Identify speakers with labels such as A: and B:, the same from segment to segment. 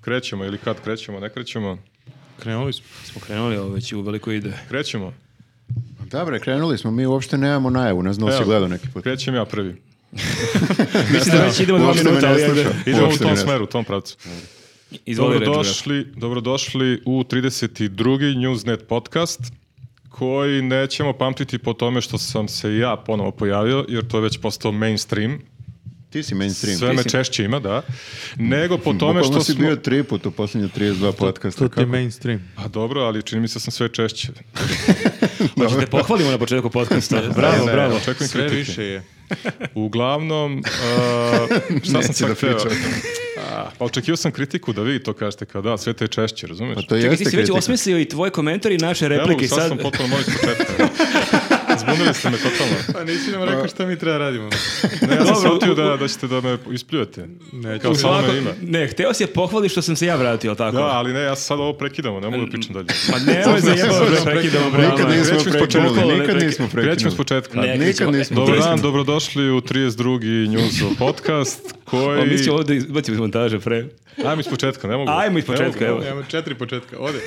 A: krećemo ili kad krećemo, ne krećemo.
B: Krenuli smo.
C: Smo krenuli, ovo već u veliko ide.
A: Krećemo.
D: Dobre, krenuli smo, mi uopšte nemamo najavu, ne znam da si
A: Evo,
D: gledao neki put.
A: Krećem ja prvi.
C: Mislim da već idemo dva
D: Uopšte me
C: minuta,
D: ne
C: ali ajde.
D: sluša.
A: Idemo u
D: Uopšte
A: tom
D: ne-
A: smeru, u tom pravcu.
C: Izvoli reći.
A: Dobrodošli, dobrodošli u 32. Newsnet podcast koji nećemo pamtiti po tome što sam se ja ponovo pojavio, jer to je već postao mainstream.
D: Ti si mainstream.
A: Sve me
C: si-
A: češće ima, da. Nego po tome
D: Hm, Bukvalno
A: što
D: si
A: smo...
D: bio tri put u posljednje 32 podcasta.
B: To ti je
D: Kako?
B: mainstream.
A: Pa dobro, ali čini mi se da sam sve češće.
C: Hoćete Znači, da pohvalimo na početku podcasta.
A: Ne,
C: Bravo,
A: ne,
C: bravo.
A: Očekujem
B: Sve
A: kritike.
B: više je.
A: Uglavnom, uh, šta sam
D: Neće
A: sad
D: da
A: hteo?
D: pričam.
A: A, Pa očekio sam kritiku da vi to kažete kao da, sve to je češće, razumeš?
D: Pa to
C: Čekaj, ti si
D: jeste
C: već
D: kritika.
C: osmislio i tvoj komentar i naše replike
A: Evo, sad,
C: sad.
A: sam potpuno moj početka. Zbunili ste me totalno.
B: Pa nisi nam rekao šta mi treba radimo.
A: Ne, ja sam
C: Dobro,
A: shvatio
C: u-
A: da, da ćete da me ispljujete.
B: Neću.
A: Kao samo
C: Ovako,
A: me ime.
C: ne, hteo si je pohvali što sam se ja vratio, ali tako?
A: Da, ali ne, ja sad ovo prekidamo, ne mogu da pričam dalje.
C: Pa nemoj zajebao
B: Sam
C: da prekidamo, bravo.
D: Nikad
A: Krećemo
D: nismo
A: iz
C: početka,
D: prekinuli,
C: ne
D: nikad
C: prekid-
D: nismo
A: Krećemo
D: prekinuli.
A: s početka.
C: Ne,
D: Nikad
C: krećemo.
D: nismo.
A: Dobar dan,
C: Interesno.
A: dobrodošli u 32. News podcast
C: O,
A: koji...
C: mi ćemo ovdje izbaciti iz montaže pre.
A: Ajmo iz početka, ne mogu.
C: Ajmo iz
A: Ne mogu,
C: početka,
A: ne
C: evo.
A: mogu.
B: Imamo četiri početka, ode.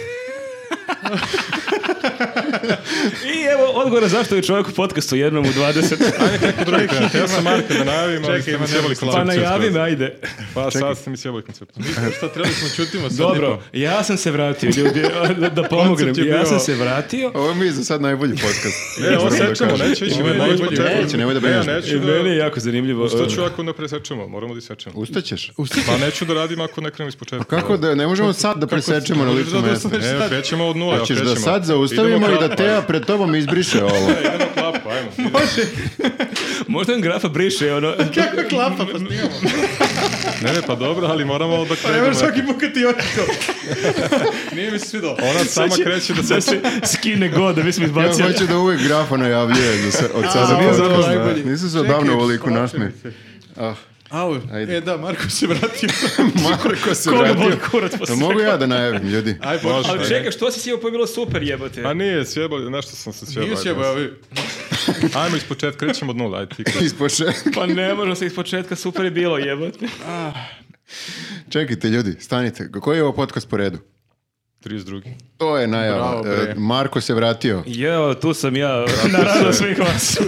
C: I evo, odgovora zašto je čovjek u podcastu jednom u 20.
A: Neko drugi krenete, ja sam Marka da najavim, ali
B: Čekaj,
A: ste mi
B: ima
A: sjebali
B: nešto.
A: koncept.
C: pa najavi me, ajde.
A: Pa sad ste mi sjebali koncept.
B: Šta trebali smo čutimo sad?
C: Dobro, ja sam se vratio, ljudi, da, da pomognem.
A: Koncept je
C: Ja
A: bio-
C: sam se vratio.
D: Ovo mi je za sad najbolji podcast.
A: Ne, ovo
D: Moram da
A: sečemo,
D: kažem.
A: neće ići.
B: Ovo je
A: ne, ovo iz
B: najbolji.
A: početka.
D: Neće, nemoj da
A: Ne, ja
D: brineš.
C: I
A: neću
C: meni je
A: da...
C: jako ono, zanimljevo.
A: Što ću ako ne presečemo? Moramo da isečemo.
D: Ustaćeš?
A: Pa neću da radim ako ne krenem iz početka.
D: Pa Kako da, ne možemo sad da presečemo na licu
B: da
D: mesta.
A: Ne, krećemo od nula.
D: Hoćeš
A: krećemo.
D: da sad zaustavimo
A: Idemo
D: i da
A: klapa,
D: Teja pred tobom izbriše ovo.
A: ajde. Idemo klapa, ajmo.
C: Možda nam grafa briše, ono...
B: Kako klapa, pa snimamo.
A: Ne, ne, pa dobro, ali moramo da
B: Pa nemaš
A: krenemo.
B: svaki put kad ti očito. Nije mi se svidao.
A: Ona sama kreće da
C: Sad
A: se...
C: se skine god, da mi smo
D: Ja
C: izbacili.
D: hoću da uvek grafa najavljuje za se, od sada.
B: ovo je
D: podcast.
B: zapravo najbolji.
D: Nisam se
B: Čekaj,
D: odavno ovoliko
B: slažem
D: nasmije.
B: se.
D: Ah,
B: Au,
D: Ajde.
B: e da, Marko se vratio.
D: Marko se
C: Koga boli
D: vratio.
C: kurac
D: Jel
C: posle
D: mogu
C: svega?
D: ja da najavim, ljudi?
B: Aj, počne.
C: Ali čekaj, što si sjeo, pa je bilo super jebate.
A: A nije, sjebali, nešto sam se sjebali.
B: Nije se jebao, ovi.
A: Ajmo iz početka, krećemo od nula, ajde ti kreni.
D: Ispoče.
C: Pa ne možemo se iz početka, super je bilo jebate.
D: Čekajte, ljudi, stanite. Koji je ovo podcast po redu?
A: 32.
D: To je najava.
B: Bravo, bre.
D: E, Marko se vratio.
C: Jeo, tu sam ja, na rado svih vas.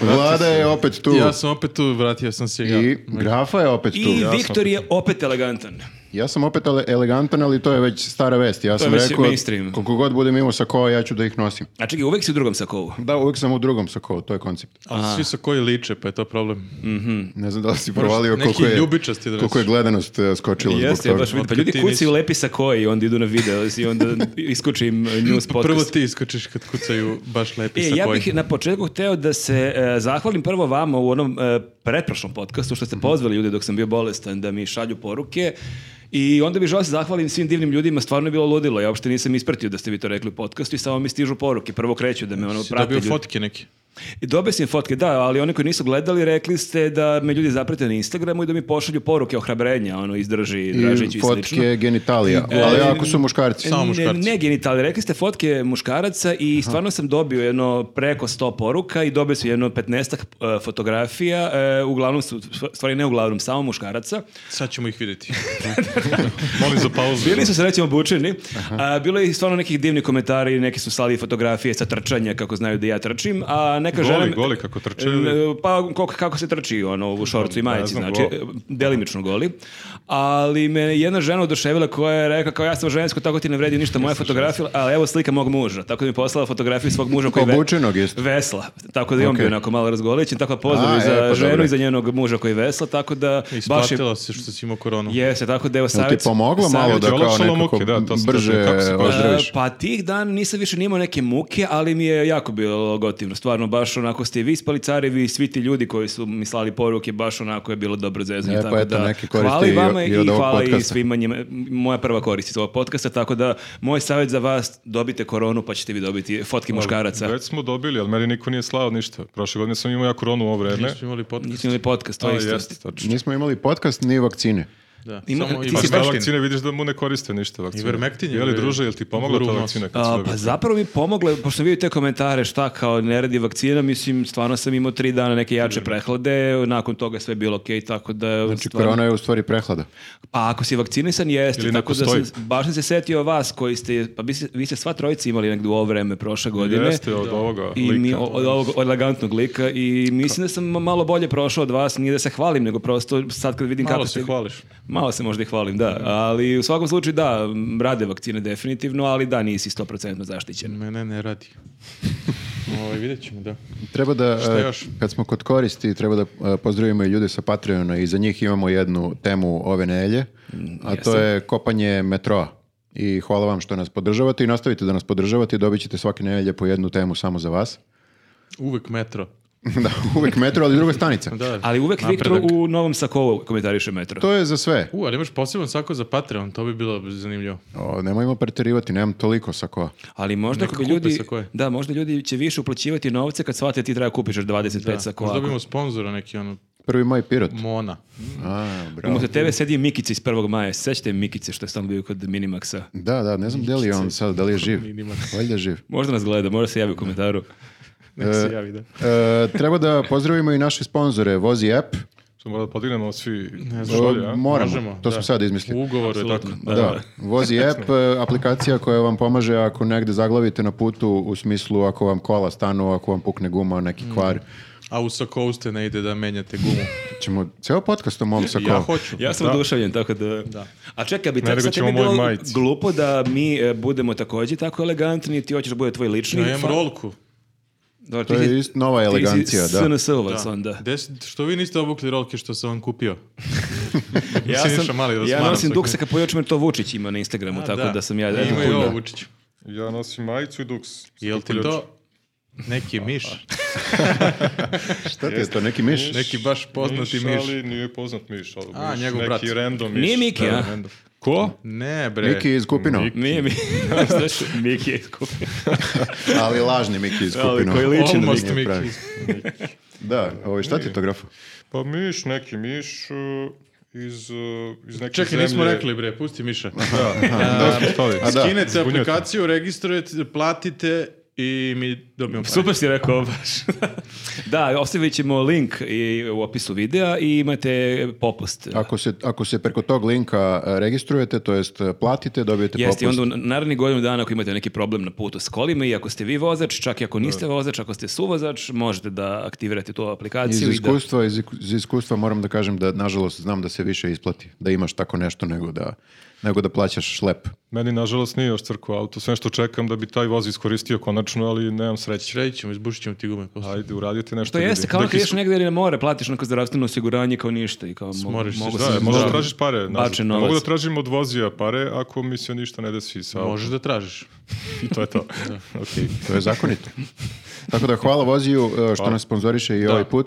D: Vlada je opet tu.
B: Ja sam opet tu, vratio sam se. ja.
D: I Grafa je opet tu.
C: I Viktor je opet elegantan.
D: Ja sam opet ale- elegantan, ali to je već stara vest. Ja sam
C: već
D: rekao,
C: mainstream.
D: koliko god budem imao sakoa, ja ću da ih nosim.
C: A čekaj, uvek si u drugom sakovu.
D: Da, uvijek sam u drugom sakovu, to je koncept.
B: Ali svi sa koji liče, pa je to problem.
D: Ne znam da li si provalio
B: neki
D: koliko je,
B: ljubičasti da
D: koliko je
B: nosiš.
D: gledanost e, skočila zbog
C: Jeste, ja
D: toga.
C: baš vidim. Pa
B: Otkad
C: ljudi
B: ti
C: kucaju
B: nisi-
C: lepi sakoi i onda idu na video i onda iskučim news podcast.
B: Prvo ti iskočiš kad kucaju baš lepi
C: E,
B: sa
C: ja
B: koji.
C: bih na početku hteo da se e, zahvalim prvo vama u onom e, pretprošlom podcastu što ste
B: Mhm.
C: pozvali ljude dok sam bio bolestan da mi šalju poruke. I onda bih želeo da se zahvalim svim divnim ljudima, stvarno je bilo ludilo. Ja uopšte nisam ispratio da ste vi to rekli u podcastu i samo mi stižu poruke. Prvo kreću da me ono
B: Si
C: prate
B: dobio
C: ljudi.
B: fotke neke.
C: I dobio sam fotke, da, ali oni koji nisu gledali rekli ste da me ljudi zaprate na Instagramu i da mi pošalju poruke ohrabrenja, ono izdrži, dražić
D: I
C: i slično.
D: fotke genitalija, ali ako su muškarci.
B: Samo
C: Ne,
B: muškarci.
C: ne genitalni, rekli ste fotke muškaraca i stvarno sam dobio jedno preko 100 poruka i dobio sam jedno 15 fotografija, e, uglavnom su, stvari ne uglavnom, samo muškaraca.
B: Sad ćemo ih vidjeti.
A: Molim za pauzu.
C: Bili su srećom obučeni, a, bilo je i stvarno nekih divnih komentari, neki su slali fotografije sa trčanja, kako znaju da ja trčim, a neka
A: Goli,
C: žena...
A: goli kako trče ili-
C: E, Pa koliko- kako se trči ono, u šorcu i majici,
A: znam,
C: znači,
A: gol.
C: e, delimično goli. Ali me jedna žena oduševila koja je rekla kao ja sam žensko, tako ti ne vredi ništa moja fotografija, ali evo slika mog muža. Tako da mi je poslala fotografiju svog muža koji ve-
D: Obučenog jeste.
C: vesla. Tako da je on
D: Ok.
C: bio onako malo razgolećen, tako da pozdrav
D: A,
C: i za
D: e, pa
C: ženu
D: dobro.
C: i za njenog muža koji vesla, tako da baš je...
B: Isplatilo se što si imao koronu.
C: Jeste, tako da evo
D: Jel
C: savjet...
D: ti pomoglo malo
C: savjet-
D: da kao
A: olakšalo
D: nekako
A: muke, da, to sam
D: brže
A: teo, kako se-
D: ozdraviš?
C: E, Pa tih dan nisam više nimao neke muke, ali mi je jako bilo gotivno. Stvarno, baš onako ste i vi ispali carevi, i svi ti ljudi koji su mi slali poruke, baš onako je bilo dobro zezanje.
D: E, pa
C: tako
D: eto,
C: da,
D: neke koristi
C: hvala i
D: i-
C: vama
D: i
C: i,
D: od ovog
C: hvala i
D: podcasta.
C: svima njima. Moja prva korist iz ovog podcasta, tako da moj savjet za vas, dobite koronu pa ćete vi dobiti fotke muškaraca.
A: Već smo dobili, ali meni niko nije slao ništa. Prošle godine sam imao ja koronu u ovo vreme.
B: Nismo imali podcast.
C: Nisam imali podcast, to je
A: Ali
C: isto.
A: jeste, tačno.
D: Nismo imali podcast ni vakcine.
B: Da.
C: Ima-
B: Samo
C: ti
B: i
C: si
A: Pa sve
B: Ivermectin.
A: vakcine vidiš da mu ne koriste ništa vakcine.
B: Ivermectin je-
A: Je li druže, jel ti pomogla ta
B: Guru nos.
A: vakcina? kad si
C: A,
A: dobio?
C: pa zapravo mi pomogla, pošto sam vidio te komentare šta kao ne radi vakcina, mislim stvarno sam imao tri dana neke jače prehlade, nakon toga je sve bilo okej, tako da...
D: Znači,
C: stvarno-
D: korona je u stvari prehlada.
C: Pa ako si vakcinisan, jeste.
A: Ili ne
C: tako da
A: postoji.
C: sam, baš sam se setio vas koji ste, pa vi, ste- vi ste sva trojica imali negdje u ovo vreme prošle godine.
A: Jeste od ovoga
C: I mi,
A: lika.
C: o- od ovog elegantnog lika i mislim da sam malo bolje prošao od vas, nije da se hvalim, nego prosto sad kad vidim kako
B: Malo
C: ste...
B: se hvališ.
C: Malo se možda i hvalim, da, ali u svakom slučaju da, m, rade vakcine definitivno, ali da, nisi 100% zaštićen.
B: Mene ne radi. Ovo, vidjet ćemo, da.
D: Treba da,
B: Šta
D: e,
B: još?
D: kad smo kod koristi, treba da e, pozdravimo i ljude sa Patreona i za njih imamo jednu temu ove nelje, a to
C: jesam.
D: je kopanje metroa. I hvala vam što nas podržavate i nastavite da nas podržavate i dobit ćete svake nelje po jednu temu samo za vas.
B: Uvek metro.
D: da, uvek metro, ali druga stanica.
B: Da.
C: Ali uvek Viktor
B: napredak.
C: u novom sakovu komentariše metro.
D: To je za sve.
B: U, ali imaš poseban sako za Patreon, to bi bilo zanimljivo.
D: O, nemojmo preterivati, nemam toliko sakoa.
C: Ali možda
B: Neka
C: ako bi
B: kupe
C: ljudi,
B: sakoe.
C: da, možda ljudi će više uplaćivati novce kad shvate da ti treba kupiš još 25
B: Da.
C: sakoa.
B: Možda dobijemo sponzora neki, ono,
D: Prvi maj pirot.
A: Mhm.
B: Mona.
D: A, bravo.
C: Umesto tebe sedi Mikica iz 1. maja. Sećate Mikice što je stalno bio kod Minimaxa?
D: Da, da, ne znam da li je on sad, da li je živ. Valjda je živ.
C: Možda nas gleda, možda se javi u komentaru.
B: Nek se javi, da.
D: E, treba da pozdravimo i naše sponzore, Vozi app.
A: Što moramo da podignemo svi
D: E,
A: šolje, a?
D: moramo,
B: Možemo,
D: to
B: da.
D: smo sad izmislili.
B: U ugovoru je tako.
C: Da.
D: Da, Vozi app, e, aplikacija koja vam pomaže ako negde zaglavite na putu u smislu ako vam kola stanu, ako vam pukne guma, neki kvar.
B: A u sakovu ste ne ide da menjate gumu.
D: Ćemo ceo podcast o mom sa
B: Ja hoću.
C: Ja sam oduševljen, tako da... A čekaj, bi
A: Ne,
C: tako
A: nego
C: sad
A: ćemo
C: tebi bilo
A: moj majici.
C: glupo da mi e, budemo takođe tako elegantni, ti hoćeš da bude tvoj lični...
B: Ja imam
C: fa-
B: rolku.
C: Dobar,
D: To
C: ti si-
D: je ist, nova elegancija,
C: ti si
D: da.
C: SNS-ovac onda.
B: Gde s- što vi niste obukli rolke što sam vam kupio?
C: Ja,
B: Mislim,
C: sam,
B: išao mali da
C: ja
B: smaram
C: nosim
B: sve.
C: duksaka, po još me to Vučić ima na Instagramu, tako da, sam ja...
B: E, Ima i
C: Puno.
B: ovo, Vučić.
A: Ja nosim majicu i duks.
B: Jel ti
A: Skupljač.
B: to neki miš?
D: Šta ti je to, neki miš?
B: Neki baš poznati
A: Miš,
B: miš?
A: ali nije poznat Miš, ali
B: A,
A: miš,
B: njegov
A: neki
B: brat.
A: random Miš.
C: Nije Miki, a?
A: random. Ko?
B: Ne, bre.
D: Miki iz Kupinova,
C: Nije mi... Znaš, Miki je skupio.
D: ali lažni Miki iz
C: Ali
D: Kupinova.
C: koji liči na
B: Almost
D: Nije
B: Miki.
D: pravi. Da, ovaj, šta ti je to grafo?
A: Pa Miš, neki Miš uh, iz, uh, iz neke
B: Čekaj,
A: zemlje.
B: nismo rekli, bre, pusti Miša.
A: Da, da smo stali.
D: A da.
B: Skinete aplikaciju, registrujete, platite i mi dobijemo pare.
C: Super si rekao baš. da, ostavit ćemo link i u opisu videa i imate popust.
D: Ako se, ako se preko tog linka e, registrujete, to jest e, platite, dobijete popust.
C: Jeste, i onda u narednih godinu dana ako imate neki problem na putu s kolima i ako ste vi vozač, čak i ako niste vozač, ako ste suvozač, možete da aktivirate tu
D: Iz
C: aplikaciju i da...
D: iskustva, iz, iz iskustva moram da kažem da nažalost znam da se više isplati da imaš tako nešto nego da nego da plaćaš šlep.
A: Meni, nažalost, nije još crkao auto. Sve što čekam da bi taj voz iskoristio konačno, ali nemam sreće.
B: Sredit ćemo, izbušit ćemo ti gume posle.
A: Ajde, uradite nešto.
C: To jeste,
A: ljudi.
C: kao
A: Dok
C: ako
A: is-
C: ideš negdje na more, platiš neko zdravstveno osiguranje kao ništa i kao mo-
B: Smoriš se,
C: mogu
B: da,
C: sam-
A: E, možda
B: Da.
A: tražiš pare. nazad.
C: Bačen
A: Ne Pa Mogu da
C: novac.
A: tražim od vozija pare ako mi se ništa ne desi
D: pa
A: sa autom.
B: Možeš da tražiš.
A: I to je to. Okej.
D: To je zakonito. Tako da hvala Voziju e, što nas sponzoriše i ovaj put.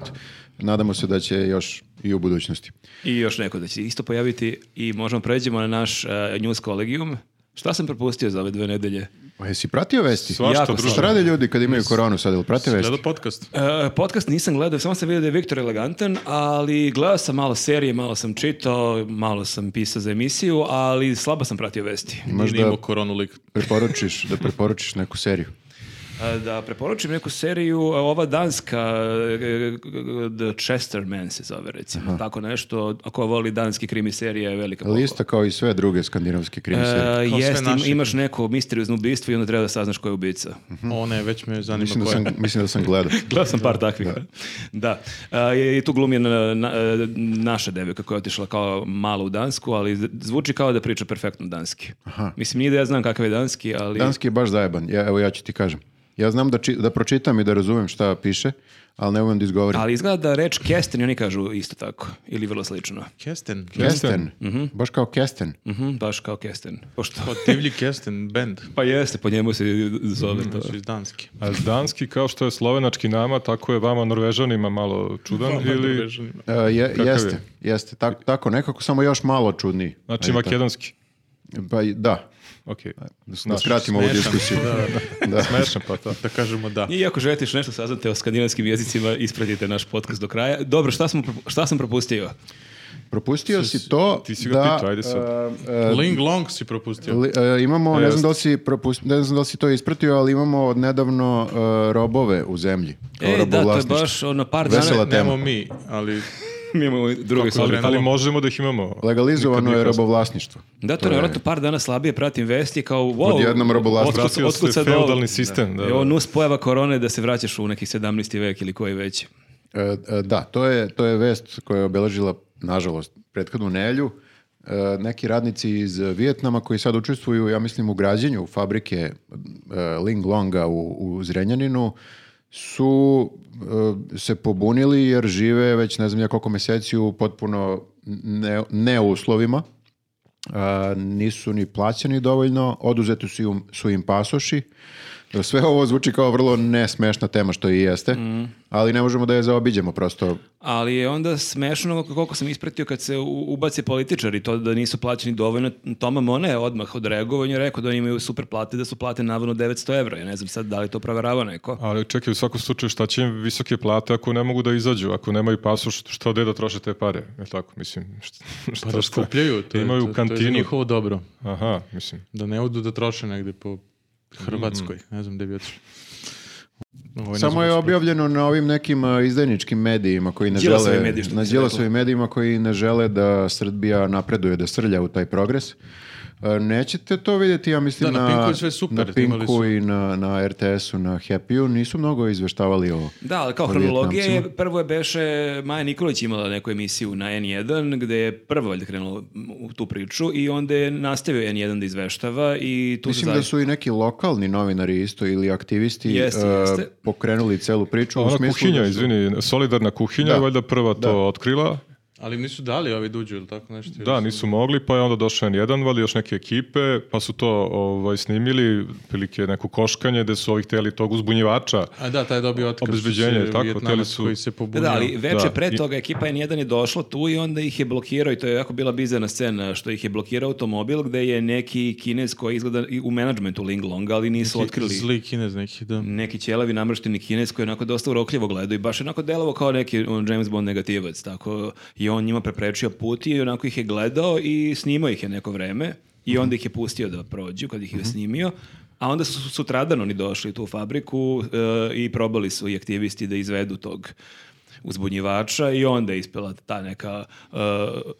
D: Nadamo se da će još i u budućnosti.
C: I još neko da će se isto pojaviti i možemo pređemo na naš eh, news kolegium. Šta sam propustio za ove dve nedelje?
D: Pa jesi pratio vesti?
A: Svašta,
C: Jako
A: druže.
D: Šta rade ljudi kad imaju koronu sad? Jel prate vesti?
B: Gledao podcast.
C: E, podcast nisam gledao, samo sam vidio da je Viktor elegantan, ali gledao sam malo serije, malo sam čitao, malo sam pisao za emisiju, ali slabo sam pratio vesti.
D: Imaš
B: Nije
D: da
B: imao koronu lik.
D: preporučiš, da preporučiš neku seriju.
C: E, Da preporučim neku seriju, e, ova danska, e, The Chesterman se zove recimo, tako nešto, ako voli danski krimi serije, je velika
D: Ali isto kao i sve druge skandinavske krimi
C: E,
D: serije.
B: sve
C: jest, im-
B: naše.
C: imaš neko misteriozno ubistvo i onda treba da saznaš ko je ubica.
B: O ne, već me zanima
D: Mhm. Mislim da
B: koja.
D: sam, mislim da sam gledao.
C: Gledao sam par takvih. Da. A, I tu glumi na, na- e, naša devojka koja je otišla kao malo u Dansku, ali z- zvuči kao da priča perfektno danski. Mislim, nije da ja znam kakav je danski, ali...
D: Danski je baš zajeban. Ja, evo ja ću ti kažem. Ja znam da, či- da pročitam i da razumem šta piše, ali ne umem da izgovorim.
C: Ali izgleda da reč kesten i oni kažu isto tako, ili vrlo slično.
B: Kesten.
D: Kesten. Mhm. Baš kao Kesten.
C: Mhm, baš kao kesten. Pošto...
B: Kao divlji Kesten band.
C: Pa jeste, po njemu se zove to.
B: Znači iz Danske.
A: A danski, kao što je slovenački nama, tako je vama norvežanima malo čudan. ili,
D: E, je-
A: je?
D: jeste, jeste. Tako, tako nekako, samo još malo čudniji.
A: znači,
D: Ajde,
A: makedonski.
D: tako. Pa, i- da,
A: Okej. Znači,
D: da skratimo ovu
B: smešan.
D: diskusiju.
A: Smešan pa to.
B: Da kažemo da.
C: I ako želite još nešto saznate o skandinavskim jezicima, ispratite naš podcast do kraja. Dobro, šta, smo, propu- šta sam propustio?
D: Propustio si to
A: ti si ga
D: da...
A: pitao, ajde sad.
D: e, e,
B: Ling Long si propustio.
D: li- e, imamo, ne znam,
A: jeste.
D: da li si propust, ne znam da li si to ispratio, ali imamo od nedavno e, robove u zemlji. kao
A: E,
C: Ej, E, da, to je
D: robovlasništvo.
C: baš ono par dana.
D: Vesela tema.
B: Nemo mi, ali
C: Mi imamo druge
B: Kako je
C: stvari.
B: krenulo?
A: Ali možemo da ih imamo. Nikad
D: Legalizovano
A: nije
D: je
A: kasno.
D: robovlasništvo.
C: Da, to je vjerojatno par dana slabije pratim vesti kao wow.
D: Odjednom robovlasnik.
C: otkud-
A: Vratio
C: otkud
A: se
C: sad ovo?
A: feudalni sistem, da,
C: Je ovo
A: da.
C: nus pojava korone da se vraćaš u neki 17. vek ili koji već.
D: E, e, da, to je, to je vest koja je obeležila, nažalost, prethodnu nelju. E, neki radnici iz Vijetnama koji sad učestvuju, ja mislim, u građenju fabrike e, Ling Longa u, u Zrenjaninu su e, se pobunili jer žive već ne znam ja koliko meseci u potpuno ne, ne uslovima. E, nisu ni plaćeni dovoljno, oduzeti su im, su im pasoši. Sve ovo zvuči kao vrlo nesmešna tema što i jeste,
B: Mm.
D: ali ne možemo da je zaobiđemo prosto.
C: Ali je onda smešno ovako koliko sam ispratio kad se u- ubace političari, to da nisu plaćeni dovoljno. Toma Mone je odmah odreagovao, on je rekao da oni imaju super plate, da su plate navodno 900 evra. Ja ne znam sad da li to proverava neko.
A: Ali čekaj, u svakom slučaju šta će im visoke plate ako ne mogu da izađu, ako nemaju pasoš, šta gde da troše te pare? Je tako, mislim, šta, šta,
B: pa da
A: šta?
B: skupljaju. To, je-
A: Imaju
B: to, to je za
A: kantinu.
B: njihovo dobro.
A: Aha, mislim.
B: Da ne odu da troše negde po Hrvatskoj. Ne znam gde bi otišli. Ovo ne
D: Samo
B: znam
D: je
B: uspio.
D: objavljeno na ovim nekim a, izdajničkim medijima koji ne
C: Đilasovi
D: žele
C: mediji, što bi
D: na
C: se
D: Đilasovim medijima koji ne žele da Srbija napreduje, da srlja u taj progres. E, Nećete to vidjeti, ja mislim,
B: Da, na Pinku je sve super,
D: na
B: imali
D: Pinku
B: su.
D: i na, na RTS-u, na Happy-u, nisu mnogo izveštavali ovo.
C: Da, ali kao
D: O
C: hronologija je,
D: Vjetnamcima.
C: prvo je Beše, Maja Nikolić imala neku emisiju na N1, gde je prvo valjda krenula u tu priču i onda je nastavio N1 da izveštava i tu
D: Mislim
C: se
D: da
C: zaista-
D: su i neki lokalni novinari isto ili aktivisti
C: Jeste,
D: e,
C: jeste.
D: pokrenuli celu priču. u
A: Ona
D: smislu
A: kuhinja,
D: da su-
A: izvini, solidarna kuhinja,
D: Da.
A: je valjda prva to otkrila.
B: Ali im nisu dali ovi duđu ili tako nešto. ili
A: Da,
B: su-
A: nisu mogli, pa je onda došao N1, valjda još neke ekipe, pa su to ovaj, snimili, prilike neko koškanje, gde su ovih teli tog uzbunjivača.
B: A da, taj je dobio otkaz.
A: Obezbeđenje,
B: što se
A: tako,
B: Vijetnamac
A: hteli su-
B: Koji se
C: Da,
B: pobunio.
C: da, ali veče
A: Da,
C: pre
A: i-
C: toga ekipa N1 je došla tu i onda ih je blokirao i to je jako bila bizarna scena što ih je blokirao automobil gde je neki kinez koji izgleda i u menadžmentu Ling Longa, ali nisu otkrili
B: Zli kinez neki, da.
C: neki ćelavi namršteni kinez koji je onako dosta urokljivo gledao i baš je onako delovo kao neki on, James Bond negativac, tako i on njima preprečio put i onako ih je gledao i snimao ih je neko vreme i onda ih je pustio da prođu kad ih je snimio, a onda su sutradan oni došli tu u fabriku e, i probali su i aktivisti da izvedu tog uzbunjivača i onda je ispela ta neka e,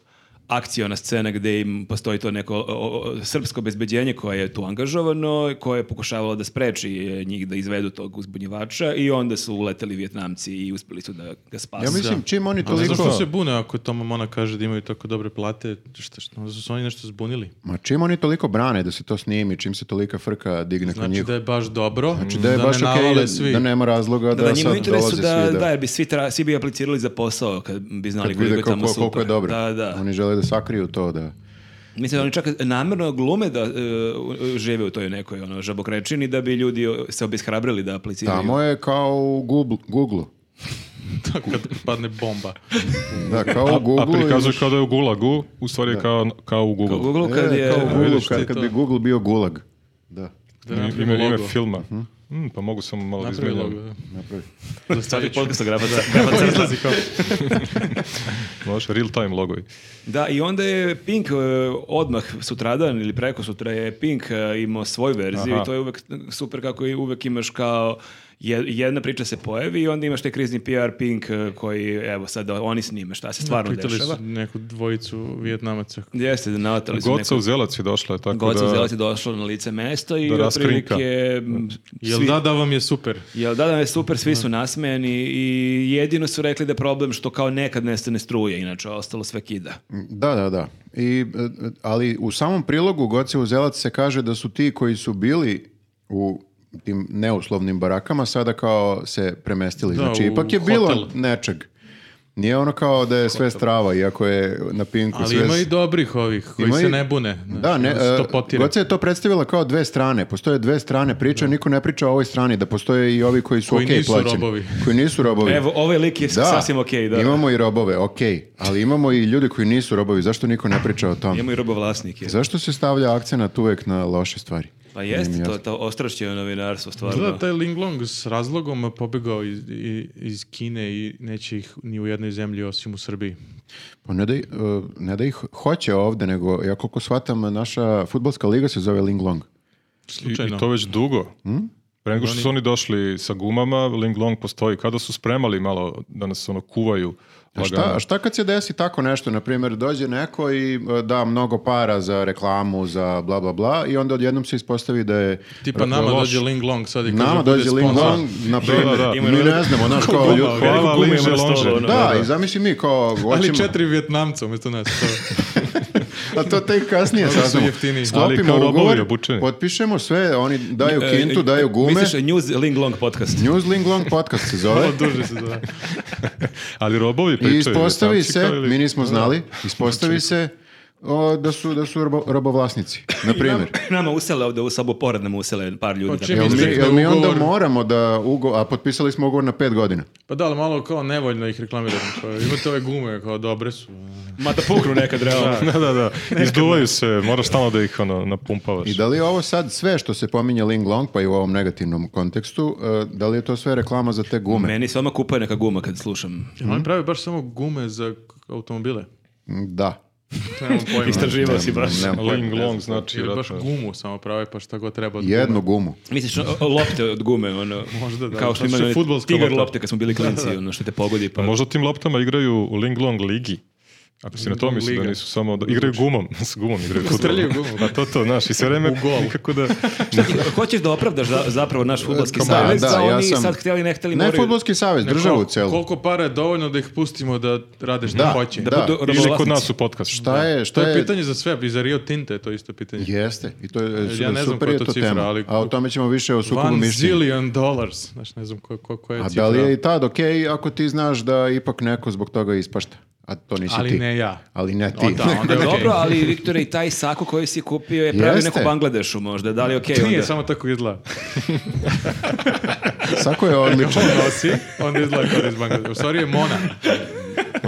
C: akciona scena gde im postoji to neko o, o, srpsko obezbeđenje koje je tu angažovano, koje je pokušavalo da spreči e, njih da izvedu tog uzbunjivača i onda su uleteli Vjetnamci i uspeli su da ga spasu.
D: Ja mislim, čim oni
B: Ali
D: toliko...
B: zašto se bune ako Toma Mona kaže da imaju tako dobre plate? Šta, šta, onda su se oni nešto zbunili.
D: Ma čim oni toliko brane da se to snimi, čim se tolika frka digne kod
B: Znači
D: njih,
B: da je baš dobro, znači
D: da je baš
B: ne
D: okej,
B: navale
D: da-
B: svi.
D: da nema razloga da,
C: da, da njima u
D: sad
C: interesu
D: dolaze
C: da,
D: svi da,
C: da, jer bi svi, tra- svi bi aplicirali za posao kad bi znali
D: kad
C: koliko
D: vide
C: je tamo
D: koliko,
C: super.
D: koliko je dobro.
C: Da, da.
D: Oni žele da sakriju to da...
C: Mislim da oni čak namjerno glume da e, u- žive u toj nekoj ono, žabokrečini da bi ljudi o, se obeshrabrili da apliciraju.
D: Tamo je kao u Google, Google.
B: Da, Pa kad padne bomba.
D: Da, kao u
A: A
D: Google.
A: prikazuju kao da je u Gulagu, u stvari je kao, kao u
C: U
A: Google.
C: Google kad je...
D: E, kao u Google,
B: vidiš ti
D: kad, kad
B: to.
D: bi Google bio gulag. Da,
B: Da
A: Ima-
B: napravimo
A: Ima ime
B: logo.
A: filma.
D: Mhm.
A: Mm, pa mogu samo malo da
B: Napravi
A: izmenjam.
B: logo, da.
D: napravi.
B: Da
C: Sad je
B: stavi
C: podcast o grafa- grafa crta.
B: izlazi kao.
A: Može, real time logovi.
C: Da, i onda je Pink e, odmah sutradan ili preko sutra je Pink e, imao svoju verziju
A: Aha.
C: i to je uvek super kako i uvek imaš kao je- jedna priča se pojavi i onda imaš taj krizni PR Pink e, koji, evo sad oni snime šta se stvarno
B: Pitali
C: dešava.
B: su neku dvojicu vijetnamaca.
C: Jeste, da navatali su
A: Goca
C: neko...
A: u Zelac je došla, je tako
C: Goca
A: da...
C: Uzelac je došla na lice mesta i
A: Da
C: otprilike...
A: raskrinka.
C: m,
B: Jel
C: svi-
B: da, da vam je super.
C: Jel da, da, je super, svi su nasmejani i jedino su rekli da je problem što kao nekad nestane struje, inače ostalo sve kida.
D: Da, da, da. I, e, e, ali u samom prilogu Goce Uzelac se kaže da su ti koji su bili u tim neuslovnim barakama sada kao se premestili.
B: Da,
D: znači,
B: u
D: ipak je bilo
B: hotel.
D: nečeg. Nije ono kao da je sve strava, iako je na Pinku
B: Ali
D: sve...
B: ima i dobrih ovih koji
D: Ima i-
B: se ne bune. znaš,
D: Da, ne,
B: da se
D: e,
B: to potire.
D: Goca je to predstavila kao dve strane. Postoje dve strane priče, niko ne priča o ovoj strani, da postoje i ovi koji su
B: Koji
D: okej
B: nisu
D: plaćeni.
B: robovi.
D: Koji nisu robovi.
C: Evo, ovaj lik je
D: Da,
C: sasvim okej, da.
D: imamo i robove, okej, ali imamo i ljudi koji nisu robovi, zašto niko ne priča o tom?
C: Imamo i robovlasnike.
D: Zašto se stavlja akcenat uvek na loše stvari?
C: Pa jeste,
D: Nije mi
C: to,
D: jasno.
C: to ostrašćeno novinarstvo, stvarno.
B: Izgleda taj Linglong s razlogom pobegao iz, i- iz Kine i neće ih ni u jednoj zemlji osim u Srbiji.
D: Pa ne da, i- e, ne da ih hoće ovde, nego ja koliko shvatam, naša futbolska liga se zove Linglong.
A: I,
B: Slučajno.
A: I to već dugo.
D: Mhm.
A: Pre nego što su oni došli sa gumama, Ling Long postoji. Kada su spremali malo da nas ono kuvaju
D: A šta, a šta kad se desi tako nešto, na primjer, dođe neko i e, da mnogo para za reklamu, za bla bla bla i onda odjednom se ispostavi da je
B: Tipa
D: e,
B: nama
D: loš.
B: dođe Linglong sad i kaže
D: Nama
B: bude
D: dođe
B: sponsor.
D: Linglong, na primjer,
A: da.
D: mi ne znamo, naš kao
B: Guma,
D: ljudi.
A: Hvala,
C: Veliko gume
A: Linže
C: ima na stolu,
A: Lonže.
C: ono.
D: Da, i zamisli mi kao
B: Ali
D: hoćemo,
B: četiri Vjetnamca umjesto nas. To.
D: a to tek kasnije
B: Mnogo su
D: saznamo.
B: jeftiniji.
A: Ali kao
D: Sklopimo
A: robovi
D: ugovor,
A: obučeni.
D: potpišemo sve, oni daju
C: E,
D: kintu, daju gume.
C: Misliš News Ling Long podcast?
D: News Linglong podcast se zove.
B: Malo duže se zove.
A: Ali robovi pričaju.
D: I ispostavi
A: vjetnamci
D: se,
A: kao ili-
D: mi nismo znali, ispostavi se o, da su, da su robo- robovlasnici, na primjer.
C: Nama usele ovde, u saboporad nam usele par ljudi.
B: Pa
C: da
B: čim
D: Jel
C: pričaju.
D: mi,
B: Izrekne
D: jel mi onda
B: ugovor.
D: moramo da ugo, a potpisali smo ugovor na pet godina.
B: Pa da, ali malo kao nevoljno ih reklamiramo. Kao, imate ove gume, kao dobre su.
C: Ma da puknu nekad, realno.
A: Da, da, da. Izduvaju se, moraš stalno da ih ono, napumpavaš.
D: I da li je ovo sad sve što se pominje Ling Long, pa i u ovom negativnom kontekstu, e, da li je to sve reklama za te gume?
C: Meni se odmah kupuje neka guma kad slušam.
B: Jel Oni prave baš samo gume za automobile.
D: Da.
B: Nemam pojma.
C: Istraživao si baš.
D: Nemam pojma.
A: Ling Long znači...
B: Ili baš
A: vjerojatno.
B: gumu samo prave, pa šta god treba. od gume.
D: Jednu gumu.
C: Misliš, o- o, lopte od gume, ono.
B: Možda da.
C: Kao što
B: Znači,
C: imali one
B: fudbalska
C: tigar
B: lopta.
C: lopte kad smo bili klinci, ono što te pogodi.
A: Pa
C: Pa...
A: možda tim loptama igraju u Ling Long ligi. Ako si na to
B: Long
A: misli da
B: liga.
A: nisu samo... Da, igraju gumom, s gumom igraju. fudbal.
B: Streljaju gumom.
A: Pa to to, znaš, i sve vreme nikako da...
C: Hoćeš da opravdaš za- zapravo naš futbolski
D: Da,
C: savez,
D: da,
C: da,
D: ja
C: oni
D: sam-
C: sad htjeli ne htjeli
D: Ne
C: moraju
D: futbolski savez, državu
B: Koliko-
D: celu.
B: Koliko para je dovoljno da ih pustimo da rade šta
D: Da,
B: hoće?
D: da.
C: da budu
A: Ili kod
C: robovlasnici.
A: nas u podcast.
D: Šta je,
B: To
D: šta
B: je
D: je,
B: pitanje za sve, i za Rio Tinto je to isto pitanje.
D: Jeste, i to je
B: Ja ne
D: super,
B: znam koja
D: je
B: je to
D: to
B: cifra,
D: tema.
B: ali-
D: A o tome ćemo više u sukobu
B: One
D: mišljenja.
B: zillion dollars. Znaš, ne znam ko, ko, koja je
D: A
B: cifra.
D: da li je i tad okej ako ti znaš da ipak neko zbog toga ispašta? A to nisi
B: Ali
D: ti.
B: ne ja.
D: Ali ne ti.
B: O, da, onda je okej.
C: Dobro, ali Viktore, i taj sako koji si kupio je pravi
D: Jeste.
C: neko Bangladešu možda, da li je
D: E,
C: okej
B: Nije,
C: onda?
B: samo tako izgleda.
D: Sako je odličan.
B: On nosi, onda izgleda kao da je iz Bangladeša. U stvari je Mona.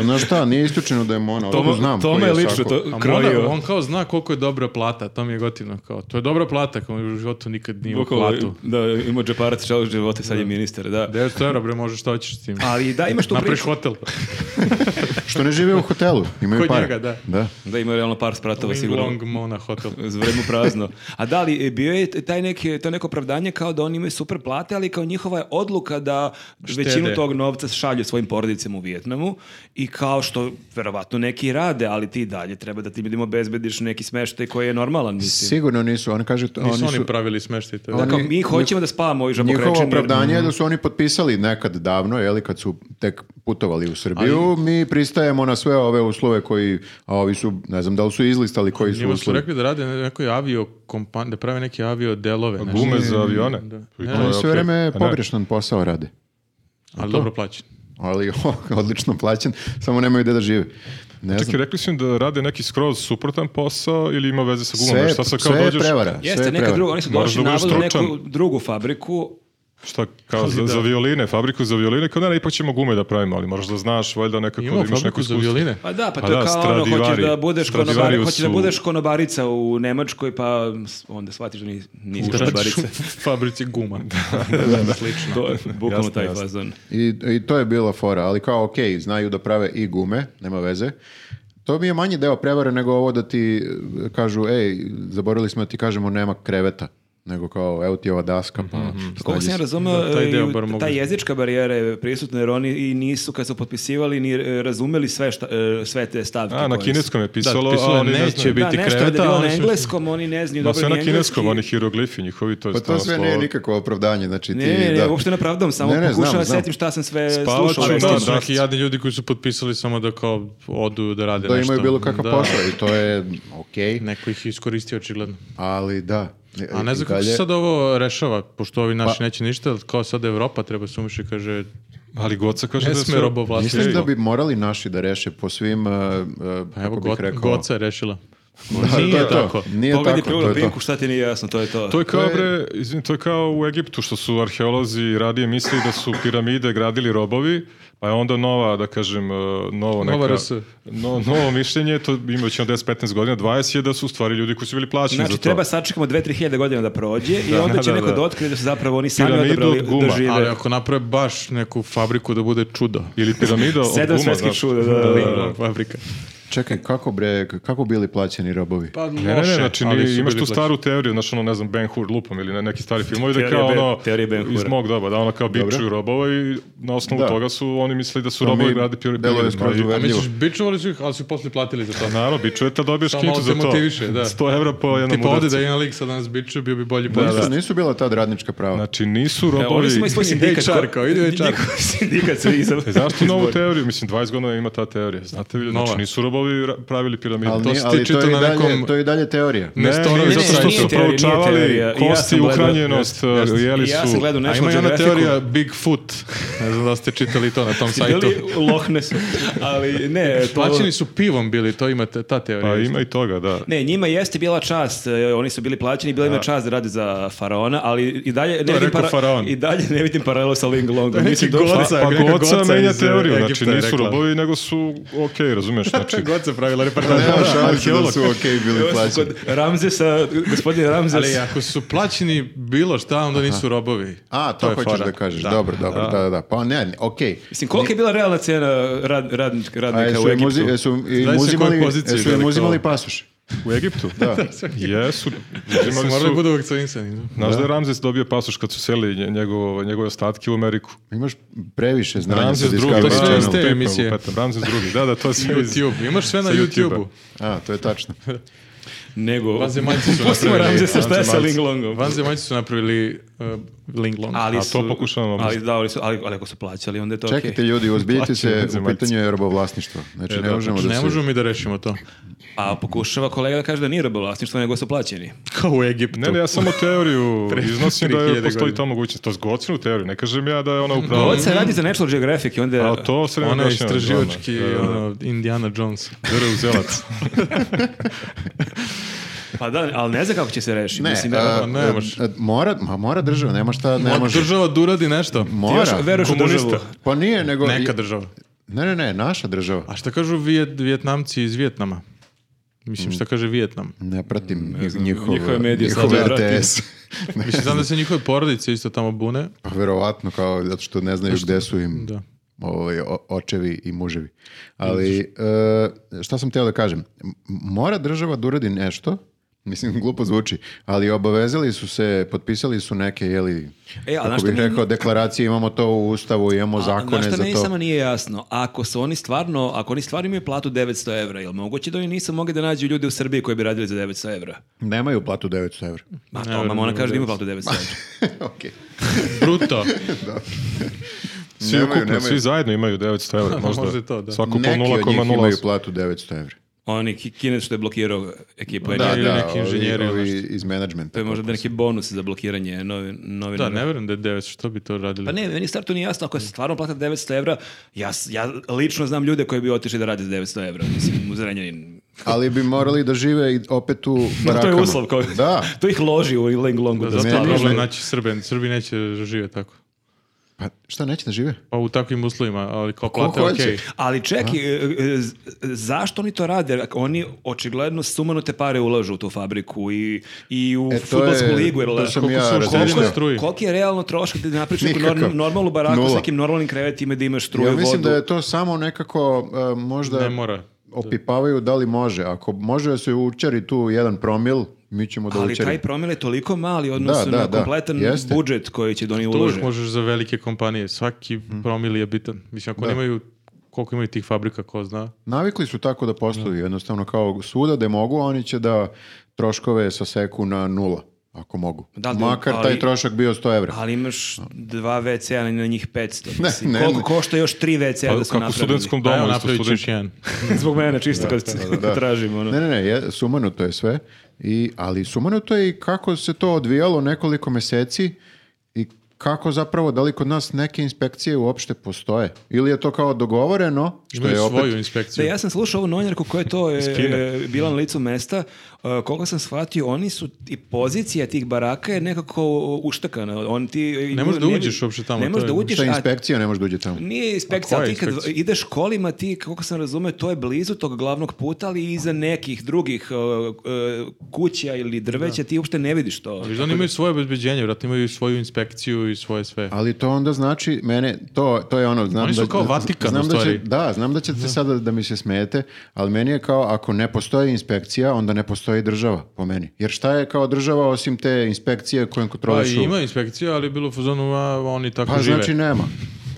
D: Znaš šta, Ono nije isključeno da je Mona, otkud znam.
C: Toma
D: koji
C: je lično
D: Sako.
C: to
B: A Mona,
C: krojio.
B: on kao zna koliko je dobra plata. To mi je gotivno. Kao, to je dobra plata, kao u životu nikad nije u
C: Bukvalno,
B: platu.
C: Da, ima džeparac čelog života, sad je ministar, da.
B: 900 eura, bre, možeš šta hoćeš s tim.
C: Ali da, imaš tu
B: Napraviš
C: priču.
B: hotel.
D: Što ne žive u hotelu, imaju
B: Kod
D: pare.
B: njega, da.
C: Da, ima realno par spratova,
B: Ling
C: sigurno.
B: Long Mona hotel.
C: Zvremu prazno. A da li e, bio je taj neki, to neko opravdanje kao da oni imaju super plate, ali kao njihova je odluka da većinu tog novca šalju svojim porodicama u Vijetnamu i kao što verovatno neki i rade, ali ti i dalje treba da tim ljudima obezbediš neki smeštaj koji je normalan, mislim.
D: Sigurno nisu, oni kažu... to-
B: Nisu
D: oni
B: oni
D: su,
B: pravili smeštaj. to je-
C: Da, kao,
D: oni-
C: mi hoćemo da spavamo ovi žabokrečeni.
D: njihovo opravdanje je da su oni potpisali nekad davno, jeli, kad su tek putovali u Srbiju, mi pristajemo na sve ove uslove koji, a ovi su, ne znam da li su izlistali koji su
B: Njima su
D: uslovi.
B: rekli da rade na nekoj avio kompan, da prave neke avio delove. nešto.
A: Gume za avione.
B: Znači, Da.
A: I to
B: Ne,
A: je
D: Oni
A: okej.
D: sve vreme
A: A ne,
D: pogrešan posao rade.
B: ali dobro plaćen.
D: ali odlično plaćen, samo nemaju gde da žive. Ne
A: Čekaj,
D: znam.
A: rekli su im da rade neki skroz suprotan posao ili ima veze sa
D: Sve,
A: gumom? Šta sad kao
D: sve je
A: dođeš-
D: prevara. sve
C: Jeste,
D: je
C: neka
D: prevara.
C: druga, oni su
A: Moraš
C: došli
A: da budeš
C: navodno na neku
A: stručan.
C: drugu fabriku,
A: Šta, kao za, za violine, fabriku za violine, kao ne, ne, ipak ćemo gume da pravimo, ali možeš da znaš, valjda nekako da
B: Imao
A: imaš neko
B: fabriku za
A: iskustvo.
B: violine.
C: Pa da, pa
A: Pa
C: to je
A: da,
C: kao ono, hoćeš da
A: Stradivari.
C: budeš, konobar,
A: Stradivarius
C: hoćeš da
A: su-
C: budeš konobarica u Nemačkoj, pa s- onda shvatiš da nis- nisi konobarica.
B: U fabrici guma.
C: Slično. To je bukvalno
A: Jasno,
C: taj
A: jasno.
C: fazon.
D: I, I to je bila fora, ali kao ok, znaju da prave i gume, nema veze. To mi je manji deo prevare nego ovo da ti e, kažu, ej, zaboravili smo da ti kažemo nema kreveta, nego kao, evo ti ova daska, pa
C: Mhm, Koliko sam ja razumeo,
B: Da, taj
C: e, i
B: deo
C: u-
B: bar mogu.
C: ta jezička barijera je prisutna, jer oni i nisu, kad su potpisivali, ni e, razumeli sve, šta, e, sve te stavke.
A: A, na
C: koje su-
A: kineskom je pisalo,
B: pisalo je
A: a oni ne
B: neće
A: znaju.
B: biti
C: Da, nešto je da
B: kreveta,
C: je bilo
B: oni
C: na
B: su-
C: engleskom, oni ne znaju
A: Ma
C: dobro
A: sve
C: ni
A: na
C: engleski.
A: kineskom, oni hieroglifi njihovi, to je
D: Pa to
A: stvarno
D: sve
A: slovo.
D: nije nikakvo opravdanje, znači ti...
C: Ne, ne, ne,
D: da.
C: uopšte ne pravdam, samo
D: Ne, ne, znam,
C: pokušavam da
D: znam.
C: setim šta sam sve
A: Spavaću
C: slušao.
A: na-
C: recimo.
B: to
A: da,
B: su
A: da.
B: neki jadni ljudi koji su potpisali samo da kao odu da rade
D: da
B: nešto.
D: imaju bilo kakav
B: Da.
D: posao i to je ok,
B: Neko ih je iskoristio očigledno.
D: ali da.
B: A ne
D: i
B: znam kako se
D: dalje- Pa-
B: sad ovo rešava, pošto ovi naši neće ništa, ali kao sad Evropa treba se umiši i kaže
A: Ali Goca kaže
B: ne
A: da
B: sme
A: sve...
B: robovlasnici.
D: Mislim da bi morali naši da reše po svim, uh, uh,
B: Pa
D: kako
B: evo,
D: bih
B: Go-
D: rekao...
B: Goca je rešila.
D: Da,
B: Nije
D: to je to.
B: tako.
D: Nije
C: Pogledaj
D: tako, to
C: pljunu
D: je to.
C: pinku, šta ti nije jasno, to je to.
A: To je kao,
D: je-
A: bre, izvin, to je kao u Egiptu što su arheolozi radije mislili da su piramide gradili robovi, Pa je onda nova, da kažem, e, novo neka...
B: Nova RS.
A: No, novo mišljenje, to ima ćemo 10-15 godina, 20 je da su u stvari ljudi koji su bili plaćeni za
C: Znači,
A: to.
C: treba sačekamo 2-3 hiljade godina da prođe i onda će
A: da,
C: neko
A: da.
C: da otkrije da su zapravo oni sami
A: Piramidu
C: odabrali
A: od
D: pa
A: guma,
C: da žive.
B: Pa, Ali ako naprave baš neku fabriku da bude čudo.
A: Ili piramida od
C: Sedam
A: guma,
C: svetskih
A: znaš.
C: čuda, da, da,
B: Da,
C: da.
B: da, fabrika.
D: Čekaj, kako bre, k- kako bili plaćeni robovi?
B: Pa
A: Ne, ne, ne, znači ni-
B: ali su
A: imaš
B: bili
A: tu
B: plaćeni.
A: staru teoriju, znači ono, ne znam, Ben Hur lupom ili ne, neki stari filmovi da
C: Teorija
A: kao
C: Ben-
A: ono,
C: teorije Ben
A: iz
C: Hura.
A: mog doba, da ono kao bičuju robova i na osnovu
D: Da.
A: toga su oni mislili da su
D: To mi
A: robovi radi piramidu.
D: deluje skroz
B: A
D: uverljivo.
B: misliš, bičovali su ih, ali su posle platili za to.
A: Naravno, bičuje te dobiješ
B: Samo
A: kintu
B: malo
A: za
B: te
A: to.
B: motiviše, da.
A: 100 evra po jednom
C: pa
B: Tipa ovde
A: udarcu.
B: da je jedan lik sad nas bičuje, bio bi bolji posao.
D: Pa Nisu, nisu bila tad radnička prava.
A: Znači nisu robovi...
C: E, Oni su imali svoj sindikat.
B: HR,
C: koji-
B: kao, ide HR.
C: Njihov sindikat se iza...
A: E, Zašto novu teoriju? Mislim, 20 godina ima ta teorija. Znate vi, znači
B: Nova.
A: nisu robovi ra- pravili piramide.
D: ali,
A: To
D: ni-
A: su-
D: ali to,
B: čitao
D: je i
B: na
D: dalje,
B: nekom-
D: to je i dalje teorija.
A: Ne,
B: Ne,
A: ne,
B: ne,
A: ne,
B: ne,
A: zato što
B: nije
A: su
C: teorija, nije
A: proučavali
C: teorija. I ja
A: kosti,
C: sam gledao-
A: uhranjenost,
B: Jeste.
A: jeli su...
C: Ja sam gledao
B: A
C: nešto
B: ima
C: na
B: i ona
C: Geographicu.
B: teorija Bigfoot. Ne znam da li ste čitali to na tom sajtu.
C: Bili Loch Nessu. Ali ne, to...
B: Plaćeni su pivom bili, to imate, ta teorija.
A: Pa ima i toga, da.
C: Ne, njima jeste bila čast, e, oni su bili plaćeni, bila im je čast da rade za faraona, ali i dalje ne, vidim,
A: rekao faraon.
C: i dalje ne vidim paralelu sa Ling Longom. Mislim,
B: neki
C: došla-
B: goca.
A: Pa
B: neka
A: Goca
B: Goca
A: menja
B: iz, e,
A: teoriju, znači
B: Egipta je
A: nisu
B: rekla.
A: robovi, nego su ok, razumeš, znači...
B: God se pravila reportaža.
D: Nema šanse da su okej bili
C: Došla
D: plaćeni.
C: kod Ramzesa, gospodin Ramzes.
B: Ali ako su plaćeni bilo šta, onda nisu robovi.
D: A, to,
B: je
D: hoćeš
B: fora.
D: da kažeš. Dobro, dobro, da, da, da. Pa ne, ne, okej.
C: Mislim, kolika je bila realna cena rad, radnič-
D: A
C: radnika
D: jesu
C: u
D: im
C: Egiptu?
D: uzi- jesu im
B: Znaš se
D: uzimali,
B: koju poziciju
D: jesu im
B: veliko-
D: uzimali pasoš?
A: U Egiptu?
D: Da.
A: Jesu.
B: Su
A: Uzimali
B: morali
A: su...
B: budu vakcinisani.
A: Znaš da je Ramzes dobio pasoš kad su seli njegovo, njegove ostatke u Ameriku?
D: Imaš previše znanja sa
A: Ramzes drugi,
D: Discovery
B: to sve
A: da,
B: iz
D: Channelu.
B: te
A: tipa,
B: emisije.
A: lupetam, Ramzes drugi, da, da, to se
B: YouTube. Imaš sve na
A: Sa YouTubea.
B: YouTube-u.
D: A, to je tačno.
C: Nego,
B: Vanzemaljci su
C: pustimo
B: napravili.
C: Ramzesa, šta je sa
A: Vanzemaljci.
C: Ling Longom?
B: Vanzemaljci su napravili uh, Ling Long.
A: A to pokušavam vam
C: ali, da, ali, su, ali, ali ako su plaćali, onda je to okej.
D: Čekajte ljudi, uzbiljite se,
A: Plaćaju
D: u pitanju je robovlasništvo. Znači, ne možemo da
B: Ne
D: se...
B: možemo mi da rešimo to.
C: A pokušava kolega da kaže da nije robovlasništvo, nego su plaćeni.
B: Kao u Egiptu.
A: Ne, ne, ja samo teoriju iznosim da
B: 3000
A: je, postoji
B: godina.
A: ta mogućnost. To je gocinu teoriju, ne kažem ja da je ona upravo...
C: Ovo se radi za National Geographic i onda...
A: A to se ne
B: Ona je
A: objašnjava,
B: istraživački
A: glavno. Da, da.
B: ono, Indiana Jones.
A: Veleuzelac.
C: Pa da, ali ne znam kako će se rešiti.
D: Ne, e,
C: Mislim,
D: a,
C: da,
B: ne
D: a,
B: može.
D: a, mora, ma mora država, nema šta, ne može.
B: Država da uradi nešto.
C: ti još
D: Mora.
C: veruješ u
A: Komunista.
C: državu.
D: Pa nije, nego...
B: Neka država.
D: Ne, ne, ne, naša država.
B: A šta kažu Vijet, Vjetnamci iz Vjetnama?
D: Mm.
B: Mislim, šta kaže Vjetnam?
D: Ne pratim njihove,
C: njihove medije sad
D: njihove
C: ne pratim.
D: RTS.
B: Mislim, znam da se njihove porodice isto tamo bune.
D: Pa verovatno, kao, zato što ne
C: Pa
D: znaju gde su im
B: Da.
D: ovaj, o- očevi i muževi. Ali, e, šta sam teo da kažem? M- Mora država da uradi nešto, mislim, glupo zvuči, ali obavezali su se, potpisali su neke, jeli,
C: E, a znaš
D: kako
C: šta
D: bih
C: meni-
D: rekao, deklaracije, imamo to u ustavu, imamo zakone
C: Znaš
D: za
C: šta
D: to.
C: meni samo nije jasno? Ako su oni stvarno, ako oni stvarno imaju platu 900 evra, jel moguće da oni nisu mogli da nađu ljude u Srbiji koji bi radili za 900 evra?
D: Nemaju platu 900 evra.
C: Ma to, mama, ona kaže da ima platu 900 evra.
D: Okej.
B: Bruto.
A: Svi
D: Nemaju,
A: ukupno,
D: nemaju.
A: svi zajedno imaju 900 evra, možda.
B: možda i to, da.
A: Svako po
D: Neki od njih imaju
A: 0,0.
D: platu 900 evra.
C: Oni ki- kinez što je blokirao ekipu.
D: Da,
C: N1.
B: ili
D: da,
B: neki
D: ovi-
B: inženjeri ili
D: ovi
B: nešto.
D: iz
C: To
D: menadžmenta.
C: je možda da neki bonus za blokiranje eh, novi, novinara.
B: Da, ne verujem da je 900, što bi to radili?
C: Pa ne, meni stvarno to nije jasno, ako se stvarno plata 900 evra, ja, s- ja lično znam ljude koji bi otišli da rade za 900 evra, mislim, u Zrenjanin.
D: Ali bi morali da žive i opet u barakama.
C: to je uslov koji...
D: Pa Da.
C: to ih loži u Ling Longu.
B: Da,
C: Da,
B: zato je
D: meni-
B: problem naći Srben. Srbi neće živjeti tako.
D: Pa šta, neće da žive?
B: Pa u takvim uslovima, ali kao plate,
D: hoće?
B: okej.
C: Ali čeki, e, e, z- zašto oni to rade? Ako Oni očigledno sumanute pare ulažu u tu fabriku i, i u
D: E,
C: e,
D: to je-
C: ligu. Jer,
D: to
C: le-
D: sam
C: koliko
D: ja
C: su- koliko
B: razmišljao.
C: je-
B: Struji.
C: Koliko je realno trošak da napriš neku
D: Nikakav.
C: norm- normalnu baraku s
D: Nula.
C: nekim normalnim krevetima da imaš struju,
D: Ja mislim
C: vodu?
D: da je to samo nekako uh, možda
B: Ne mora.
D: opipavaju da li može. Ako može da se učari tu jedan promil, mi ćemo da
C: Ali
D: učari.
C: taj promil je toliko mali odnosno
D: Da, da,
C: na
D: da.
C: kompletan
D: Jeste.
C: budžet koji će da oni
B: To
C: ulože.
B: uvijek možeš za velike kompanije. Svaki promil je bitan. Mislim, ako nemaju, koliko imaju tih fabrika, ko zna.
D: Navikli su tako da posluju. Jednostavno kao svuda da mogu, oni će da troškove saseku na nula, ako mogu.
C: Da, ali-
D: Makar taj
C: ali-
D: trošak bio 100 evra.
C: Ali imaš dva WC-a na- na njih 500.
D: Ne,
C: mislim.
D: ne,
C: Koliko
D: ne.
C: košta još tri WC-a
B: Pa
C: da su
A: Kako u
C: napravili?
A: studentskom
B: Da,
A: domu,
B: evo,
A: isto
B: napravit ću
A: student,
B: još jedan.
C: Zbog mene, čisto kad se tražimo. Ono.
D: Ne, ne, ne, je, sumanuto je sve, i, ali sumanuto je i kako se to odvijalo nekoliko meseci i kako zapravo, da li kod nas neke inspekcije uopšte postoje? Ili je to kao dogovoreno? Što
B: Imaju
D: je opet,
B: svoju inspekciju.
C: Da, ja sam slušao ovu novinarku koja je to e,
A: Kine.
C: e, bila na licu mesta. E, koliko sam shvatio, oni su i pozicija tih baraka je nekako uštakana. On ti,
B: Ne možeš da uđeš uopšte tamo,
C: Ne
B: to
C: možeš
B: je-
C: da uđeš,
D: šta
C: a
D: inspekcija ne može da uđe tamo?
C: Nije
B: A
C: inspekcija,
B: koja
C: ali
B: je
C: ti kad
B: inspekcija?
C: ideš kolima, ti, kako sam razumeo, to je blizu tog glavnog puta, ali i iza nekih drugih uh, uh, kuća ili drveća, ti uopšte ne vidiš to.
B: Viš da oni imaju svoje obezbeđenje, vratno imaju i svoju inspekciju i svoje sve.
D: Ali to onda znači, mene, to, to je ono, znam
B: Oni su
D: da,
B: kao
D: da-
B: Vatikan,
D: znam
B: u
D: da, će,
B: stvari.
D: da, znam da ćete sada da mi se smete, ali meni je kao, ako ne postoji inspekcija, onda ne postoji država, po meni. Jer šta je kao država osim te inspekcije kojom
B: Pa
D: kontrolišu?
B: i ima inspekcija, ali je bilo u fazonu, a, oni tako
D: Pa
B: žive.
D: znači nema.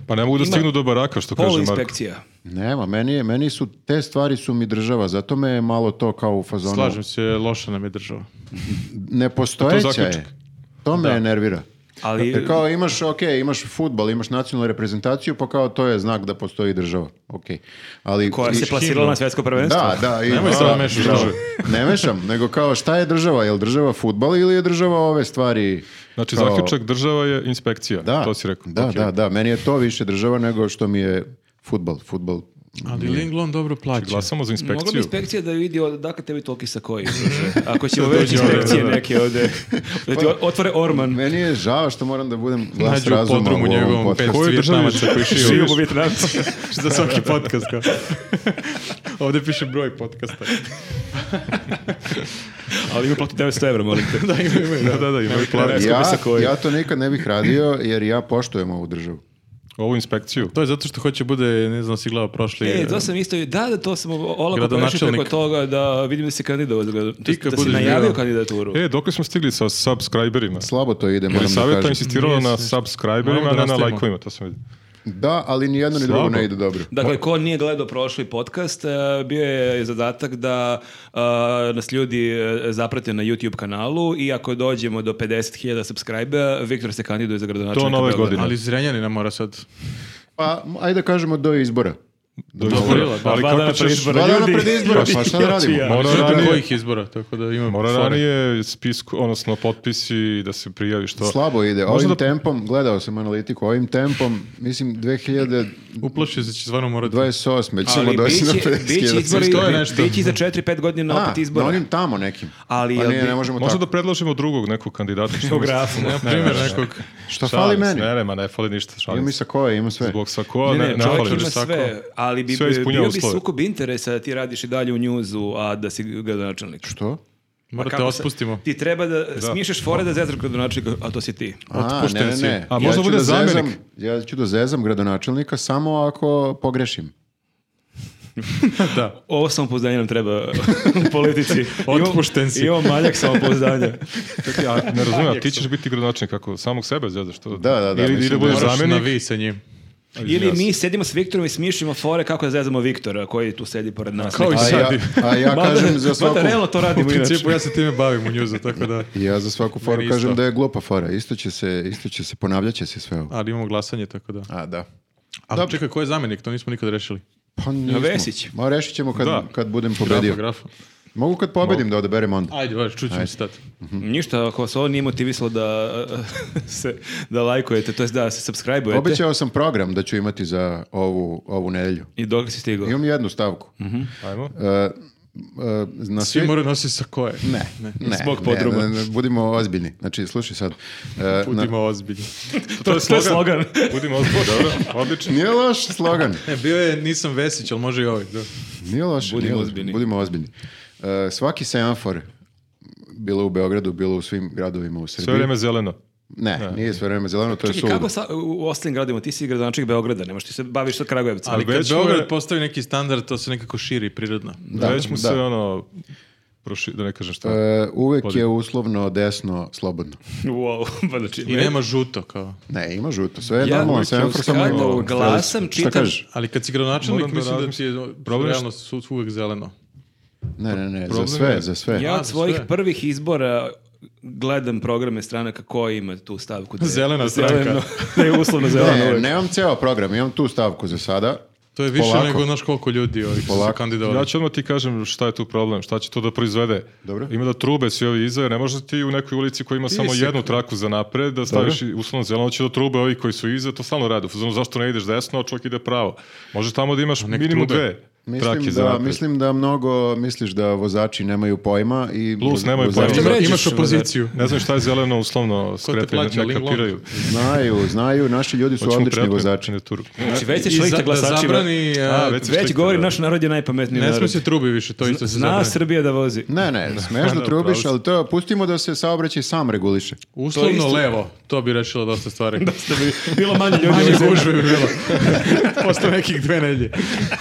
A: Pa ne mogu da
C: Ima
A: stignu do baraka, što kaže
C: Polu
A: Marko.
C: inspekcija.
D: Nema, meni, je, meni su, te stvari su mi država, zato me je malo to kao u fazonu.
B: Slažem se, loša nam je država.
D: Ne
A: To je
D: postojeća je.
A: zaključak.
D: To me nervira.
C: Ali,
D: Jer kao imaš, ok, imaš futbal, imaš nacionalnu reprezentaciju, pa kao to je znak da postoji država. Ok. Ali,
C: koja se
D: i-
C: plasirala na svjetsko prvenstvo.
D: Da, da. I,
B: Nemoj
D: da,
B: sad da mešaš
D: da.
B: države.
D: Ne mešam, nego kao šta je država? Je li država futbal ili je država ove stvari?
A: Znači,
D: kao-
A: zaključak država je inspekcija.
D: da,
A: To si rekao.
D: Da,
A: Ok.
D: da, da. Meni je to više država nego što mi je futbal. Futbal
B: Ali Linglon dobro plaća.
A: Glasamo za
C: Mogla bi
A: inspekciju.
C: inspekcija da vidi odakle tebi toliki sa koji. druže. Ako ćemo već inspekcije neke ovde. Da ti otvore orman.
D: Meni je žao što moram da budem glas
B: Nađu u
D: razuma
B: podrumu
D: u ovom
B: njegovom
D: podcastu.
B: pet
A: Koju državu
B: vijetnamaca koji šiju
C: Živimo u Vjetnamcu.
B: za svaki podcast. Kao. Ovde piše broj podcasta.
C: Ali ima plati 900 evra, molim te. da, ima, ima.
A: Da, da, da, imaju plan.
C: Koju
D: Ja,
C: bi sa koji.
D: ja to nikad ne bih radio jer ja poštujem ovu državu.
A: Ovu inspekciju.
B: To je zato što hoće bude, ne znam, si gledao prošli...
C: E, to sam isto, da, da, to sam olako prešao
B: Gradonačelnik.
C: preko toga da vidim da si kandidovao, za grado-
B: Ti kad
C: da si
B: budeš
C: najavio
B: bio-
C: kandidaturu.
A: E, dok smo stigli sa subscriberima?
D: Slabo to ide,
A: Ili
D: moram da
A: savjeta
D: kažem.
A: insistirala na
B: Nije sve-
A: subscriberima,
B: Moramo da
A: ne na
B: nastavimo.
A: lajkovima, to sam vidio.
D: Da, ali ni jedno ni drugo
A: Slabo.
D: ne ide dobro.
C: Dakle, ko nije gledao prošli podcast, e, bio je zadatak da e, nas ljudi e, zaprate na YouTube kanalu i ako dođemo do 50.000 subscribe, Viktor se kandiduje za
A: To
C: gradonačelnika.
A: nove
C: Beograda.
A: godine.
B: Ali Zrenjanina mora sad.
D: Pa, ajde kažemo do izbora.
A: Dobro,
B: Pa,
A: ali
C: dva
A: kako
C: dana pred
A: ćeš...
C: izbore.
D: Dva dana
C: ljudi.
D: pred izbora, pa šta da radimo?
A: Mora
B: Mora ranije...
A: ranije-
B: kojih izbora, tako da imam...
A: Mora
B: fore.
A: ranije spisku, odnosno potpisi da se prijaviš to.
D: Slabo ide.
A: Možda
D: Ovim
A: da-
D: tempom, gledao sam analitiku, ovim tempom, mislim, 2028.
B: Uplašio se će stvarno morati...
D: ćemo
C: Ali
D: doći na
C: bit će-
D: 50.000.
C: bit će izbori,
B: To je nešto.
C: bit će i za 4-5 godina
D: A,
C: opet izbora.
D: na onim tamo nekim.
C: Ali
D: pa
C: jel
D: nije,
C: bi-
D: ne možemo
A: Možda
D: tako.
A: da predložimo drugog nekog kandidata. Što
C: grafu.
A: Ne,
B: Na primjer nekog...
D: Šta Pa fali meni?
A: Ne, ne, ma ne fali ništa. Šalim
D: Imam i
A: se.
D: sa koje, imam sve.
A: Zbog svako,
C: Ne,
A: ne,
C: ne,
A: ne,
C: čovjek
A: fali
C: ima
A: ništa.
C: sve, ali bi,
A: Sve ispunjava
C: bio bi
A: uslove.
C: sukob interesa da ti radiš i dalje u njuzu, a da si gradonačelnik. Pa
D: Što?
B: Morate
C: Kako se-
B: otpustimo.
C: Ti treba da, smišeš fore da zezaš gradonačelnika, a to si ti.
D: A,
B: Otpušten
D: ne, ne,
B: si.
D: ne.
A: A možda
D: ću
A: bude
D: da
A: zamjenik.
D: zezam- Ja ću da zezam gradonačelnika samo ako pogrešim.
B: da.
C: Ovo samopouzdanje nam treba u politici.
B: Otpušten si.
C: Imamo maljak samopouzdanja.
A: Čekaj, a ne razumijem, a ti ćeš biti gradonačelnik kako samog sebe zezaš to.
D: Da, da, da,
A: Ili, ili
D: mislim
A: da
D: da
A: budeš
B: Moraš na
A: zamjenik.
B: vi sa njim.
A: A,
C: Ili
A: izvinjavam se.
C: mi sedimo s Viktorom i smišljamo fore kako da zezamo Viktora koji tu sedi pored nas.
B: Kao i
D: A ja,
B: sad.
D: a ja
C: Mada-
D: kažem za
C: mada
D: svaku...
C: realno to
B: U
C: radimo inače.
B: principu ja se time bavim u njuzu, tako da...
D: Ja za svaku foru
B: Meni isto.
D: kažem da je glupa fora. Isto će se, isto će se, ponavljat će se sve ovo.
B: Ali imamo glasanje, tako da...
D: A, da.
B: Ali čekaj, ko je zamjenik? To nismo nikad rešili.
D: Pa nismo.
C: Vesić.
D: Ma rešit ćemo kad,
A: Da.
D: kad budem
B: Grafa,
D: pobedio.
B: grafa.
D: Mogu kad pobedim da odaberem onda.
B: Ajde, vaš, čućemo se tad.
C: Mhm. Ništa, ako vas ovo nije motivisalo da, eh, se, da lajkujete, to jest da se subscribe-ujete.
D: Obećao sam program da ću imati za ovu, ovu nedelju.
C: I dok si stigao.
D: Imam jednu stavku.
A: Ajmo.
D: E, e, na
B: Svi
D: svim...
B: moraju nositi sa koje.
D: Ne, ne, ne,
C: Zbog podruma.
D: ne, ne, budimo ozbiljni. Znači, slušaj sad. E, na...
B: Budimo ozbiljni.
C: To je slogan.
A: Budimo ozbiljni, dobro, odlično.
D: Nije loš slogan.
B: Ne, bio je nisam Vesić, ali može i ovaj. Da.
D: Nije loš.
C: Budimo
D: nije loš.
C: ozbiljni.
D: Budimo ozbiljni. E, svaki semafor, bilo u Beogradu, bilo u svim gradovima u Srbiji.
A: Sve vrijeme zeleno.
D: Ne, nije sve vreme zeleno, to je
C: Čekaj,
D: suludo.
C: kako sa, u ostalim gradima? Ti si gradonačelnik Beograda, nemoš ti se baviš sa Kragujevca.
B: Ali kad
A: već mu je-
B: Beograd postavi neki standard, to se nekako širi prirodno.
D: Da,
A: Već mu se
D: da.
A: ono, proši, da ne kažem šta.
D: E, uvek je uslovno desno slobodno.
C: Wow, pa znači...
B: I nema žuto, kao.
D: Ne, ima žuto, sve je
C: Ja
D: normalno,
C: uvijek
D: semafor samo
C: uskačem,
D: ima...
C: glasam,
D: Šta
C: čitam-
D: kažeš?
B: Ali kad si
A: Moram
B: gradonačelnik,
A: da
B: mislim da ti
A: razmislim.
B: je
A: Problem je
B: realno su, uvek zeleno.
D: Ne, ne, ne, za
A: Problem
D: sve,
A: je-
D: za sve.
C: Ja
B: A,
C: od
B: za
C: svojih
B: sve.
C: prvih izbora gledam programe stranaka koji ima tu stavku. Da je
B: Zelena stranka.
C: da je uslovno zeleno.
D: Ne,
C: uvek.
D: nemam ceo program, imam tu stavku za sada.
B: To je više
D: Polako.
B: nego znaš koliko ljudi ovih što se
D: Polako.
B: kandidovali.
A: Ja ću odmah ti kažem šta je tu problem, šta će to da proizvede.
D: Dobro.
A: Ima da trube svi ovi iza, jer ne možeš ti u nekoj ulici koja ima samo
B: se-
A: jednu traku za napred da staviš i uslovno zeleno, će da trube ovi koji su iza, to stalno rade. U fazonu, zašto ne ideš desno, a čovjek ide pravo. Možeš tamo da imaš
B: nek
A: minimum
B: trube.
A: dve trake
D: Mislim
A: za
D: da,
A: napred.
D: mislim da mnogo misliš da vozači nemaju pojma i...
A: Plus,
D: voz-
A: nemaju
D: vozači
A: pojma.
C: Šta vređaš,
B: Imaš opoziciju.
A: Ne znam šta je zeleno uslovno
B: te
A: skretanje,
B: plaća,
A: ne
B: Ling Long?
A: kapiraju.
D: Znaju, znaju, naši ljudi su
A: Hoćemo
D: odlični
A: pretnje,
D: vozači.
A: ne turu.
C: Znači, već se
B: I za-
C: šlikta
B: Da
C: glasačima.
B: zabrani,
A: A,
B: a,
A: već se
C: Već
A: šlikta,
C: govori,
A: da.
C: naš narod je najpametniji
B: ne
C: narod.
B: smije se trubi više, to isto se
C: Zna
B: zabrani.
C: Srbija da vozi.
D: Ne, ne, smešno
A: Da,
D: trubiš,
A: pravo
D: ali to pustimo da se saobraćaj sam reguliše.
B: Uslovno
C: isto.
B: levo, to bi rešilo dosta stvari.
C: Da bi bilo manje ljudi.
B: Manje
C: u zemlji.
B: gužve bi bilo. Posle nekih dve nedlje.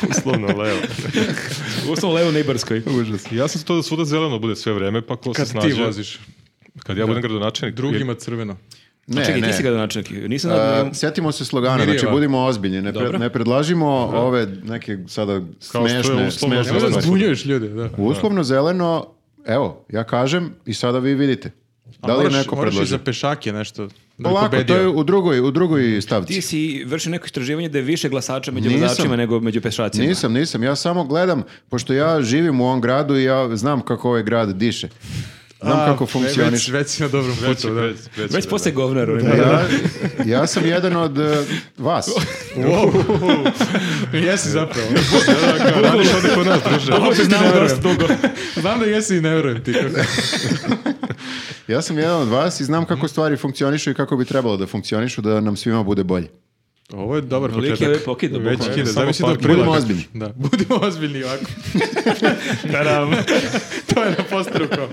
A: Uslovno, levo.
C: Uslovno levo na Ibarskoj.
A: Ja sam za to da svuda zeleno bude sve vreme, pa ko se
B: Kad
A: snađe.
B: ti voziš.
A: Kad ja budem gradonačelnik.
B: Drugima crveno.
D: Ne,
C: Čekaj,
D: ne.
C: ti si ga donačnik. Nisam znao da
D: A,
C: imam-
D: sjetimo se slogana,
B: Mirijeva.
D: znači budimo ozbiljni, ne, pre-
C: Dobro.
D: ne predlažimo ove neke sada
A: Kao što je
D: smešne,
A: uslovno
D: smešne
B: Nemoj da
A: zeleno.
D: stvari.
B: zbunjuješ ljude, da.
D: Uslovno zeleno, evo, ja kažem i sada vi vidite. Da
B: A
D: li je
B: moraš-
D: neko
B: Moraš i
D: predložio?
B: za pešake nešto. Da bi
D: Polako, to
B: pobedio.
D: je u drugoj, u drugoj
C: Ti
D: stavci.
C: si vrši neko istraživanje da je više glasača među
D: Nisam.
C: vozačima nego među pešacima.
D: Nisam, nisam, ja samo gledam, pošto ja živim u ovom gradu i ja znam kako ovaj grad diše. Znam
B: A,
D: kako
B: već-
D: funkcioniš.
B: Već si na dobrom
A: Već,
B: putu,
A: već,
B: da.
A: već,
C: Već posle govnar. ono.
D: Ja, E, ja sam jedan od eh, vas.
B: Jesi zapravo.
A: Tako, radiš ovdje kod nas, druže.
B: Opet
C: se
B: ti
C: znamo
B: ne verujem.
C: dosta dugo.
B: Znam da jesi i ne verujem ti.
D: Ja sam jedan od vas i znam
B: Mhm.
D: kako stvari funkcionišu i kako bi trebalo da funkcionišu da nam svima bude bolje.
B: Ovo je dobar
C: Lik je ovaj pokidao.
A: Već
C: bukvalno.
A: kida,
B: Kine,
A: samo
B: zamisli da
A: par-
B: prilagaš.
D: Budimo ozbiljni.
B: Da, budimo ozbiljni ovako.
C: Tadam.
B: to je na posteru kao.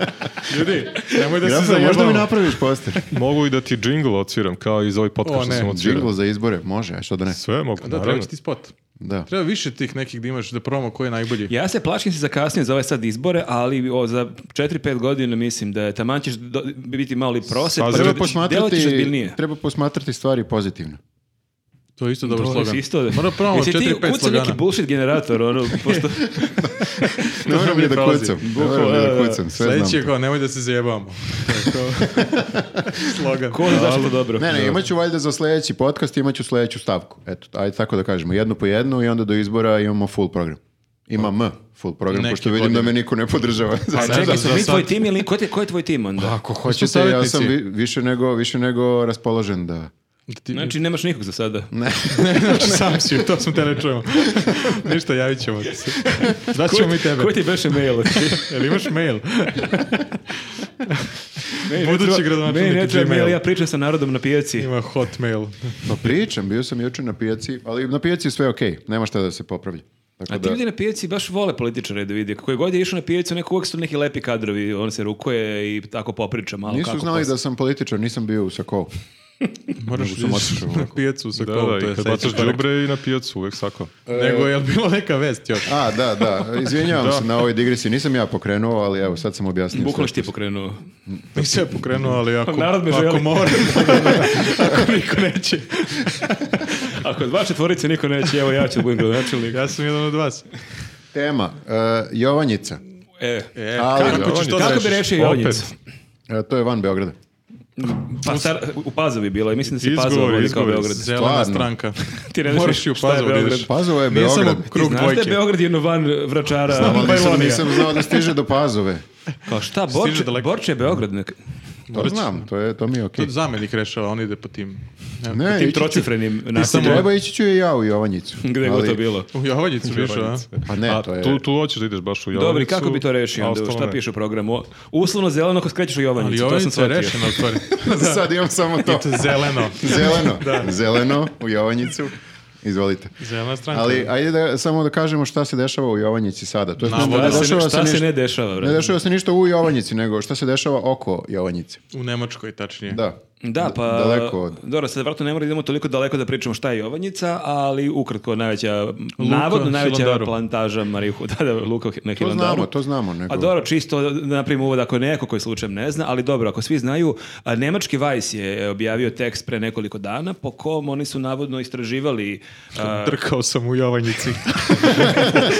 B: Ljudi, nemoj da
D: Ja
B: se
D: sam, možda mi
B: zajebamo.
D: napraviš poster.
A: Mogu i da ti džingl odsviram, kao i za ovaj
B: O,
A: podcast što
B: ne,
A: sam odsvirao.
D: Jingle za izbore, može, a što da ne.
A: Sve mogu,
B: Da,
A: naravno.
B: treba ti spot.
D: Da.
B: Treba više tih nekih da imaš da provamo ko je najbolji.
C: Ja se plašim se za kasnije za ove sad izbore, ali o, za 4-5 godina mislim da je taman ćeš do- biti mali prosjek,
A: Sad
C: pa
A: treba
C: ćeš
D: Treba
C: delotiš
D: posmatrati,
C: ozbiljnije.
D: treba posmatrati stvari pozitivno.
B: To je isto dobar
C: Dobro,
B: slogan.
C: isto.
B: Mora provamo
C: Jesi ti
B: 4-5
C: kucao neki
B: slogana.
C: bullshit generator, ono, pošto...
D: Ne moram ni da
B: prolazi.
D: kucam, ne moram ni da kucam, sve
B: Sljedeći
D: znam.
B: je kao, nemoj da se zajebamo. To je to. slogan.
C: Ko zna zašto dobro?
D: Ne, ne, imaću valjda za sljedeći podcast, imaću sljedeću stavku. Eto, ajde tako da kažemo, jednu po jednu i onda do izbora imamo full program. Ima M, full program,
B: Pa, Neke
D: pošto vidim
B: godine. Pa,
D: da me niko Pa ne podržava. Znači, Za
B: A
D: sada.
B: čekaj,
C: Čekaj,
B: za
C: su mi
B: sad- Pa-
C: tvoj tim ili ko, te, ko je tvoj tim onda?
D: Ako hoćete, ja
B: savjetnici.
D: sam vi- više, nego, više nego raspoložen da...
B: Da ti-
C: Znači, nemaš nikog za sada.
B: Znači, sam si, to smo te ne čujemo. Ništa, javit ćemo ti se. Daćemo mi tebe.
C: Koji ti beše mail?
B: Jel imaš mail? Budući gradonačelnik
C: Meni ne treba
B: Gmail.
C: mail, ja pričam sa narodom na pijaci.
B: Ima hotmail.
D: Pa pričam, bio sam jučer na pijaci, ali na pijaci je sve okej, nema šta da se popravlja. Tako
C: A ti
D: da,
C: ljudi na pijaci baš vole političare da vidi. Koji god je išao na pijacu, neko uvek su neki lepi kadrovi, on se rukuje i tako popriča malo
D: nisu
C: kako. pa
D: znali da sam političar, nisam bio u Sakovu.
B: Moraš da ideš na pijacu sa
A: Da,
B: kolom,
A: da,
B: to
A: i
B: je
A: kad
B: sledeći
A: bacaš
B: korak.
A: džubre i na pijacu, uvek sako.
B: Nego, jel bilo neka vest još?
D: A, da, da, izvinjavam
A: Da.
D: se na ovoj digresi, nisam ja pokrenuo, ali evo, sad sam objasnio.
C: Bukvalno
D: sve.
C: si ti pokrenuo.
B: Nisam je pokrenuo, ali ako,
C: Narod me želi.
B: ako moram, ako niko neće.
C: Ako dva četvorice niko neće, evo ja ću da budem gradonačelnik.
B: Ja sam jedan od vas.
D: Tema, e, Jovanjica.
C: E,
B: E,
D: Ali,
B: kako ćeš to da
C: kako bi
B: rešiš?
C: rešio Jovanjicu?
D: E, to je van Beograda.
C: Pa star, u Pazovi bilo je, mislim da se Pazova
A: Izgovori,
C: vodi kao
A: izgovori.
C: Beograd.
B: Zelena
D: Stvarno.
B: stranka.
C: Ti ne znaš
B: Moraš i u
C: šta je
B: Pazovu da
C: Beograd.
B: ideš.
D: Pazova je
B: Nije samo
D: Beograd. Ti
B: krug
C: Znaš da je
B: dvojke.
C: Beograd jedno van vračara?
D: Ali nisam,
B: Bajlonija.
D: nisam znao da stiže do Pazove.
C: Kao šta,
B: Stiže
C: Borče,
B: daleko.
C: Borče je Beograd nek...
D: To znam, to, je, to mi je
B: To
D: okej.
B: zamenik rešava, on ide po tim. Evo.
D: Ne,
C: Tim
D: ići ću-
C: trocifrenim naseljima.
D: treba ići ću i ja u Jovanjicu.
C: Gde god
D: ali-
C: to bilo.
B: U Jovanjicu više, a?
D: Pa ne,
A: A,
D: to je...
A: tu, tu hoćeš da ideš baš u Jovanicu.
C: Dobri, kako bi to rešio?
A: a
C: Onda,
A: ostalo
C: šta
A: ne.
C: piše u programu? Uslovno zeleno ako skrećeš u
B: Ali
C: Jovanjicu. to sam
B: Jovanjica je
C: shvatio.
B: rešena, u stvari.
D: Sad imam samo to.
B: To je zeleno.
D: Zeleno, zeleno u Jovanjicu. Izvolite.
B: Zelena stranka.
D: Ali ajde da, samo da kažemo šta se dešava u Jovanjici sada. To je
B: Navodno.
D: ne
C: Šta, se,
D: dešava se
C: šta se
D: ništa-
C: ne dešava?
D: ne
C: brate?
D: dešava se ništa u Jovanjici, nego šta se dešava oko Jovanjice.
B: U Nemačkoj, tačnije.
D: Da.
C: Da, pa...
D: daleko od-
C: Dobro, sad vratno ne moramo da idemo toliko daleko da pričamo šta je Jovanjica, ali ukratko najveća, navodno najveća
B: Hilandaru.
C: plantaža Marihu, da, da, Luka na
D: To
C: Hilandaru.
D: znamo, to znamo. Nego.
C: A dobro, čisto da napravimo uvod ako neko koji slučajem ne zna, ali dobro, ako svi znaju, a, nemački Vice je objavio tekst pre nekoliko dana po kom oni su navodno istraživali a,
B: Trkao sam u Jovanjici.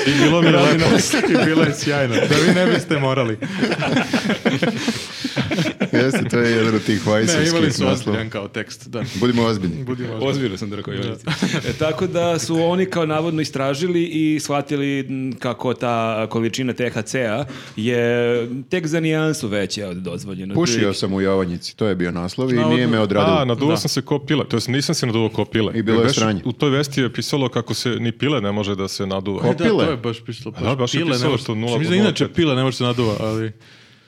B: I bilo mi je
C: Radni
B: lepo. I bilo je sjajno. Da vi ne biste morali.
D: Jeste, to je jedan od tih vajsovskih
B: Ne, imali su
D: naslova.
B: ozbiljan kao tekst, da.
D: Budimo ozbiljni.
B: Budimo ozbiljni.
C: Ozbiljno sam da rekao Jovanjica. E, tako da su oni kao navodno istražili i shvatili m, kako ta količina THC-a je tek za nijansu veća od dozvoljeno.
D: Pušio sam u Jovanjici, to je bio naslov i
B: Na
D: nije
B: odru-
D: me
A: A,
D: odradilo.
A: naduvao
B: Da.
A: sam se ko pile. To jest nisam se naduvao ko pile.
D: I bilo je
A: Baš
D: sranje.
A: U toj vesti je pisalo kako se ni pile ne može da se naduva.
D: Ko-
B: Da,
D: Pile.
B: to je baš pisalo.
A: Da, baš je
B: pile, ne
A: pisalo
B: može-
A: što nula
B: mislim da
A: pod nula
B: inače
A: pet.
B: pile ne može se naduva, ali...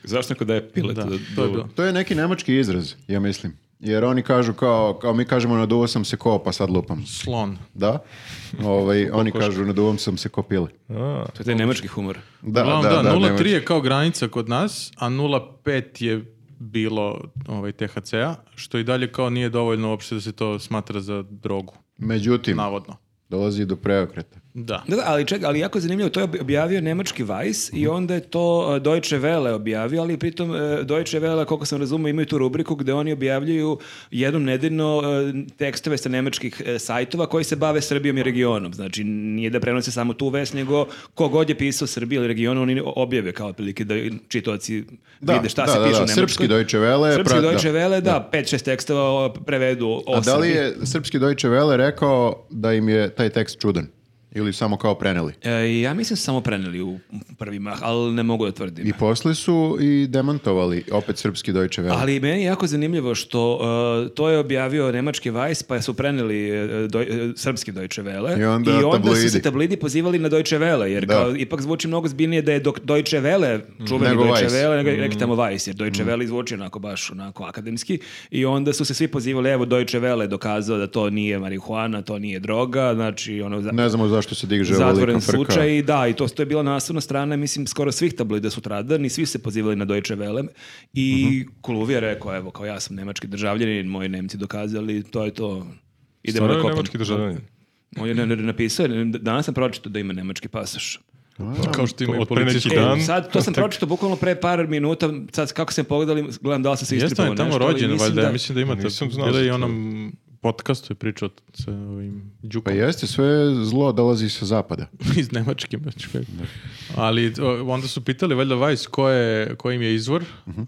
C: Zašto neko daje pilet?
B: Da,
C: Da,
B: to je bilo.
D: To je neki nemački izraz, ja mislim. Jer oni kažu kao, kao mi kažemo naduo sam se ko, pa sad lupam.
B: Slon.
D: Da? Ovaj, oni kažu naduo sam se ko pile.
A: A,
C: To je taj nemački humor.
D: Da,
B: Uglavnom,
D: da, da,
B: da, 0,3
D: nemački.
B: je kao granica kod nas, a 0,5 je bilo ovaj, THC-a, što i dalje kao nije dovoljno uopšte da se to smatra za drogu,
D: Međutim,
B: navodno.
D: dolazi do preokreta.
B: Da.
C: Da, da, ali čekaj, ali jako je zanimljivo, to je objavio nemački Vice i onda je to e, Deutsche Welle objavio, ali pritom e, Deutsche Welle, koliko sam razumio, imaju tu rubriku gde oni objavljuju jednom nedeljno e, tekstove sa nemačkih e, sajtova koji se bave Srbijom i regionom. Znači, nije da prenose samo tu vest, nego ko god je pisao Srbiju ili regionu, oni objave kao otprilike da čitoci
D: Da,
C: vide šta
D: da,
C: se
D: da,
C: piše
D: da,
C: u Nemačkoj.
D: srpski Deutsche Welle,
C: Srpski
D: pra- da.
C: Deutsche Welle, da, 5-6 tekstova o, prevedu o
D: A da li
C: Srbiji.
D: je srpski Deutsche Welle rekao da im je taj tekst čudan? Ili samo kao preneli?
C: E, ja mislim samo preneli u prvi mah, ali ne mogu da tvrdim.
D: I posle su i demantovali opet srpski Deutsche Welle.
C: Ali meni je jako zanimljivo što uh, to je objavio nemački Vice, pa su preneli uh, doj- uh, srpski Deutsche Welle.
D: I onda
C: su se
D: tabloidi.
C: tablidi pozivali na Deutsche Welle, jer
D: Da.
C: kao, ipak zvuči mnogo zbiljnije da je dok Deutsche Welle, čuveni
D: Nego Mm.
C: Deutsche
D: Weiss.
C: Welle, nego neki tamo Vice, jer Deutsche Welle zvuči onako baš onako akademski. I onda su se svi pozivali, evo Deutsche Welle je dokazao da to nije marihuana, to nije droga, znači ono... za-
D: Ne znamo zašto se diže ovolika
C: zatvoren
D: frka.
C: slučaj i da, i to, to je bila naslovna strana, mislim, skoro svih tabloida sutradan i svi su se pozivali na Deutsche Welle i Kuluv je rekao, evo, kao ja sam nemački državljanin, moji nemci dokazali, to je to.
A: stvarno
C: Idemo da
A: je
C: kopamo.
A: nemački državljanin.
C: On je ne, ne, napisao, je, danas sam pročitao da ima nemački pasoš.
B: Kao što imaju
A: Od pre neki
B: policijski.
A: dan.
C: E, sad, to sam pročitao bukvalno pre par minuta, sad kako sam pogledali, gledam da li sam se
B: Jeste
C: istripao
B: on je tamo
C: nešto, ali
B: rođen, valjda,
C: da-
B: ja mislim da imate.
A: Nisam
B: Nisam
A: znao
B: znao. Bila je i
A: za to.
B: onom podcastu je pričao sa ovim
D: Pa
B: Đukom
D: jeste, sve zlo dolazi sa zapada.
B: iz Nemačke. baš kako. Ali o, onda su pitali, valjda, Vajs, ko, je, ko im je izvor,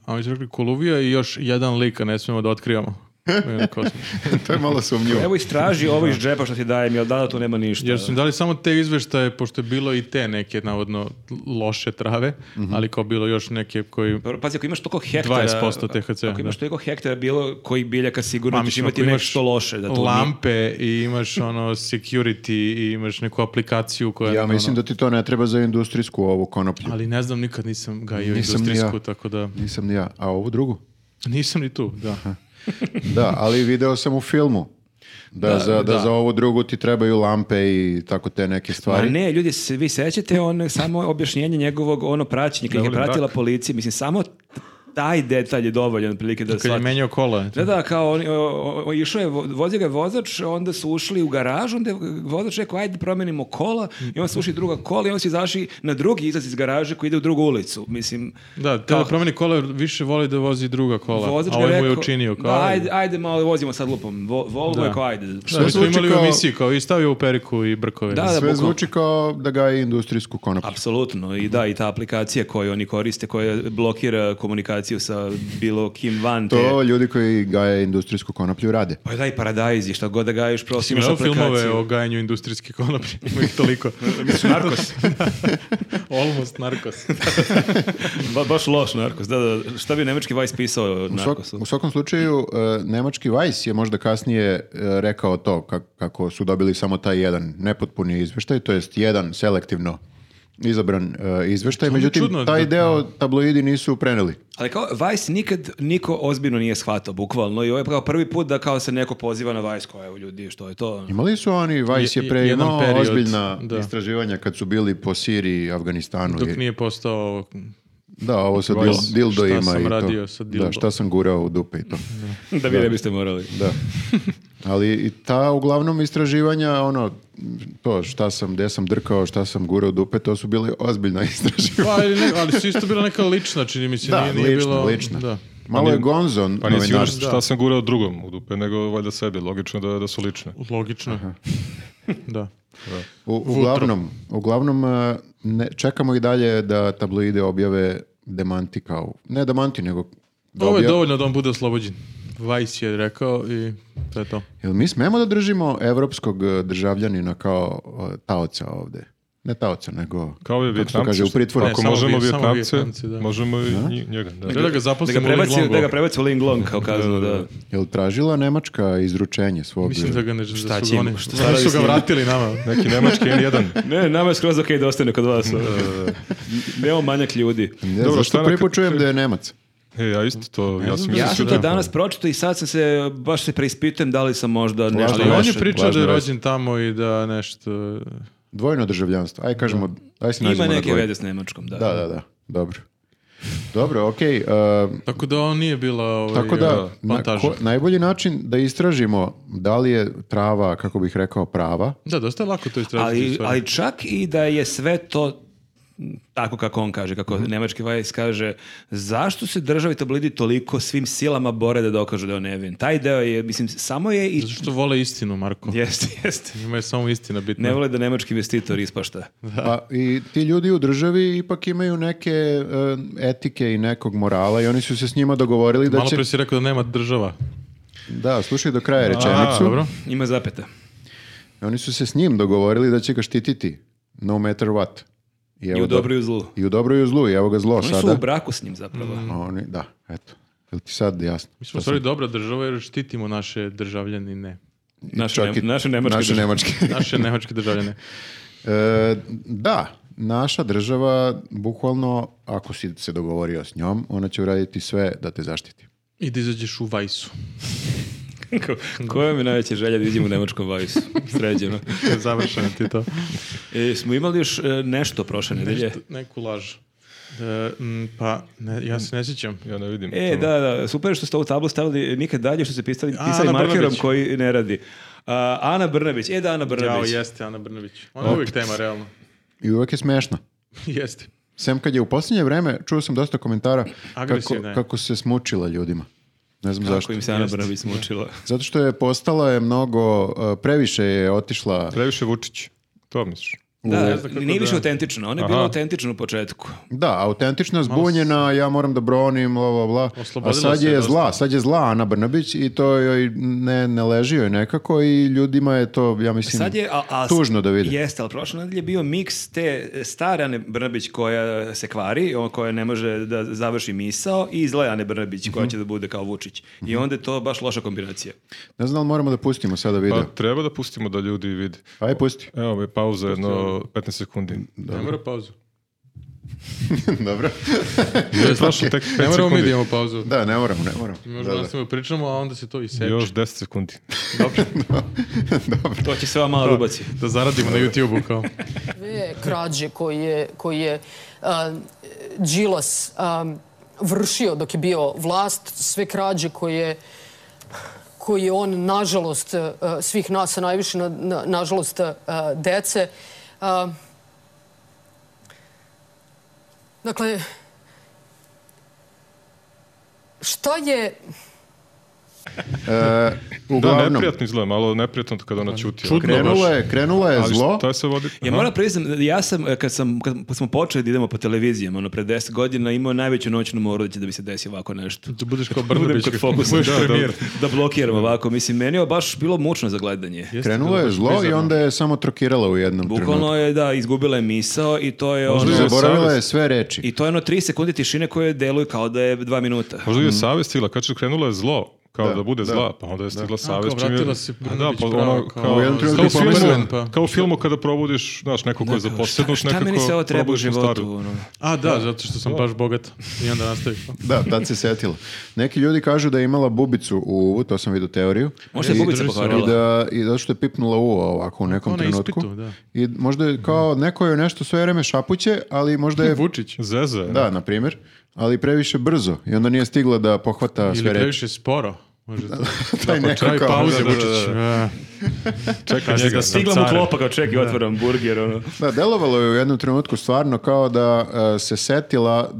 B: a oni su rekli Koluvija i još jedan lik, a ne smemo da otkrivamo. I onda kao smo-
D: to je malo sumnjivo.
C: Evo istraži ovo iz džepa što ti dajem, jel da, tu nema ništa.
B: Jer su im dali samo te izveštaje, pošto je bilo i te neke, navodno, loše trave, ali kao bilo još neke koji...
C: Dobro, Pazi, ako imaš toliko hektara...
B: 20% THC,
C: Ako imaš
B: da.
C: toliko hektara bilo koji biljaka, sigurno
B: Pa,
C: ćeš
B: mislim,
C: imati
B: ako imaš
C: nešto loše. Da to nije-
B: Lampe i imaš ono security i imaš neku aplikaciju koja...
D: Ja
B: ono-
D: mislim da ti to ne treba za industrijsku ovu konoplju.
B: Ali ne znam, nikad nisam gajio
D: Nisam ni
B: industrijsku,
D: ja.
B: tako da...
D: Nisam ni ja. A ovu drugu?
B: Nisam ni tu, da.
D: Da, ali video sam u filmu. Da, za, da,
B: da.
D: za ovu drugu ti trebaju lampe i tako te neke
C: Ma
D: stvari.
C: ne, ljudi, se, vi sećate on, samo objašnjenje njegovog ono praćenja, kad ih je
A: Evelyn
C: pratila
A: Duck.
C: policija, mislim, samo t- taj detalj je dovoljan otprilike da
B: Kad je
C: shvati.
B: menjao kola.
C: Da, da, kao on, o- o- o- išao je, vo- vozio ga je vozač, onda su ušli u garaž, onda je vozač rekao, ajde promenimo kola, i onda su ušli druga kola, i onda su izašli na drugi izlaz iz garaže koji ide u drugu ulicu. Mislim,
B: Da, te da
C: Kao-
B: promeni kola, jer više voli da vozi druga kola.
C: Vozač
B: a
C: ga
B: ovaj mu je
C: rekao,
B: učinio kao...
C: Da, ajde, ajde malo vozimo sad lupom. Vo, Volvo
B: Da.
C: je kao ajde.
B: Da, mi smo
D: zvuči
B: imali u
D: kao-
B: emisiji kao i stavio u periku i brkove.
C: Da, da,
D: Sve
C: bukvalno.
D: zvuči kao da ga je industrijsku konoplju.
C: Apsolutno, i da, i ta aplikacija koju oni koriste, koja blokira komunikaciju sa bilo kim van te...
D: To ljudi koji gaje industrijsku konoplju rade.
C: Pa da, i paradajzi, šta god da gajiš, prosim,
B: Imaš
C: imaš
B: ovo filmove
C: aplikaciju.
B: o gajanju industrijske konoplje, ima ih toliko.
C: Narkos,
B: Almost narkos.
C: Ba- baš loš narkos, da, da, šta bi nemački Vice pisao o
D: U, svak-
C: narkosu?
D: u svakom slučaju, e, nemački Vice je možda kasnije e, rekao to ka- kako su dobili samo taj jedan nepotpuni izveštaj, to jest jedan selektivno izabran e, izveštaj.
B: To mi je
D: Međutim,
B: čudno
D: taj
B: da-
D: deo tabloidi nisu preneli.
C: Ali kao, Vice nikad niko ozbiljno nije shvatao, bukvalno, i ovo je kao prvi put da kao se neko poziva na Vice, kao, evo ljudi, što je to?
D: Imali su oni, Vice
B: Je-
D: je pre
B: jedan
D: imao
B: period,
D: ozbiljna
B: da.
D: istraživanja kad su bili po Siriji i Afganistanu.
B: Dok
D: i-
B: nije postao...
D: Da, ovo sa dil,
B: Vice.
D: dildo
B: Šta
D: ima
B: sam
D: i to.
B: radio sa
D: Da,
B: dildo.
D: šta sam gurao u dupe i to.
C: Da vi ne biste morali.
D: Da. Ali i ta uglavnom istraživanja, ono, to šta sam, gde sam drkao, šta sam gurao dupe, to su bili ozbiljna istraživanja.
B: Pa, ali, ne, ali su isto bila neka lična, čini mi se.
D: Da,
B: nije, nije
D: lična,
B: bilo,
D: lična.
B: Da.
D: Malo je gonzon
A: Pa nisi siguran
D: novinar.
A: šta sam gurao drugom u dupe, nego valjda sebi. Logično da, da su lične.
B: Logično. da.
D: U, uglavnom, uglavnom e, ne, čekamo i dalje da tabloide objave demanti kao, ne demanti, nego
B: Ovo je
D: dobio-
B: dovoljno da on bude oslobođen. Vice je rekao i to je to.
D: Jel mi smemo da držimo evropskog eh, državljanina kao eh, taoca ovde? Ne taoca, nego...
A: Kao je
D: Kako se to kaže,
A: Vjetnamci.
D: u pritvoru.
B: Ne,
A: Ako
B: samo
A: možemo
B: vi- samo
A: Vjetnamce,
B: Vijetnamce, da.
A: možemo i nji- njega. Da.
B: Treba da ga
C: Da ga
B: zaposlimo u
C: prebaci,
B: Linglongu.
C: da ga prebaci u Ling Long, kao kazano, da.
D: Jel tražila Nemačka izručenje svog...
B: Mislim da ga ne
C: Šta
B: da su
C: će
B: ga
C: im-
B: oni.
C: šta
B: da
C: radi
B: su
C: s
B: ga
C: njim?
B: vratili nama.
A: Neki nemački N1.
C: Ne, nama je skroz okej da ostane kod vas. Nemo manjak ljudi.
D: Ne,
A: Dobro, šta
D: Dobro, zašto
A: na-
D: prvi put čujem da je Nemac?
A: E, ja isto to, ja sam
C: Ja
A: mislio
C: sam
A: da-
C: to danas pročito i sad sam se, baš se preispitujem da li sam možda nešto
B: Ali on je
C: loše.
B: pričao da je
D: važno
B: rođen tamo i da nešto...
D: Dvojno državljanstvo. Aj kažemo, aj se nađemo
C: Ima
D: na
C: neke
D: dvoje.
C: veze s Nemačkom, da.
D: Da, da, da. Dobro. Dobro, okej. eh,
B: Tako da on nije bila ovaj,
D: Tako da,
B: eh,
D: na,
B: plantaža.
D: ko- najbolji način da istražimo da li je trava, kako bih rekao, prava,
B: Da, dosta je lako to istražiti. u
C: Ali,
B: stvari.
C: ali čak i da je sve to tako kako on kaže, kako
B: Mhm.
C: nemački vajs kaže, zašto se državi tablidi toliko svim silama bore da dokažu da je on nevin? Taj deo je, mislim, samo je i...
B: Zato što vole istinu, Marko.
C: Jeste, jeste.
B: Njima je samo istina bitna.
C: Ne vole da nemački investitor ispašta.
D: Pa i ti ljudi u državi ipak imaju neke e, etike i nekog morala i oni su se s njima dogovorili da
B: Malo
D: će...
B: pre si rekao da nema država.
D: Da, slušaj do kraja
A: A,
D: rečenicu.
B: Dobro.
C: Ima zapeta.
D: Oni su se s njim dogovorili da će ga štititi. No matter what.
C: I
D: evo
C: u
D: da-
C: dobru i u zlu.
D: I u dobro i u zlu. I evo ga zlo
B: Pa
C: Oni
D: sada.
C: su u braku s njim zapravo.
D: Oni, da, eto. Jel ti sad jasno?
B: Mi smo u stvari dobra država jer štitimo naše državljanine.
C: Naše,
D: Čak i-
C: ne, naše nemačke
D: Naše
C: države.
D: nemačke.
B: Naše nemačke državljane.
D: E, da, naša država, bukvalno, ako si se dogovorio s njom, ona će uraditi sve da te zaštiti.
B: I da izađeš u vajsu.
C: Ko- Koja mi je najveća želja da idem u nemačkom vajsu? Sređeno.
B: Završeno ti to.
C: E, smo imali još e, nešto prošle nedelje?
B: Neku laž. E, m, pa, ne, ja se ne sjećam.
A: Ja ne vidim.
C: E,
A: to.
C: da, da, super je što ste ovu tablu stavili nikad dalje, što ste pisali,
B: A,
C: pisali
B: Ana
C: markerom
B: Brnabić.
C: koji ne radi. A, Ana Brnabić, e da, Ana
B: Jao,
C: Brnabić.
B: jeste Ana Brnović. Ona je uvijek tema, realno.
D: I uvek je smešna.
B: jeste.
D: Sem kad je u posljednje vreme, čuo sam dosta komentara kako,
B: Agresivna je.
D: kako se smučila ljudima. Ne znam
C: Kako
D: zašto.
C: im se Ana Brnabić smučila.
D: Zato što je postala je mnogo, e, previše je otišla,
A: Previše Vučić. To misliš.
C: Da,
B: znam kako
C: nije više
B: da-
C: autentično, ona je
A: Aha.
C: bila autentična u početku.
D: da, autentična, zbunjena, ja moram da bronim, bla, bla, bla. A
B: Oslobodila
D: sad
B: se
D: je
B: dosta.
D: zla, sad je zla Ana Brnabić i to joj ne, ne leži joj nekako i ljudima je to, ja mislim,
C: Sad je, a, a,
D: tužno da vide.
C: Jeste, ali prošle nedelje je bio miks te e, stare Ane Brnabić koja se kvari, o- koja ne može da završi misao i zle Ane Brnabić koja će da bude kao Vučić. I onda je to baš loša kombinacija.
D: Ne znam da li moramo da pustimo sada video.
A: Pa treba da pustimo da ljudi vide.
D: Aj, pusti.
A: Evo mi pauza jedno 15 sekundi.
B: Ne mora pauzu.
D: Dobro.
A: Ja je prošlo tek 5
B: Ne moramo mi da
A: sekundi.
B: imamo pauzu.
D: Da, ne moramo, ne moramo.
B: Možda
D: Da, da.
B: nastavimo da pričamo, a onda se to i seče.
A: Još 10 sekundi.
C: To će sve ova mala rubaci.
B: Da zaradimo na YouTube-u kao.
E: sve krađe koje je, koji je a, Đilas a, vršio dok je bio vlast, sve krađe koje koji je on, nažalost, a, svih nas, a najviše, na, na, nažalost, a, dece. a, dakle, šta je
A: Da,
D: E, Uglavnom,
A: neprijatno izgleda, malo neprijatno kada
C: Pa,
A: ona ćuti.
B: Čudno
A: Ovako,
D: krenula
A: baš.
D: je, krenula je
A: Ali
D: zlo.
A: šta se vodi?
C: Ja moram priznam, ja sam, e, kad, sam, kad smo počeli da idemo po televizijama, ono, pre 10 godina, imao najveću noćnu moru da će da mi se desi ovako nešto.
B: Da budeš kao
C: Budem
B: Brnabić.
C: kod fokusa,
B: budeš
C: da, da,
B: premijer.
C: da blokiram ovako. Mislim, meni je baš bilo mučno za gledanje.
B: Jeste,
D: Krenulo
B: bilo
D: je
B: baš
D: zlo i
B: bizarno.
D: onda je samo trokirala u jednom trenutku.
C: Bukvalno je, da, izgubila je misao i to je ono...
A: je
D: Zaboravila je
A: savest.
D: sve reči.
C: I to je ono tri sekunde tišine koje deluju kao da je dva minuta.
A: Možda ju Pa je savest sila, kad će krenula je zlo, kao da,
D: Mm. Da,
A: bude
D: da.
A: zla, pa onda je stigla savest.
B: kao
A: čim je-
B: vratila se
A: Pa
B: Brnabić
A: pa
B: pravo,
A: ono,
B: kao-
A: kao,
D: U jednom
A: kao
D: trenutku
A: u filmu-
B: pomislim, pa.
A: kao u filmu kada probudiš, znaš, neko ko je
C: Kao,
A: zaposlen,
C: šta, šta
A: nekako
C: meni se ovo treba u
A: probudiš staru.
C: životu? Ono?
B: A, da, zato što sam baš bogat. I onda nastavi.
D: Da, tad se setila. Neki ljudi kažu da je imala bubicu u uvu, to sam vidio teoriju.
C: Možda je
D: I-
C: bubica
B: drži se
C: pokvarila.
D: I da, i zato što je pipnula uvo ovako u nekom
B: Kao na
D: trenutku.
B: ispitu, da.
D: I možda je kao, neko je nešto sve vreme šapuće, ali možda je...
B: Vučić.
A: Zeza je.
D: Da, na primjer. Ali previše brzo. I onda nije stigla da pohvata sve
B: Ili
D: reči.
B: previše sporo. Može to.
D: Taj neko
B: Čaj,
D: kao-
B: pauze,
D: Da, da, da,
B: Vučić.
D: da.
B: A,
A: Čekaj
B: Kaže
A: njega.
B: da
A: sam
B: stigla
C: Stigla mu
A: car.
C: klopa kao čekaj, otvaram burger, ono.
D: Da, delovalo je u jednom trenutku stvarno kao da e, se setila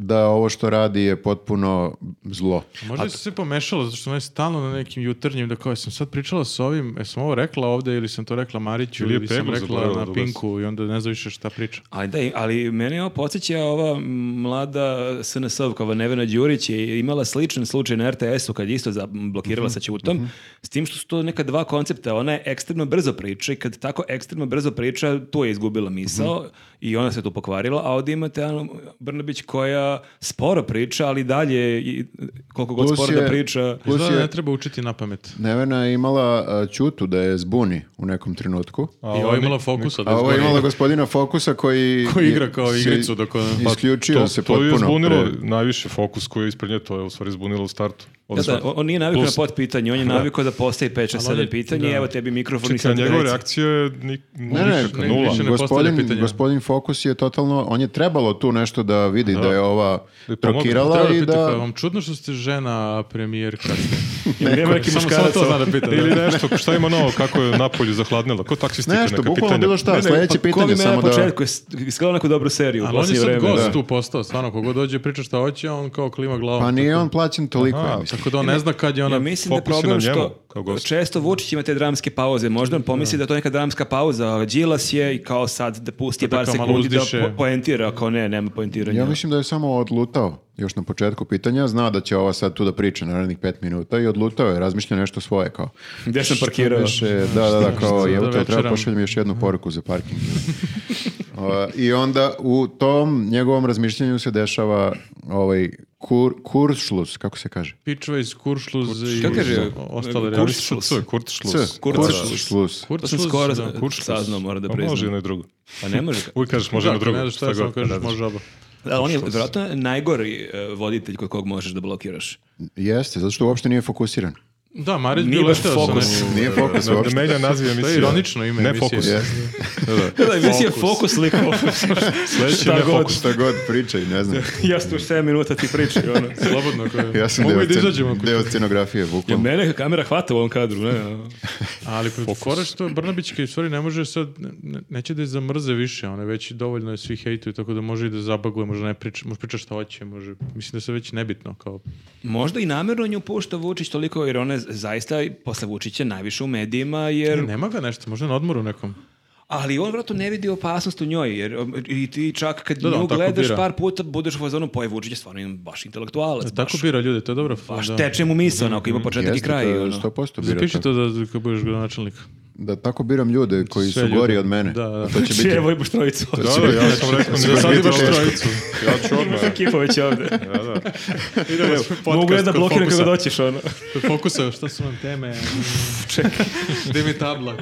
D: da ovo što radi je potpuno zlo.
B: Možda je se sve pomešalo, zato što ona je stalno na nekim jutarnjim, da kao, sam sad pričala s ovim, jesam ovo rekla ovde ili sam to rekla Mariću
A: Ili
B: ili,
A: je
B: sam
A: Peglu
B: rekla
A: zaboravila da
B: na Pinku i onda ne zna više šta priča.
C: Ali da, ali mene ovo podsjeća ova mlada SNS-ovka, ova Nevena Đurić je imala sličan slučaj na RTS-u kad je isto za- blokirala sa Ćutom, s tim što su to neka dva koncepta. Ona je ekstremno brzo priča i kad tako ekstremno brzo priča, tu je izgubila misao i ona se tu pokvarila, a ovdje imate Anu Brnabić koja sporo priča, ali dalje, i, koliko god
D: Plus
C: sporo
D: je-
C: da priča...
D: Plus
B: Izgleda da
D: je-
B: ne treba učiti na pamet.
D: Nevena je imala a, Ćutu da je zbuni u nekom trenutku.
A: A
B: I ovo je
A: oni-
B: imala fokusa.
D: A ovo je imala gospodina Fokusa koji...
B: Koji igra kao
D: se
B: igricu dok on- Pa
D: Isključio se
A: to je
D: potpuno.
A: zbunilo
D: pre-
A: najviše fokus koji je ispred nje, to je u stvari zbunilo u startu.
C: Da, da, on nije navikao na
A: Plus-
C: pot pitanje, on je navikao da postaje 5-7
B: Ali on je-
C: pitanje i
B: da.
C: evo tebi mikrofon i
A: Čekaj,
C: sad ga
A: njegova
C: reci.
A: reakcija je ni,
D: Ne, ne,
A: nikakva,
B: ne,
A: nula.
B: više ne postavlja
D: gospodin,
B: pitanja.
D: gospodin Fokus je totalno, on je trebalo tu nešto da vidi da, je ova
A: Da je pomogne.
D: trokirala
B: Treba da
D: i
B: pita kao,
D: da...
B: vam čudno što ste žena premijerka.
C: Ili nema neki
B: Samo, samo
C: muškarac
B: to
C: ovo?
B: zna da pita. da.
A: Ili nešto, šta ima novo, kako je napolju zahladnilo, ko taksistika neka
D: Nešto,
A: pitanja.
D: bukvalno bilo šta,
C: Ne, ne,
D: sledeće
C: pa ko
D: pitanje
C: bi mene
D: samo
C: na
D: da...
C: početku, da... iskala neku dobru seriju u
B: Ali on je
C: posljednje
B: sad
C: vreme.
B: gost
D: da.
B: tu postao, stvarno, kogo dođe priča šta hoće, on kao klima glavom.
D: Pa nije on plaćen toliko, ja
A: Aha,
D: mislim.
B: Tako da on ne zna kad je ona...
C: Ja mislim da je
A: fokus je
C: problem
A: na njemu, kao
C: što
A: gostu.
C: često Vučić ima te dramske pauze. Možda on pomisli da je to neka dramska pauza, a Đilas je i kao sad da pusti
B: Da
C: par
B: kao malo
C: sekundi da
B: uzdiše.
C: po- poentira, kao ne, nema poentiranja.
D: Ja mislim da je samo odlutao još na početku pitanja, zna da će ova sad tu da priča narednih pet minuta i odlutao je, razmišlja nešto svoje kao.
C: Gde sam parkirao?
D: Više, e, da, da, da, kao
B: šta
D: je
B: da
D: to treba
B: večeram?
D: pošaljem još jednu poruku za parking. Uh, I onda u tom njegovom razmišljanju se dešava ovaj kur, kuršlus, kako se kaže?
B: Pičva iz Kuršluz i
C: Šta kaže?
B: ostale
C: Kurš-
B: reakcije.
A: Kurtšlus. Kurtšlus.
D: C,
C: kuršlus.
D: kuršlus.
C: To sam skoro da,
A: Kurtšlus.
C: saznao, mora
A: A
C: da
A: Može
C: priznam.
A: jedno i drugo.
C: Pa ne može.
A: Uvijek kažeš može
B: Da,
A: jedno
B: ako
A: drugo.
B: Ne, znaš šta
A: šta
B: je, samo
A: god,
B: kažeš
A: ne znam.
B: može oba.
C: A on je vjerojatno najgori e, voditelj kod kog možeš da blokiraš.
D: Jeste, zato što uopšte nije fokusiran.
B: Da, Marić
C: Nije
B: bi
C: baš
B: leteo sa
C: fokus.
B: nečim.
D: Nije fokus
A: Ne, Ne
D: uopšte.
A: menja naziv
B: To
A: emisije.
B: je ironično ime
A: Ne
B: emisije.
A: fokus.
D: Jeste.
C: Da, emisija Fokus likova.
A: Sljedeći
C: Šta
A: ne
C: god.
A: fokus.
D: Šta god pričaj, ne znam.
C: ja sam tu 7 minuta ti pričaj, ono.
B: Slobodno. ako je.
D: Ja sam
B: Mogu
D: deo,
B: i da
D: scen-
B: izađemo. ako-
D: deo scenografije,
C: Ja,
D: bukvalno.
C: mene kamera hvata u ovom kadru, ne?
B: Ali fora što Brnabić kad u stvari ne može sad, ne- ne- neće da je zamrze više, ona već dovoljno je svi hejtuju, tako da može i da zabaguje, može ne priča, može priča šta hoće, može, mislim da se već nebitno kao.
C: Možda i namjerno nju pušta Vučić toliko, jer ona je zaista i posle Vučića najviše u medijima, jer...
B: E, Nema ga nešto, možda je na odmoru nekom.
C: Ali on vratno ne vidi opasnost u njoj, jer um, i ti čak kad
B: Da, da,
C: nju
B: on tako
C: gledaš
B: bira.
C: par puta, budeš u fazonu, pa je Vučić je stvarno jedan baš intelektualac,
B: Da,
C: baš,
B: tako bira ljude, to je dobro.
C: baš
B: da.
C: teče mu misao, onako ima početak i
D: Mhm, Jeste, to
C: kraj.
D: je
C: ono.
D: 100% bira
B: Zapiši
D: tako.
B: to da, da kad budeš gradonačelnik.
D: Da tako biram ljude koji
B: Sve
D: su
B: ljude.
D: gori od mene.
B: Da, Znači, da.
D: A To će biti...
C: Čevo i Boštrovicu.
A: Da, da, ja sam rekao.
D: Sve
A: ne
D: sad
A: znam,
D: imaš
A: teško.
B: trojicu.
A: Ja ću odmah.
C: Ekipa već ovde.
A: Da, da.
B: Idemo,
C: Mogu ja da blokiram kako doćeš, ono.
B: Fokusa, šta su nam teme? Čekaj. Gde mi je tabla?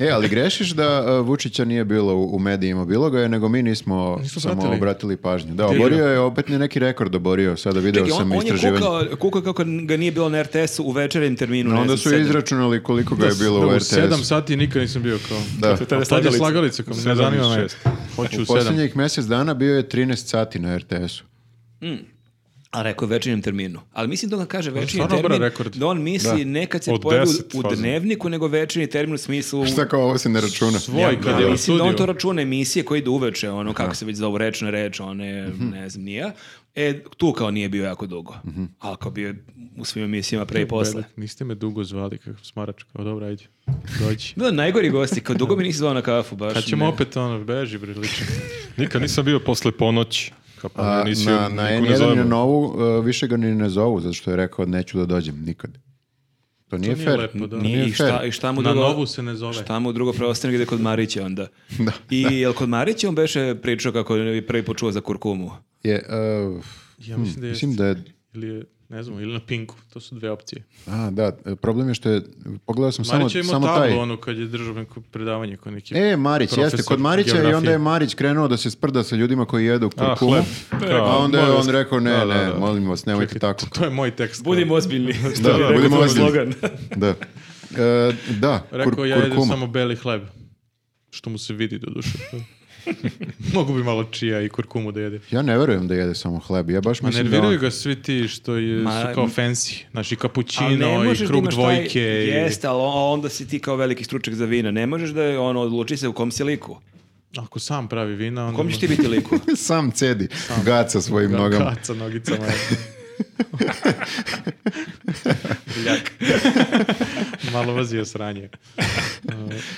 D: E, ali grešiš da a, Vučića nije bilo u, u medijima, bilo ga je, nego mi nismo
B: Nismo
D: samo
B: pratili.
D: obratili pažnju. Da, oborio je opet ne neki rekord oborio, sada video
C: Čekaj,
D: sam
C: on, on je
D: istraživanje.
C: kukao, kukao kako ga nije bilo na RTS-u u večernjem terminu. ne
D: Onda
C: znam,
D: su
C: sedam.
D: izračunali koliko ga je bilo u
B: Da,
D: RTS.
B: Sedam sati nikad nisam bio kao.
D: Da.
C: To je
B: A tad je
C: slagalica.
B: slagalica, kao ne
A: Sedam
B: zanima
A: i
B: me.
A: šest.
B: Hoću u
D: U
B: sedam.
D: posljednjih mjesec dana bio je 13 sati na RTS-u.
C: A rekao je večernjem terminu. Ali mislim da on kaže večernji
B: Pa stvarno
C: termin,
B: obra rekord.
C: da on misli ne kad se
A: Od
C: pojavi
A: deset
C: u, u
A: faza.
C: dnevniku, nego večernji termin u smislu...
D: Šta kao ovo se ne računa?
B: Svoj, kad
C: Ali
B: je u
C: mislim da on to
B: studiju.
C: računa emisije koje idu uveče, ono kako se već zovu reč na reč, one,
B: Mhm.
C: ne znam, nije. E, tu kao nije bio jako dugo. Ali kao bio je u svim emisijama pre i posle.
B: Belet, Niste me dugo zvali, kako smarač, kao dobro, ajde, dođi.
C: Da, najgori gosti, kao dugo mi nisi zvao na kafu, baš.
B: Kad ćemo
C: ne.
B: opet, ono, beži, bre, lično.
A: Nikad nisam bio posle ponoći. Kao pa
D: A,
A: me nisi,
D: na,
A: niko
D: na
A: ne
D: N1 i na
A: zove.
D: Novu e, više ga ni ne zovu, zato što je rekao neću da dođem nikad. To nije,
B: nije
D: fair.
B: lepo, da.
D: Nije
C: I
D: fair.
C: šta, i šta mu
B: Na
C: drugo-
B: novu se ne zove.
C: Šta mu drugo preostane gde kod Marića onda? I jel kod Marića on beše pričao kako je prvi put čuo za kurkumu?
D: Je, uh,
B: Ja mislim da je...
D: mislim da je
B: Ili je, ne znam, ili na Pinku. To su dve opcije.
D: A, da, problem je što je, pogledao sam samo,
B: Marić je imao
D: samo taj.
B: tablu, ono, kad je držao neko predavanje kod neki...
D: E, Marić, jeste,
B: profesor
D: kod Marića i onda
B: geografije. Ah,
D: je Marić krenuo da se sprda sa ljudima koji jedu
A: A,
D: kurkumu,
A: hleb.
B: Pa,
A: Kao,
D: a onda je
A: molim
D: on rekao, ne,
A: Da, da,
D: ne,
A: da.
D: molim vas, nemojte tako.
B: To je moj tekst.
C: Budimo ozbiljni.
D: Da,
C: Što bi
D: da,
C: rekao
D: budimo
C: tvoj
D: ozbiljni.
C: slogan.
D: Da, E, da kur-
B: Rekao, ja jedem
D: kurkuma.
B: samo beli hleb. Što mu se vidi do duše. Mogu bi malo čija i kurkumu da jede.
D: Ja ne verujem da jede samo hleb, ja baš
B: Ma
D: mislim da on-
B: nerviraju ga svi ti što je,
C: Ma-
B: su kao fancy. Znači,
C: Ali ne
B: kapućino
C: možeš
B: i
C: da
B: krug
C: imaš taj-
B: dvojke. i-
C: Jeste, ali on- onda si ti kao veliki stručak za vina. Ne možeš da je ono, odluči se u kom si liku.
B: Ako sam pravi vina, onda...
C: Kom ćeš
B: može-
C: ti biti liku?
D: Sam cedi, gaca svojim nogama.
B: Kaca nogicama. Ljak. Malo vazio sranje.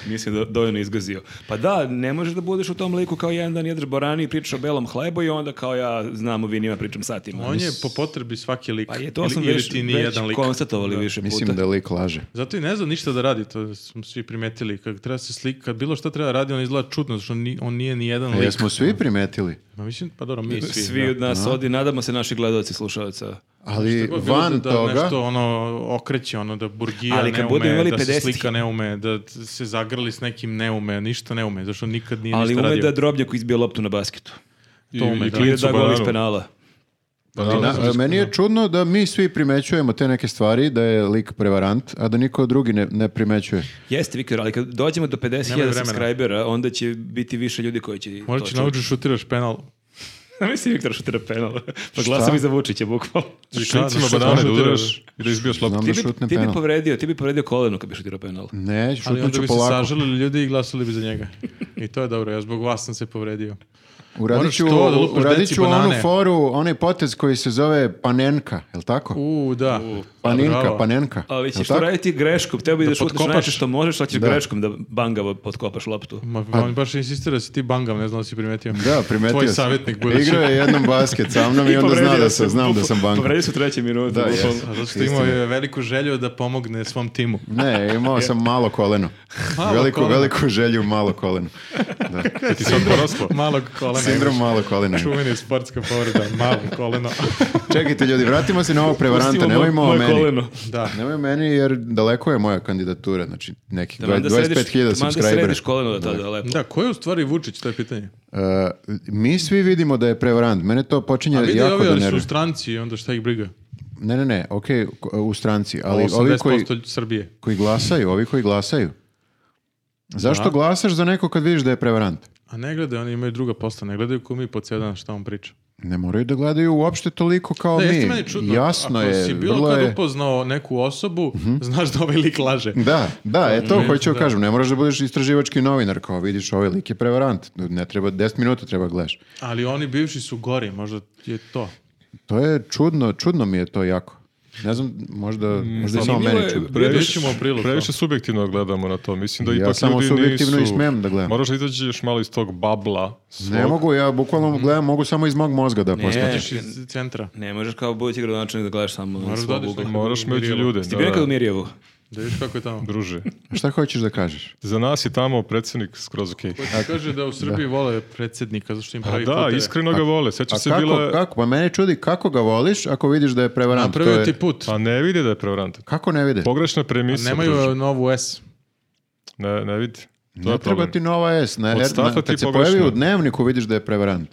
C: Mislim da dovoljno izgazio. Pa da, ne možeš da budeš u tom liku kao jedan dan jedeš borani i pričaš o belom hlebu i onda kao ja znam o vinima, pričam satima.
B: On je po potrebi svaki lik.
C: Pa je, to
B: Ili-
C: smo
B: ili
C: već,
B: ti ni
C: već
B: jedan lik.
C: konstatovali
B: Da.
C: više puta.
D: Mislim da lik laže.
B: Zato i ne zna ništa da radi, to smo svi primetili. Kad treba se slika, kad bilo šta treba da radi, on izgleda čudno, zato što ni- on nije ni jedan
D: E,
B: lik.
D: Jesmo svi primetili,
B: Ma mislim, pa dobro, mi svi.
C: Pa Svi
B: da.
C: od nas ovdje, nadamo se naši gledalci i slušalaca.
D: ali
B: Tako je bilo
D: van
B: da, da
D: toga...
B: Nešto ono okreće, ono da burgija
C: Ali kad
B: ne
C: budemo
B: ume,
C: imali
B: da
C: 50
B: se slika ne ume, da t- se zagrli s nekim ne ume, ništa ne ume, zašto nikad nije
C: Ali
B: ništa
C: ume
B: radio.
C: da drobnjak izbije loptu na basketu.
A: I,
B: To ume,
A: i
B: da.
C: Ili
A: klincu
C: da gol iz
A: banaru.
C: penala.
D: Ali na-
A: da, da.
D: meni je čudno da mi svi primećujemo te neke stvari, da je lik prevarant, a da niko drugi ne, ne primećuje.
C: Jeste, Viktor, ali kad dođemo do 50.000
B: vremena.
C: subscribera, onda će biti više ljudi koji će
B: Možda
C: to
B: će
C: čuti.
B: naučiti šutiraš penal.
C: Mislim, Viktor šutira penal. Pa glasam i za Vučića, bukvalno.
A: I
B: Šta,
A: klincima
B: šta
A: banane da
B: šutiraš?
A: udaraš i da izbijaš loptu.
D: Znam
C: Ti
D: da
C: bi,
D: šutne
C: ti bi
D: penal. Mm.
C: povredio, ti bi povredio koleno kad bi šutirao penal.
D: Ne,
B: Ali
D: šutnut
B: onda
D: ću
B: bi se
D: polako.
B: sažalili ljudi i glasali bi za njega. I to je dobro, ja zbog vas sam se povredio.
D: Uradit
B: Moraš
D: ću,
B: to da lupaš
D: uradit
B: deci
D: ću onu
B: banane.
D: foru, onaj potez koji se zove panenka, je li tako?
B: U, da.
D: Paninka,
B: Bravo.
D: panenka.
C: Ali ćeš
D: Jel'
C: to
D: tako?
C: raditi greškom. Teo bi da, šutneš
B: potkopaš.
C: najviše što možeš, ali ćeš
D: Da.
C: greškom da bangavo potkopaš loptu.
B: Ma, on baš insistira da si ti bangav, ne znam da si primetio.
D: Pa- Da, primetio
B: Tvoj
D: sam.
B: savjetnik budući.
D: Igrao je jednom basket sa mnom i, onda zna da sam, znam da sam banka.
C: Povredio se u trećoj minuti.
D: Da,
C: bukvalno.
D: jesam.
B: A zato što imao
D: Istina.
B: je veliku želju da pomogne svom timu.
D: Ne, imao sam malo koleno.
B: Malo
D: veliku,
B: koleno.
D: veliku želju, malo koleno. Da.
A: Kad ti sad poraslo.
B: Malog kolena.
D: Sindrom malo koleno.
B: Čuveni sportska povreda, malo koleno.
D: Čekajte ljudi, vratimo se na ovog prevaranta,
C: Pustimo
D: nemojmo o
C: moje
D: meni.
C: koleno.
B: Da.
D: Nemoj o meni jer daleko je moja kandidatura, znači nekih
C: Taman da središ-
D: 25.000
C: taman da središ
D: subscribera.
C: koleno do tada, lepo.
B: Da, ko je u stvari Vučić, to je pitanje.
D: E, mi svi vidimo da je prevarant, mene to počinje
B: A vidi
D: jako
B: ovi,
D: da
B: ali su u
D: nervira.
B: stranci i onda šta ih briga.
D: Ne, ne, ne, okej, ko- u stranci, ali ovi
B: 80%
D: koji,
B: Srbije.
D: koji glasaju, ovi koji glasaju. Zašto glasaš za neko kad vidiš da je prevarant?
B: A ne gledaju, oni imaju druga posla, ne gledaju ko mi po cijel dan šta on priča.
D: Ne moraju da gledaju uopšte toliko kao
B: Da, jeste meni
D: mi.
B: čudno.
D: Jasno
B: Ako
D: je,
B: si bilo
D: vrlo
B: kad
D: je... Mhm.
B: upoznao neku osobu, znaš da ovaj lik laže.
D: Da, da, e to
B: Mm,
D: hoću da.
B: da.
D: kažem. Ne moraš da budeš istraživački novinar, kao vidiš ovaj lik je prevarant. Ne treba, 10 minuta treba gledaš.
B: Ali oni bivši su gori, možda je to.
D: To je čudno, čudno mi je to jako. Ne znam, možda,
B: Mm,
D: možda je samo
C: zanimljivo
D: meni
C: je-
D: čudno.
B: Previše,
A: Previše,
B: ćemo u prilog.
A: previše subjektivno gledamo na to. Mislim da
D: Ja
A: ipak
D: samo
A: ljudi
D: subjektivno
A: nisu-
D: i smem da gledam.
A: Moraš da izađeš malo iz tog babla. svog.
D: Ne mogu, ja bukvalno gledam, mogu samo iz mog mozga da posmatraju.
B: Ideš iz centra.
C: Ne možeš kao budući gradonačelnik da gledaš samo
B: Moraš da
C: svog
B: odeš
C: ugla.
B: na-
A: Moraš među ljude.
C: Ti
A: da,
C: bio
A: da.
C: nekad u Mirjevu?
B: Da vidiš kako je tamo.
A: Druže,
D: Šta hoćeš da kažeš?
A: za nas je tamo predsjednik skroz okej.
B: Ko ti kaže da u Srbiji vole predsjednika, zašto im
A: A
B: pravi
A: da,
B: puteve.
A: iskreno ga vole. Sećam
D: A
B: Znači,
A: se
D: kako,
A: bila...
D: kako? Pa mene čudi kako ga voliš ako vidiš da je prevarant. To
B: Napravio
D: je,
B: ti put.
A: Pa ne vidi da je prevarant.
D: Kako ne vide?
A: Pogrešna premisa. druže.
B: Nemaju novu S.
A: Ne, ne vidi. To
D: Ne
A: je
D: treba
A: problem.
D: ti nova S. Ne,
A: Od
D: ne,
A: starta
D: na-
A: ti
D: kad se
A: pogrešno.
D: pojavi u dnevniku vidiš da je prevarant.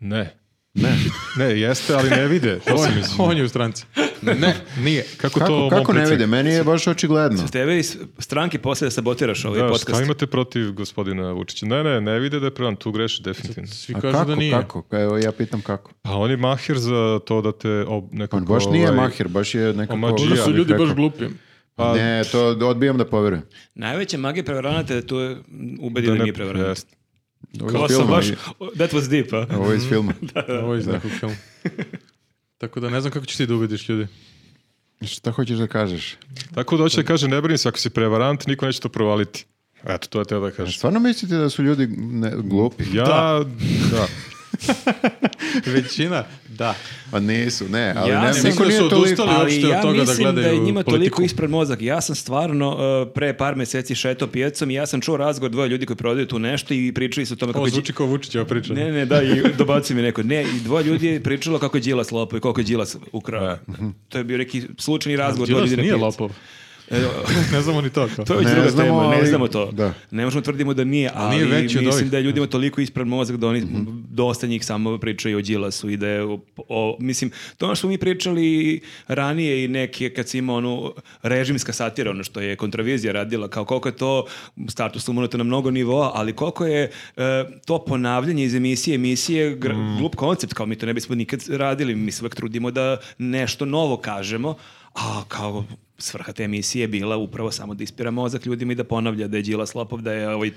A: Ne. Ne. ne, jeste, ali ne vide. To
B: On,
A: sam mislio.
B: on je u stranci. Ne, nije.
A: Kako, to
D: Kako,
A: mom
D: kako ne
A: predsjedniku?
D: vide? Meni je baš očigledno.
C: Tebe iz stranke poslije da sabotiraš ovaj
A: Da,
C: podcast.
A: šta imate protiv gospodina Vučića? Ne, ne, ne vide da je prevarant. Tu greši definitivno.
B: Svi
D: A
B: kažu
D: Pa kako,
B: da nije.
D: kako? Evo ja pitam kako.
A: Pa on je mahir za to da te ob, nekako...
D: On baš nije
A: ovaj,
D: mahir, baš je nekako...
A: omađija.
B: Onda
A: Ja
B: su
A: bih
B: ljudi baš
D: rekao.
B: glupi.
A: Pa-
D: Ne, to odbijam da poverujem.
C: Najveća magija prevaranata je da to ubedi da,
A: da ne-
C: nije prevarant.
A: jeste.
D: Ovo iz
C: Ovo sam
D: filma,
C: baš, that was deep, a?
D: Ovo iz filma.
A: E,
B: Ovo je iz nekog filma. Tako da ne znam kako ćeš ti da ubediš ljudi.
D: Šta hoćeš da kažeš?
A: Tako da hoće da kaže, ne brini se, ako si prevarant, niko neće to provaliti. Eto, to je teo da kažem.
D: Stvarno mislite da su ljudi ne, glupi?
A: Ja, da.
B: Većina, da.
D: Pa nisu, ne, ali
C: Ja
D: ne,
C: sam-
D: niko
B: Mislim da
D: nije
B: su
D: toliko...
B: odustali.
C: Ali
B: uopšte od
C: ja
B: toga da
C: mislim da, je
B: gledaju
C: njima toliko
B: politiku.
C: ispred mozak. Ja sam stvarno uh, pre par meseci šetao pijacom i ja sam čuo razgovor dvoje ljudi koji prodaju tu nešto i pričali su o tome kako...
B: Ovo
C: je Đi-
B: zvuči kao Vučićeva priča.
C: Ne, ne, da, i dobaci mi neko. Ne, i dvoje ljudi je pričalo kako je Đilas lopao i koliko je Đilas ukrao. Mhm. To je bio neki slučajni razgovor. dvoje
B: E. Đilas
C: ljudi na
B: nije
C: pijaci.
B: lopov. ne znamo ni to. kao.
C: To je već
D: Ne
C: druga
D: znamo,
C: tema, ne
D: ali-
C: znamo to.
D: da.
C: Ne možemo tvrdimo da nije, ali
B: nije veći od
C: mislim
B: ovih.
C: da je ljudima toliko ispred mozak da oni dosta njih samo pričaju o Đilasu i da je, o, o- mislim, to ono što smo mi pričali ranije i neke kad se ima onu režimska satira, ono što je kontravizija radila, kao koliko je to status umanuto na mnogo nivoa, ali koliko je e, to ponavljanje iz emisije, emisije, gr- glup koncept, kao mi to ne bismo nikad radili, mi se uvek trudimo da nešto novo kažemo, a kao svrha te emisije bila upravo samo da ispira mozak ljudima i da ponavlja da je Đilas lopov, da je ovaj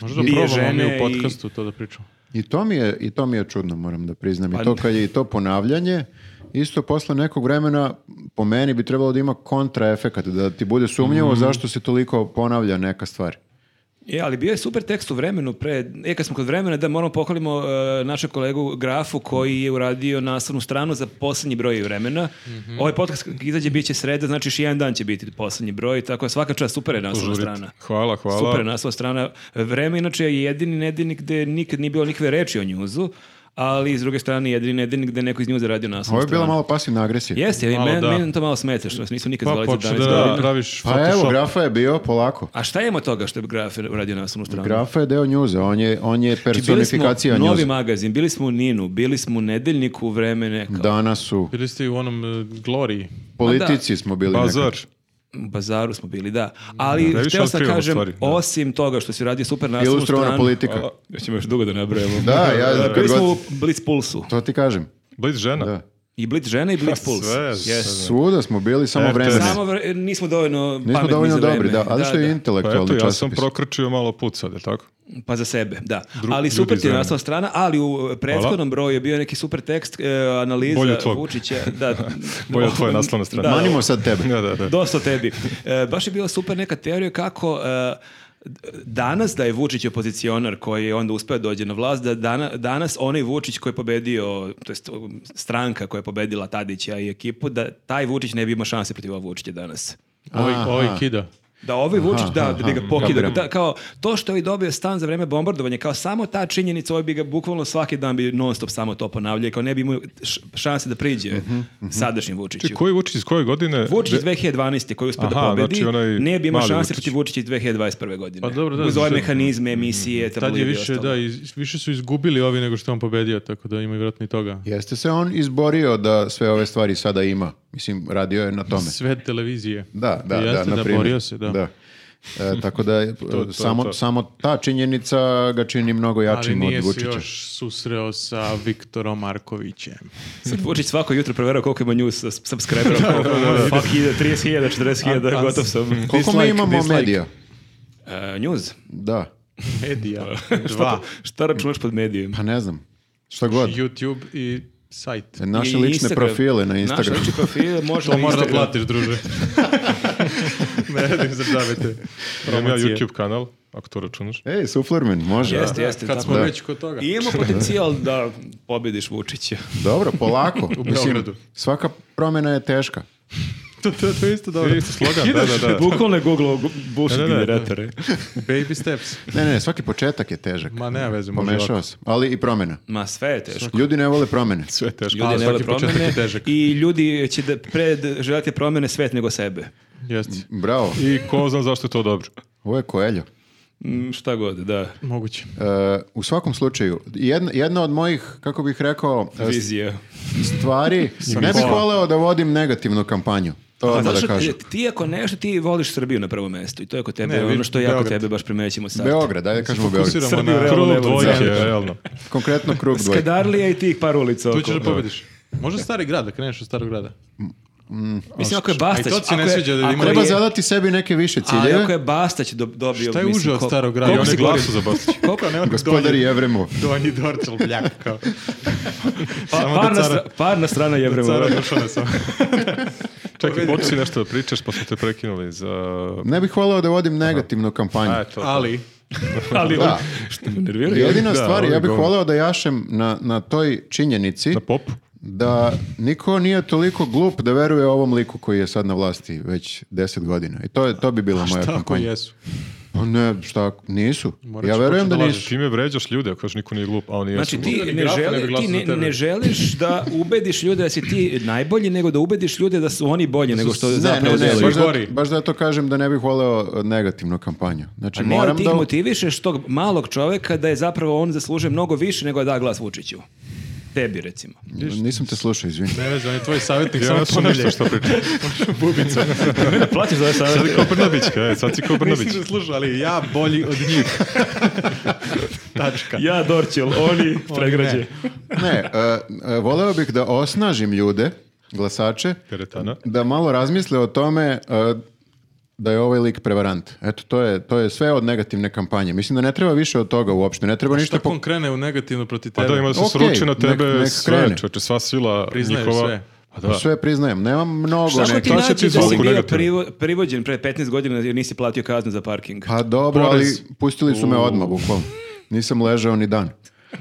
B: Možda
C: bije
B: probamo mi
C: žene
B: u podcastu to da pričamo.
D: I to mi je, i to mi je čudno, moram da priznam.
C: Pa-
D: I to kad je i to ponavljanje, isto posle nekog vremena, po meni bi trebalo da ima kontraefekat, da ti bude sumnjivo zašto se toliko ponavlja neka stvar.
C: I... E, ali bio je super tekst u vremenu pre, e kad smo kod vremena da moramo pohvalimo e, našeg kolegu Grafu koji je uradio naslovnu stranu za poslednji broj vremena.
B: Mhm.
C: Ovaj podcast kad izađe bit će sreda, znači još jedan dan će biti poslednji broj, tako je svaka čast super je naslovna
A: Požurite.
C: strana.
A: Hvala, hvala.
C: Super naslov strana. Vreme inače je jedini nedeljnik gde nikad nije bilo nikakve reči o njuzu, ali s druge strane jedini nedeljnik gde je neko iz njuza radio naslov
D: Ovo je
C: stranu.
D: bila malo pasivna agresija.
C: Jeste, ali
B: Malo
C: men,
B: da.
C: meni to malo smete što nas nisu nikad
B: Pa
C: zvali za
B: počne
C: 11
B: da
C: godina.
B: praviš
D: Pa evo,
B: Photoshop.
D: Grafa je bio polako.
C: A šta imamo toga što je Graf uradio naslovnu stranu?
D: Grafa je deo njuza, on je, on je
C: Znači, bili smo
D: personifikacija njuza.
C: novi magazin, bili smo u Ninu, bili smo u Nedeljniku, vremene, kao
D: Danas su,
B: Bili ste i u onom e, Gloriji.
D: politici smo bili
A: Bazar.
D: nekad.
C: u bazaru smo bili, da. Ali,
A: previše
C: htio sam
A: otkrivamo
C: kažem,
A: stvari, da.
C: osim toga što si radio super naslovnu stranu...
D: Ilustrovana politika.
C: Ja ćemo još dugo da nabrajamo.
D: Da, ja kad
C: Bili smo u
D: god,
C: Blitz Pulsu.
D: to ti kažem.
A: Blic žena.
D: Da.
C: I Blitz žena i Blitz Puls.
A: sve, sve.
C: Yes.
D: Svuda smo bili, samo
A: e, Eto,
D: vremena.
C: Samo vre- nismo dovoljno
D: Nismo
C: pametni
D: dovoljno
C: za vreme.
D: dobri, da, ali što je
A: Pa eto,
D: intelektualni
A: ja sam
D: časopis.
A: prokrčio malo put sad, je li tako?
C: Pa za sebe, da.
A: Dru-
C: ali
A: ljudi
C: super ti je
A: za-
C: nastala strana, ali u prethodnom broju je bio neki super tekst, e, analiza
A: Bolje od tvog.
C: Vučića. Da,
A: Bolje od tvoje naslovne strane.
C: Da,
D: Manimo sad tebe.
A: Da, da, da.
C: dosta o tebi. E, baš je bila super neka teorija kako e, d- danas da je Vučić opozicionar koji je onda uspeo da dođe na vlast, da dana- danas onaj Vučić koji je pobedio, to jest um, stranka koja je pobedila Tadića i ekipu, da taj Vučić ne bi imao šanse protiv ovog Vučića danas.
B: Ovaj,
D: Aha.
B: ovaj kida.
C: Da ovaj Vučić, da, da bi ga pokida.
D: Kapiram.
C: Da, kao, to što je ovaj dobio stan za vreme bombardovanja, kao samo ta činjenica, ovaj bi ga bukvalno svaki dan bi non stop samo to ponavljao i kao ne bi imao š- šanse da priđe sadašnjem Vučiću.
A: Či, koji Vučić iz koje godine?
C: Vučić
A: De-
C: iz 2012. koji uspio da
A: Aha,
C: pobedi,
A: znači onaj
C: ne bi imao
A: mali
C: šanse
A: Vučić.
C: protiv Vučića iz 2021. godine.
B: Pa dobro, da,
C: Uz ove
B: sad-
C: mehanizme, emisije,
B: Tad je
C: tabloidi i
B: više,
C: ostalo.
B: da, iz- više su izgubili ovi nego što je on pobedio, tako da ima vjerojatno i toga.
D: Jeste se on izborio da sve ove stvari sada ima. Mislim, radio je na tome.
B: Sve televizije.
D: Da, da,
B: Jeste,
D: da, na primjer.
B: borio se, da.
D: E, tako da e,
A: to,
D: samo,
A: to.
D: samo ta činjenica ga čini mnogo
B: Ali
D: jačim
B: nije
D: od
B: se
D: Vučića.
B: još susreo sa Viktorom Markovićem.
C: Sad Vučić svako jutro provjerao koliko ima news sa subscribera, koliko fuck ide, 30.000, 40.000, gotov sam.
D: Koliko mi
B: Dislike,
D: imamo
B: dislike.
D: medija?
C: E, news?
D: Da,
B: Medija.
C: Šta,
B: Dva.
C: šta računaš pod medijima?
D: pa ne znam. Šta god. E,
B: YouTube i sajt.
D: Naše
C: I
D: lične
C: Instagram.
D: profile na
C: Naše
D: Instagramu.
C: lične profile možda
B: To
C: na
B: moraš da
C: Instagram.
B: platiš, druže. ne, ne izdržavajte.
A: Imam ja
B: promocije.
A: YouTube kanal, ako to računaš.
D: Ej, Suflerman, može.
C: Jeste, jeste.
B: Kad
C: tako
B: smo
C: je.
B: već kod toga.
C: I imamo potencijal da pobediš Vučića.
D: Dobro, polako.
B: Beogradu.
D: svaka promjena je teška.
B: to, to, to je isto dobro.
A: E, isto slogan, da, da, da.
C: Bukvalno je Google bullshit
A: Da, da, da.
C: generatore.
B: Baby steps.
D: Ne, ne, ne, svaki početak je težak.
B: Ma ne, veze, može ovako.
D: Pomešao sam. Ali i promjena.
C: Ma sve je teško.
D: Ljudi ne vole promjene.
A: Sve je teško.
C: Ljudi
B: A,
C: ne vole
B: svaki početak
C: promene
B: je težak.
C: i ljudi će da pred želite promene svet nego sebe.
B: Jeste.
D: Bravo,
A: I ko zna zašto je to dobro.
D: ovo je Koeljo.
C: Mm, šta god, da.
B: Moguće.
D: E, u svakom slučaju, jedna, jedna od mojih, kako bih rekao, e,
C: Vizija.
D: stvari, ne bih
B: Simbola.
D: voleo da vodim negativnu kampanju. To
B: Pa
C: A
D: odmah
C: znaš,
D: da kažem.
C: ti- ti ako nešto, ti voliš Srbiju na prvo mesto i to je kod tebe
B: Ne, vi-
C: ono što ja kod
B: Beograd.
C: tebe baš primećemo sad.
D: Beograd, ajde da kažemo Beograd.
B: Fokusiramo
C: Srbiju,
B: na
C: realno,
A: Krug
C: ne volim
A: dvojke,
D: Zagreb.
A: realno.
D: Konkretno krug dvojke.
C: Skadarlija i tih par ulica
B: Tu
C: oko.
B: ćeš da pobediš. Može stari grad, da kreneš od starog grada.
C: Mislim, ako je
B: A
C: Bastać...
B: i to ti se
C: ako
B: ne
C: je-
B: sviđa da
C: ako
B: ima-
D: Treba
C: je-
D: zadati sebi neke više
C: Ali ako
D: ciljeve.
C: je Bastać do- dobio...
B: Šta je
C: mislim,
B: uže od
C: ko-
B: starog grada?
A: I
C: koliko
A: oni
C: si
A: glasu
C: govorio?
A: za Bastića.
B: Koliko nema
D: Gospodar Jevremo.
B: Donji Dorčel bljak kao.
C: Pa,
B: Samo
C: parna,
B: da cara-
C: stra- parna strana Jevrema.
B: Cara Dušana sam.
A: Čekaj, počeo si nešto da pričaš, pa smo te prekinuli za...
D: Ne bih voleo da vodim negativnu kampanju.
A: A, eto.
B: Ali,
C: Ali
D: Da.
C: što me nerviraju.
D: Jedina
A: Da,
D: stvar,
A: ovo je
D: ja bih
A: govno.
D: voleo da jašem na, na toj činjenici
A: Na popu.
D: da niko nije toliko glup da veruje ovom liku koji je sad na vlasti već 10 godina. I to, je, to bi bila moja
B: šta ako
D: kampanja.
B: jesu?
D: Pa ne, šta, nisu.
B: Morat
D: ja
B: ću
D: verujem da
B: početi da
D: nisu.
B: lažeš.
A: Time vređaš ljude, ako kažeš niko nije glup, a oni jesu
C: Znači
A: glupi.
C: ti
B: Možda ni
C: ne,
B: grafa ne
C: želi,
B: bi glasao
C: ti ne,
B: za tebe.
C: ne želiš da ubediš ljude da si ti najbolji, nego da ubediš ljude da su oni bolji nego što
D: Ne,
C: zapravo
D: ne, ne,
C: deluju.
D: baš, da,
B: Gori.
D: baš da to kažem da ne bih voleo e, negativnu kampanju. Znači,
C: Pa ne, ali
D: moram
C: ti
D: da...
C: ih motivišeš tog malog čoveka da je zapravo on zaslužuje mnogo više nego da da glas Vučiću. Tebi recimo.
D: Nisam te slušao, izvini.
B: Ne veze, on je tvoj savjetnik,
A: Ja
B: samo
A: sam
B: ponavljaj.
A: nešto što pričam.
C: Da plaćaš za
A: Sad je kao Brnabićka, e, sad si kao Brnabić.
B: Nisi da slušao, ali ja bolji od njih. Tačka.
C: Ja Dorćel, oni
B: pregrađe.
D: Ne, e, e, voleo bih da osnažim ljude glasače
A: Teretana.
D: da malo razmisle o tome e, da je ovaj lik prevarant. Eto, to je, to je sve od negativne kampanje. Mislim da ne treba više od toga uopšte. Ne treba ništa...
B: Šta
D: po-
B: kon krene u negativno proti
A: Pa
B: tebe?
A: da ima da se
D: Okej,
A: sruči na
D: nek-
A: tebe
D: nek
A: sve,
D: krene.
A: čoče, sva sila
B: Priznaješ
A: njihova.
B: sve.
A: Pa da.
D: Sve priznajem. Nemam mnogo...
C: Šta smo
D: neke-
C: ti
A: to će
C: nađi
A: ti
C: da si
A: zvuku
C: bio
A: negativno.
C: privo- privođen pre 15 godina jer nisi platio kaznu za parking?
D: Pa dobro,
A: Porez.
D: ali pustili su me odmah, bukvalno. Nisam ležao ni dan.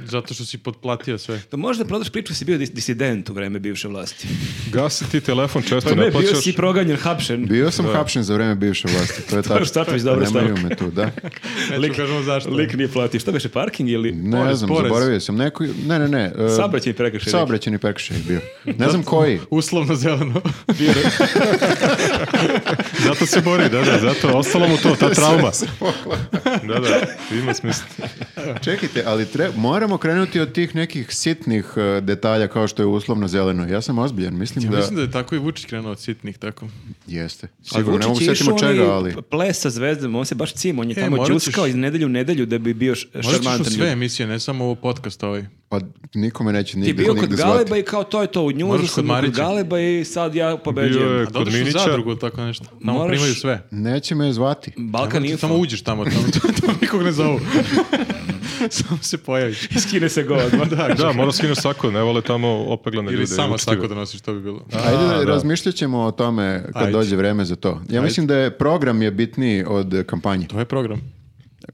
B: Zato što si potplatio sve.
C: To možda prodaš priču da si bio dis- disident u vreme bivše vlasti.
A: Gasi ti telefon često, ne
C: Pa ne, bio si
A: plaćaš.
C: proganjen, hapšen.
D: Bio sam hapšen za vreme bivše vlasti, to je tačno.
C: Štatović dobro
D: Nemaju
C: stavio.
D: me tu, da.
B: Neću kažemo zašto.
C: Lik nije platio. Šta beše parking ili...
D: Ne
B: Porez,
D: znam,
B: porez.
D: zaboravio sam. Neko, ne, ne, ne. e,
C: Saobraćajni prekršaj neki.
D: Saobraćajni prekršaj je bio. Ne znam
C: E.
D: koji.
B: Uslovno zeleno.
A: Zato se bori, da, da, zato. Ostalo mu to, ta trauma. da, da, ima smisla.
D: Čekajte, ali tre- moramo krenuti od tih nekih sitnih e, detalja kao što je uslovno zeleno. Ja sam ozbiljan, mislim da...
B: Mislim da je tako i Vučić krenuo od sitnih tako.
D: Jeste.
C: Ali
D: Sigurno, ne mogu
C: Vučić je
D: sjetiti
C: išao
D: od čega,
C: onaj
D: ali...
C: Ples sa zvezdom, on se baš cim, on je
B: E,
C: tamo
B: morat ćeš-
C: džuskao iz nedelju u nedelju da bi bio š-
B: Možda ćeš u
C: šarmantan.
B: sve
C: ljudi.
B: emisije, ne samo ovo podcast ovaj.
D: Pa nikome neće
C: Ti je
D: nigde,
C: bio kod
D: nigde
C: Galeba
D: zvati.
C: i kao to je to, u njuzu
B: Moraš kod
C: sam bio kod
B: Marića.
C: Galeba i sad ja
A: Bio
D: E,
C: pobeđujem.
A: je-
B: A
A: Kod
B: dodaš u
A: Minića.
B: zadrugu ili tako nešto. Tamo
C: Moraš-
B: primaju sve.
D: Neće me zvati.
C: Balkan Info.
B: Samo uđeš tamo, tamo, tamo nikog ne zovu. samo se pojaviš.
C: Skine se go odmah.
A: Da, mora skineš sako, ne vole tamo opeglane ljude.
B: Ili sama
A: učtivo.
B: sako da nosiš, to bi bilo.
D: Ajde da
A: da.
D: razmišljat ćemo o tome kad
B: Ajde.
D: dođe vreme za to. Ja mislim da je program je bitniji od e, kampanje.
B: To je program.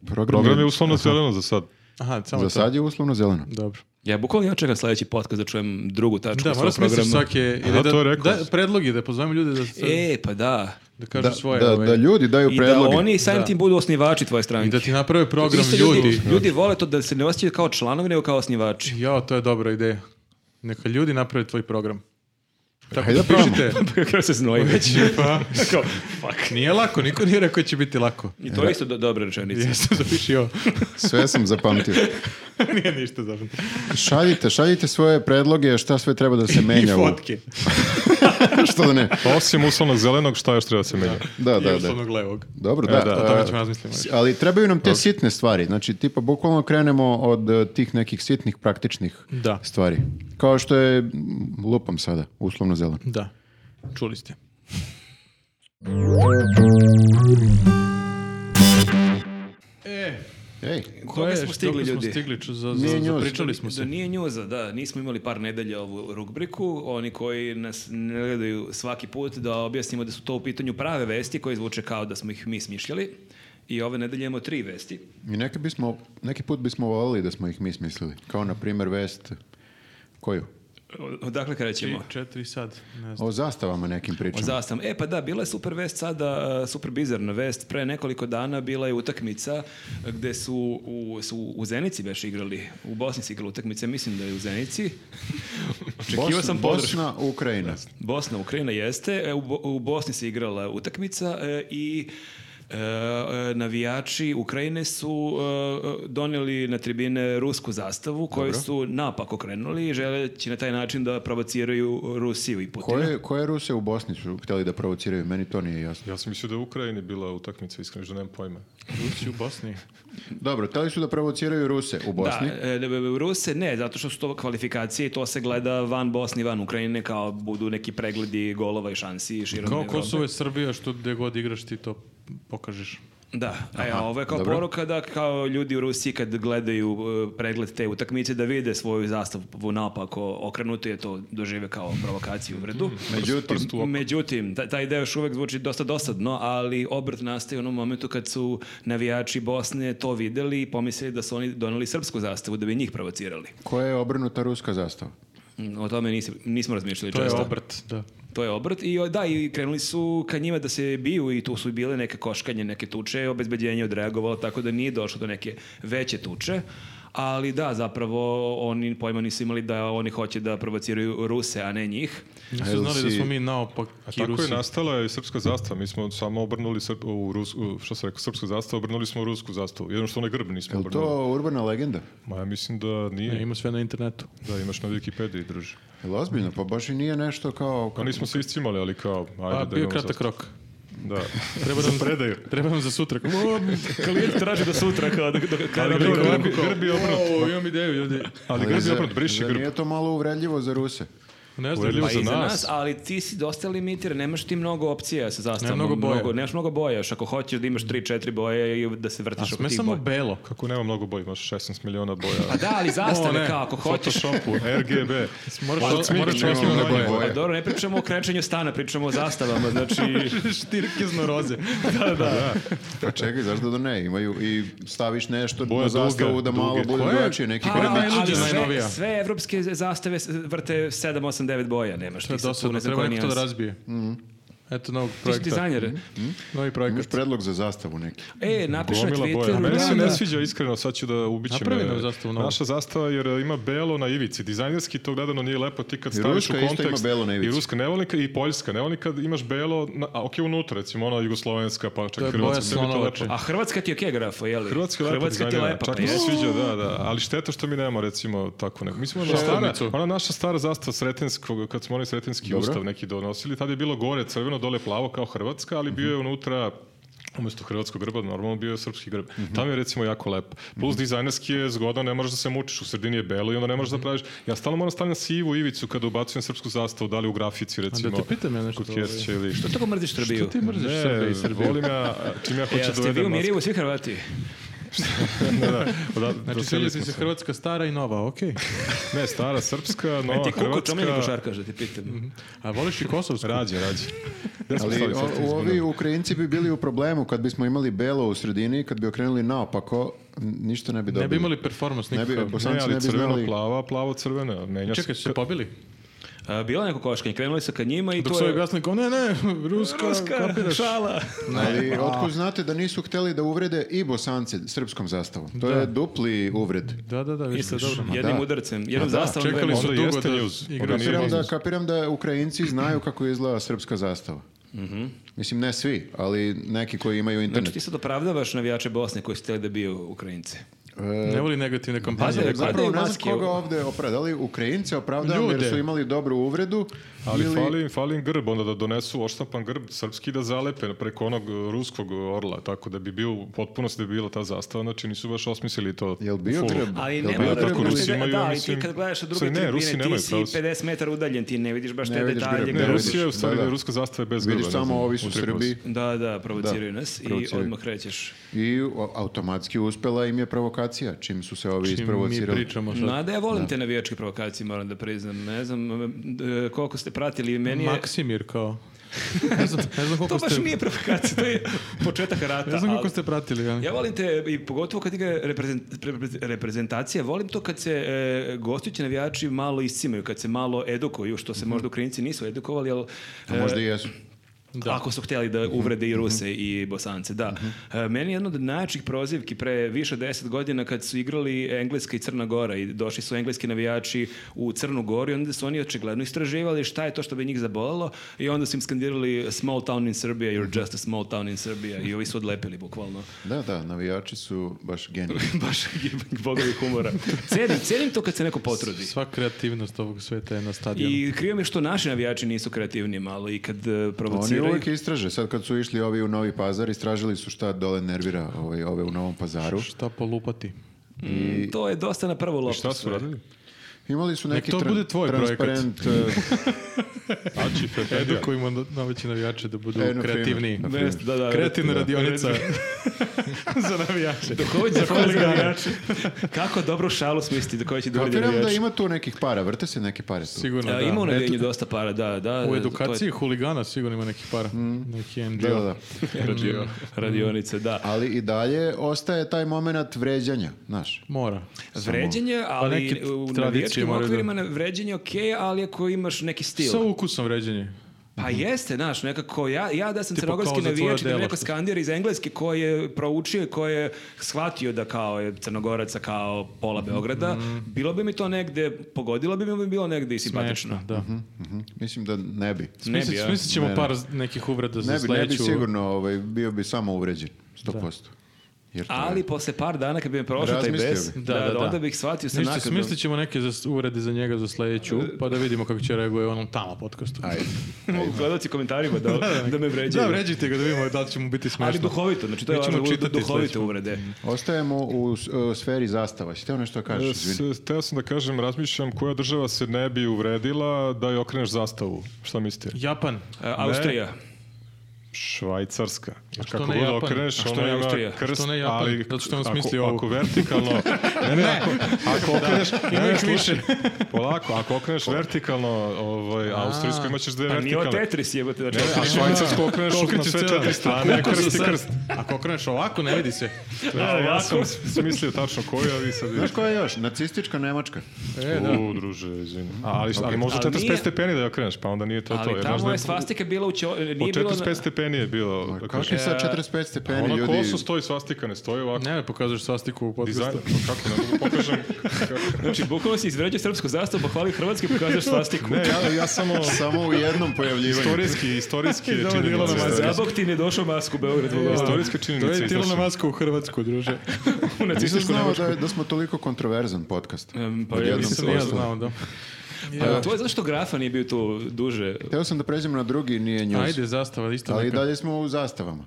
D: Program,
A: Program je uslovno zeleno za sad.
B: Aha, samo
D: Za
B: to.
D: sad je uslovno zeleno.
B: Dobro.
C: Ja bukvalno ja čekam sljedeći podcast da čujem drugu tačku
B: Da,
C: svog
B: moraš smisliš
C: programa.
B: svake... Ili
A: A,
B: da,
A: to je rekao
B: da,
A: si.
B: predlog je da pozovemo ljude da, se-
C: E, pa da.
B: da kažu svoje.
D: da,
B: ovaj.
D: da ljudi daju
C: I
D: predloge.
C: da oni samim
B: Da.
C: tim budu osnivači tvoje stranke.
B: I da ti naprave program
C: Isto
B: ljudi.
C: Ljudi vole to da se ne osjećaju kao članovi, nego kao osnivači.
B: Jao, to je dobra ideja. Neka ljudi naprave tvoj program. Tako
D: Hajde
B: da
D: da probamo.
B: pišite.
C: Kako se znoji već.
B: Pa,
C: Kao, fuck.
B: nije lako, niko nije rekao da će biti lako.
C: I to je isto do, dobra rečenica.
B: Jeste, zapiši ovo.
D: Sve sam zapamtio.
B: nije ništa zapravo.
D: šaljite, šaljite svoje predloge šta sve treba da se
B: I
D: menja. u-
B: fotke.
D: što da ne.
A: Pa osim uslovnog zelenog, šta još treba da se menja?
D: Da,
B: I
D: da, da.
B: uslovnog levog.
D: Dobro,
A: E,
D: da.
A: da.
B: O tome
D: a,
B: ćemo razmisliti još.
D: ali trebaju nam te sitne stvari. Znači, tipa, bukvalno krenemo od e, tih nekih sitnih praktičnih
B: Da.
D: stvari. Kao što je, m, lupam sada, uslovno zeleno.
B: Da. Čuli ste. E,
D: Ej,
C: Koga smo
B: što
C: stigli,
B: smo
C: ljudi?
B: stigli, ču- za,
D: Nije
B: za,
D: news.
B: pričali smo
C: Da
B: se.
C: nije njuza, da. Nismo imali par nedelja ovu rubriku. Oni koji nas ne gledaju svaki put da objasnimo da su to u pitanju prave vesti koje zvuče kao da smo ih mi smišljali. I ove nedelje imamo tri vesti.
D: i neke bismo, neki put bismo volili da smo ih mi smislili. Kao, na primjer, vest, koju?
C: Odakle krećemo?
B: 4 sad, ne znam.
D: O zastavama nekim
C: O
D: pričama.
C: zastavama. E pa da, bila je super vest sada, e, super bizarna vest. Pre nekoliko dana bila je utakmica e, gde su u, su u Zenici već igrali. U Bosni se igrala utakmica, mislim da je u Zenici. Očekivao
D: Bosna,
C: sam podršku.
D: Bosna, Ukrajina.
C: Bosna, Ukrajina jeste. E, U, Bo- u Bosni se igrala utakmica e, i e, e, navijači Ukrajine su e, donijeli na tribine rusku zastavu koju su napak okrenuli želeći na taj način da provociraju Rusiju i Putina.
D: Koje, koje Ruse u Bosni su htjeli da provociraju? Meni to nije jasno.
A: Ja sam mislio da je u Ukrajini bila utakmica, iskreno, da nemam pojma.
B: Rusi u Bosni.
D: Dobro, htjeli su da provociraju Ruse u Bosni.
C: Da, e, ne, Ruse ne, zato što su to kvalifikacije i to se gleda van Bosni, van Ukrajine, kao budu neki pregledi golova i šansi širom
B: Kao
C: Evrope.
B: Kosovo je Srbija, što gde god igraš ti to pokažeš.
C: Da, e, a ovo je kao poruka da kao ljudi u Rusiji kad gledaju e, pregled te utakmice da vide svoju zastavu napako okrenuto je to dožive kao provokaciju u vredu.
B: Mhm.
D: Međutim,
C: Međutim, ta- taj deo još uvek zvuči dosta dosadno, ali obrt nastaje u onom momentu kad su navijači Bosne to videli i pomislili da su oni doneli srpsku zastavu da bi njih provocirali.
D: koja je obrnuta ruska zastava?
C: Mm, O tome nisi- nismo razmišljali
B: To je
C: često.
B: obrt, da.
C: To je obrt. I o, da, i krenuli su ka njima da se biju i tu su bile neke koškanje, neke tuče, obezbeđenje je odreagovalo, tako da nije došlo do neke veće tuče. Ali da, zapravo oni pojma nisu imali da oni hoće da provociraju Ruse, a ne njih.
D: A
B: Nisu
D: jel
B: znali da
D: si-
B: smo mi naopak
A: A
B: i
A: Pa tako je
B: Rusi.
A: nastala i srpska zastava. Mi smo samo obrnuli srp, u Rus, u, što sam rekao, srpsku zastavu, obrnuli smo rusku zastavu. Jedno što onaj grb nismo
D: Je li
A: obrnuli.
D: to urbana legenda?
A: Ma ja mislim da
B: Ne,
A: nije.
B: ima sve na internetu.
A: Da, imaš na Wikipediji, druže.
D: Je li ozbiljno? Pa baš i nije nešto kao...
A: Pa nismo se iscimali, ali kao, ajde da
B: A, Pa, bio je
A: imamo
B: kratak
A: zastavu.
B: rok.
A: Da.
B: Treba nam, Treba nam za sutra. O,
C: Klijent traži do sutra kao da, Pa
A: Ali grb, grb, grb je obrnut.
B: O, imam ideju, ljudi.
A: Ali grb je
D: zar-
A: obrnut, briši
D: zar
A: grb.
D: nije to malo uvredljivo za Ruse?
B: Ne znam,
A: Uvredljivo
B: pa
A: za
B: i
C: iza nas.
A: nas.
C: ali ti si dosta limitiran, nemaš ti mnogo opcija sa zastavama.
B: Nemam mnogo boja.
C: nemaš mnogo boja, još ako hoćeš da imaš 3-4 boje i da se
B: A
C: vrtiš oko
B: sme
C: tih
B: samo
C: boja.
B: belo.
A: Kako nema mnogo boja, imaš 16 miliona boja.
C: Pa da, ali
B: O,
C: zastave
B: ne,
C: kao ako hoćeš.
A: Photoshopu,
B: E,
A: RGB.
B: Moraš,
A: Pa,
B: moraš,
A: cmik,
B: moraš
A: nema
B: osnovno
A: mnogo
B: manje.
A: boja.
C: Pa dobro, ne pričamo o krećenju stana, pričamo o zastavama, znači...
B: Štirkizno roze.
D: Pa čekaj, zašto da ne? Imaju i staviš nešto
A: Boja
D: na
A: duga,
D: zastavu da malo
A: duge.
D: bude
B: Koje?
D: drugačije, neki
B: Pa,
D: grmić.
B: ali- najluđa,
C: sve,
B: najnovija.
C: sve evropske zastave s- vrte 7, 8, 9 boja, nemaš
B: To je
C: ti sad tu
B: dosadno,
C: ne znam
B: treba
C: koje
B: neko to da
C: nijanse.
B: razbije. Eto novog
C: Ti si
B: projekta. Mhm.
C: dizajner.
B: Novi projekat.
D: Imaš predlog za zastavu neki.
C: E, napiš na
A: Gomila boja. A
C: Twitteru.
A: Meni se
C: da,
A: ne
C: da.
A: sviđa iskreno, sad ću da ubićem. e,
B: Napravi nam zastavu novu.
A: Naša zastava jer ima belo na ivici. Dizajnerski to gledano nije lepo ti kad
D: I
A: staviš
D: ruska
A: u
D: isto
A: kontekst.
D: ima belo na ivici.
A: I ruska nevolnika i poljska nevolnika imaš belo, na, a ok unutra recimo ona jugoslovenska pa čak
B: To je boja
A: hrvatska. sve bi to
B: slonovače.
A: lepo.
C: A Hrvatska ti je okej grafo, jeli?
A: Hrvatska je lepa
C: Hrvatska ti je
A: dizajnirana.
C: lepa,
A: Čak
C: pa
A: mi se
C: jesi.
A: sviđa, da, da. Ali šteta što mi nemamo, recimo, tako neko. Mi smo ona stara,
B: Šestornicu.
A: ona naša stara zastava Sretenskog, kad smo onaj Sretenski
D: Dobro.
A: ustav neki donosili, tad je bilo gore crveno, dole plavo kao Hrvatska, ali bio je unutra umjesto hrvatskog grba, normalno bio je srpski grb. Tamo je recimo jako lepo. Plus dizajnerski je zgodan, ne možeš da se mučiš, u sredini je belo i onda ne možeš da praviš. Ja stalno moram stavljam sivu ivicu kada ubacujem srpsku zastavu, da li u grafici recimo.
B: te pitam ja nešto,
A: Kod Kesića ili...
C: Što tako mrziš Srbiju?
B: Ti mrziš Srbe
A: Ne,
B: i Srbiju.
A: volim ja, čim ja hoću
C: Ja,
A: da
C: ste vi u
A: uvedem
C: Mirijevu svi Hrvati.
A: Da, da, Pa da,
B: Znači,
A: doselili
B: sviđa
A: smo
B: ti se
A: se.
B: Hrvatska stara i nova, okej.
A: Ne, stara srpska,
C: E,
A: nova
C: ti kuku,
A: hrvatska.
C: čome je košarkaš da ti pitam?
B: A voliš i Kosovsku?
A: Rađe, rađe. Gde smo
D: Ali
A: stali sad?
D: o- ovi Ukrajinci bi bili u problemu kad bismo imali belo u sredini, kad bi okrenuli naopako, n- ništa ne bi dobili.
B: Ne bi imali performans
D: Ne bi-
B: nikakav.
D: Bosanci
A: Ne,
D: ne
A: ali
D: bi
A: crveno,
D: znali.
A: plava, plavo, crveno. Menja se.
B: Čekaj, su se
C: pa-
B: pobili?
C: A, Bilo je neko koškanje, krenuli su ka njima i
B: Dok
C: to
B: su
C: je...
B: ovi glasni kao, ne, ne, ruska,
C: Ruska,
B: kapiraš.
C: šala.
D: Ali otkud znate da nisu hteli da uvrede i Bosance srpskom zastavom? To je dupli uvred.
B: Da, da, da, vi ste dobro.
C: Jednim
D: da.
C: udarcem, jednom
D: da,
C: zastavom.
B: Čekali
C: dvema.
B: su
A: Onda
B: dugo
A: jeste
B: da
A: news.
B: igraju.
A: Onda nije
D: Kapiram da,
A: news.
D: kapiram da Ukrajinci znaju kako izgleda srpska zastava. Mislim, ne svi, ali neki koji imaju
C: Mhm. Znači
D: internet.
C: ti sad opravdavaš navijače Bosne koji su htjeli da biju Ukrajinci.
B: Ne voli negativne kampanje.
C: Pazi,
D: Ja Zapravo
C: padaju
D: ne znam
C: maske.
D: koga ovde opravdali. Ukrajince opravdali jer
B: Ljude.
D: su imali dobru uvredu.
A: Ali
D: ili-
A: fali, im- fali im grb, onda da donesu oštampan grb srpski i da zalepe preko onog e, ruskog orla, tako da bi bio u potpunosti da bi bila ta zastava, znači nisu baš osmislili to.
D: Jel bio
A: full.
D: grb?
C: Ali
D: Jel
C: ne
D: bio
C: mora
A: da
D: grb
A: tako
D: ili-
A: Rusi
C: da,
A: imaju,
C: da,
A: ja
C: ali ti
A: mislim-
C: kad gledaš sa druge
A: Sorry, ne,
C: tribine,
A: Rusi nemaju
C: ti si
A: pravo s-
C: 50 metara udaljen, ti ne vidiš baš
D: Ne
C: te
D: vidiš
C: detalje.
D: grb,
A: Ne,
D: Da,
C: grba.
A: Rusija je u
D: vidiš,
A: stvari,
D: da, da.
A: ruska zastava je bez grba.
D: Vidiš
A: ne
D: samo
A: znam,
D: ovi su
A: uprkos.
D: Srbi
C: Da, da, provociraju nas i
D: provociraju.
C: odmah krećeš.
D: i o- automatski uspela im je provokacija, čim su se ovi
B: Mi
D: isprovocirali.
B: pričamo sad.
C: Nada, ja volim te navijačke provokacije, moram da priznam. Ne znam e, koliko ste pratili, meni je...
B: Maksimir kao. Ne znam, ne znam
C: To
B: koliko
C: baš
B: ste...
C: nije provokacija, to je početak rata.
B: Ne znam koliko
C: ali-
B: ste pratili. ali-
C: Ja volim te, i pogotovo kad igra reprezent- repre- reprezentacija, volim to kad se e, gostujući navijači malo iscimaju, kad se malo edukuju, što se možda Ukrajinci nisu edukovali, ali...
D: A
C: e,
D: možda i jesu.
C: Ako su htjeli da uvrede i Ruse i Bosance, da. E, Meni je jedna od najjačih prozivki pre više deset godina kad su igrali Engleska i Crna Gora i došli su engleski navijači u Crnu Goru i onda su oni očigledno istraživali šta je to što bi njih zabolalo i onda su im skandirali small town in Serbia, you're just a small town in Serbia i ovi su odlepili bukvalno.
D: Da, da, navijači su baš geniji.
C: Baš bogovi humora. Cenim, cenim to kad se neko potrudi.
B: Sva kreativnost ovog sveta je na stadionu.
C: I krivo mi je što naši navijači nisu kreativni malo i kad e,
D: Oni
C: provociraju.
D: uvijek istraže. Sad kad su išli ovi u Novi Pazar, istražili su šta dole nervira ovaj, ove u Novom Pazaru.
B: Šta polupati?
C: mm, To je dosta na prvu
A: I
C: loptu.
A: šta su
C: sve.
A: radili?
D: Imali su neki
B: to
D: tran-
B: bude tvoj projekat.
D: transparent... e,
A: Ači, Fefedija.
B: Edukujemo na- noveći navijače da budu
D: E, na primer,
B: kreativniji.
D: na
C: Jeste, da, da.
B: Kreativna radionica za navijače.
C: Do koji će doći navijači? Kako dobro šalu smisliti do koji će
D: e,
C: doći
D: kapiram da
C: navijači?
D: ima tu nekih para, vrte se neke pare tu.
B: Sigurno da.
C: A, E, Ima u
B: Eto,
C: navijanju dosta para, da, da. to
B: u
C: je-
B: edukaciji huligana sigurno ima neki par. Neki NGO.
D: Mm. Da, da, da.
C: radio- radionice, da.
D: Ali i dalje ostaje taj moment vređanja, znaš.
B: Mora.
C: Vređenje, ali
B: neke
C: u
B: tradicije
C: navijačkim
B: moraju da-
C: okvirima na- vređenje je okej, ali ako imaš neki stil.
B: Sa ukusom vređenje.
C: Pa jeste, znaš, nekako, ja, ja da sam
B: Tipa
C: crnogorski
B: kao za tvoja
C: navijač, i da mi
B: dela
C: neko
B: što-
C: skandira iz engleske koji je proučio i koji je shvatio da kao je crnogoraca kao pola Beograda, bilo bi mi to negde, pogodilo bi mi bilo negde i simpatično.
B: Smešno, da.
D: Mhm. Mislim da ne bi.
C: Ne bi,
B: Smislit-
C: a?
B: smislit ćemo
D: Ne, ne.
B: par nekih uvreda za
D: Ne bi, ne bi
B: sledeću.
D: sigurno, ovaj, bio bi samo uvređen. 100%. Jer to je-
C: Ali posle par dana kad bi me prošao taj
D: Razmislio
C: bes,
D: bi.
C: da,
B: Da,
C: da,
B: da, da.
C: onda bih shvatio sa
B: Ništa,
C: naknadom.
B: smislit ćemo neke za, urede za njega za sledeću, pa da vidimo kako će reaguje u onom tamo podcastu.
D: E, Ajde.
C: Gledalci komentarima da, da me vređaju.
B: Da, vređajte ga da vidimo da li će mu biti smešno.
C: Ali duhovito, znači to je
B: Mi ćemo
C: važno,
B: čitati
C: duhovite
B: sledeće.
C: uvrede.
D: Ostajemo u s- e, sferi zastava. Si teo nešto da kažeš? Izvini.
A: E, S- Teo sam da kažem, razmišljam koja država se ne bi uvredila da je okreneš zastavu. Šta mislite?
B: Japan.
C: A, E, Austrija.
A: Švajcarska. A
B: što
A: kako
B: ne
A: god
B: Japan?
A: okreneš,
C: A što ne
A: ona
C: Austrija?
A: ima
C: A
A: krst,
B: što ne Japan?
A: ali
B: Zato što je on
A: ako-
B: smislio ovo.
A: Ako vertikalno, ne, ne, ako, ako okreneš, ne, ne, više. polako, ako okreneš vertikalno ovaj, austrijsko, imaćeš dve
C: Pa nije ovo
A: vertikalne.
C: Tetris jebate. Znači,
A: Ne, ne, a švajcarsko okreneš na
B: Okrećeš
A: sve
B: cijela.
A: četiri strane,
B: Ako
A: krst i
B: se sad- E,
A: krst.
B: Ako okreneš ovako, ne vidi se.
A: Da, ja
C: ovako.
A: sam smislio tačno koju, a vi sad
D: Znaš
A: vidite.
D: koja je još? Nacistička Nemačka.
B: E, da.
A: U, druže, izvini. A, Ali, ali možda
C: Ali
A: 45
C: nije-
A: stepeni da je okreneš, pa onda nije to to.
C: Ali
A: jer
C: tamo
A: možda
C: je svastika bila u ćeo...
A: Po
C: Nije bilo...
A: 45 stepeni je bilo.
D: Ma,
A: da
D: Kako
A: kažem. Ono
D: je sad 45 stepeni
A: Ona
D: ljudi?
A: kosu stoji svastika, ne stoji ovako.
B: Ne, ne pokazuješ svastiku u
A: Dizajn,
B: podcastu.
A: pa kako ne mogu pokažem. kako-
C: Znači, bukvalno si izvređao srpsku zastavu, pa hvali Hrvatski, pokazuješ svastiku.
A: Ne, ja, ja samo
D: Samo u jednom pojavljivanju.
A: istorijski, istorijski je
B: Dobro, Ilona
A: činjenica.
B: Maska.
A: Istorijski-
C: Zabog ti ne došao masku u Beograd.
A: Istorijske
B: To
A: činjenice.
B: je Tilona
A: iznosim.
B: Maska u Hrvatsku, druže.
C: u
D: Nisam
C: nacističku
D: znao
C: Nemačku.
D: da, je- da smo toliko kontroverzan podcast.
C: Em, pa ja
D: Odjednom
C: nisam
B: Nisam
D: smo
B: ni ja
D: ostali.
B: znao, da.
C: A To je zašto grafa nije bio tu duže.
D: Teo sam da pređemo na drugi, nije news.
B: Ajde, zastava, isto
D: Ali i
B: neka.
D: dalje smo u zastavama.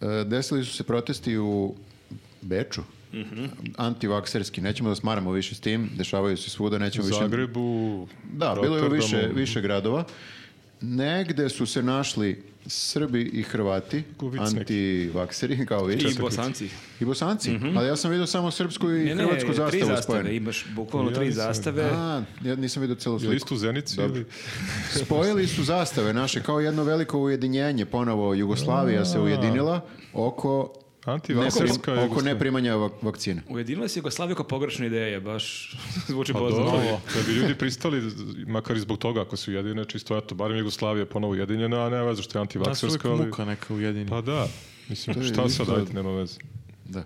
D: E, Desili su se protesti u Beču. Antivakserski. Nećemo da smaramo više s tim. Dešavaju se svuda, nećemo
A: U
D: više...
A: Zagrebu,
D: Da, bilo je u više,
A: Rotterdamu.
D: više gradova. Negde su se našli Srbi i Hrvati,
A: Gubic neki.
D: antivakseri, kao vi.
C: I bosanci.
D: I bosanci.
A: Mhm.
D: Ali ja sam vidio samo srpsku i
C: Ne, ne,
D: hrvatsku
C: tri
D: zastavu
C: zastave,
D: spojenu.
C: Imaš bukvalno
A: Ja
C: tri
A: nisam.
C: zastave.
D: A, ja nisam vidio celu
A: Je
D: sliku.
A: li isto u Zenici
D: Dobro.
A: ili?
D: Spojili su zastave naše kao jedno veliko ujedinjenje, ponovo Jugoslavija se ujedinila oko
A: Antivakserska
D: neprim- oko
A: Jugoslavija.
D: neprimanja vak- vakcine.
C: Ujedinila se Jugoslavija kao pogrešna ideja, baš zvuči
A: Pa
C: poznato.
A: dobro, da bi ljudi pristali, makar i zbog toga, ako su jedine, čisto eto, barem Jugoslavija je ponovo ujedinjena, a ne veze što je
B: Nas uvijek
A: antivakserska. ali-
B: muka neka ujedini.
A: Pa da, mislim,
D: je
A: šta sad
D: isto-
A: radite, nema veze.
D: Da.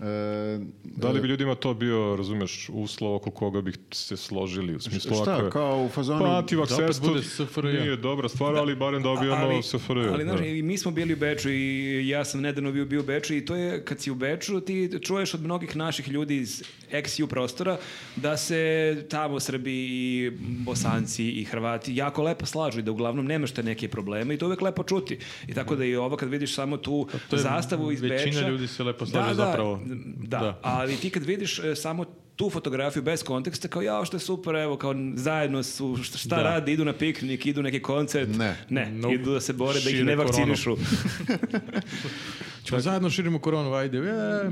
D: E,
A: Da li bi ljudima to bio, razumeš, uslov oko koga bih se složili u smislu ako
D: Šta,
A: je-
D: kao u fazonu...
A: Pa antivakserstvo
B: Da opet bude SFRJ.
A: nije dobra stvar, ali barem ono dobijamo SFRJ.
C: ali znaš,
A: da.
C: i mi smo bili u Beču i ja sam nedavno bio, bio u Beču i to je, kad si u Beču, ti čuješ od mnogih naših ljudi iz ex-ju prostora da se tamo Srbi i Bosanci i Hrvati jako lepo slažu i da uglavnom nemaš te neke probleme i to je uvek lepo čuti. I tako da i ovo kad vidiš samo tu
B: Pa to je
C: zastavu iz Beča...
B: većina ljudi se lepo slaže
C: da,
B: zapravo.
C: Da, da,
B: Da.
C: ali ti kad vidiš e, samo tu fotografiju bez konteksta, kao ja, što je super, evo, kao zajedno su, šta, šta
B: Da.
C: radi, idu na piknik, idu neki koncert.
D: Ne.
C: Ne,
B: Nope.
C: idu da se bore, da ih
B: Šire
C: ne vakcinišu.
B: Ćemo zajedno širimo koronu, ajde. E,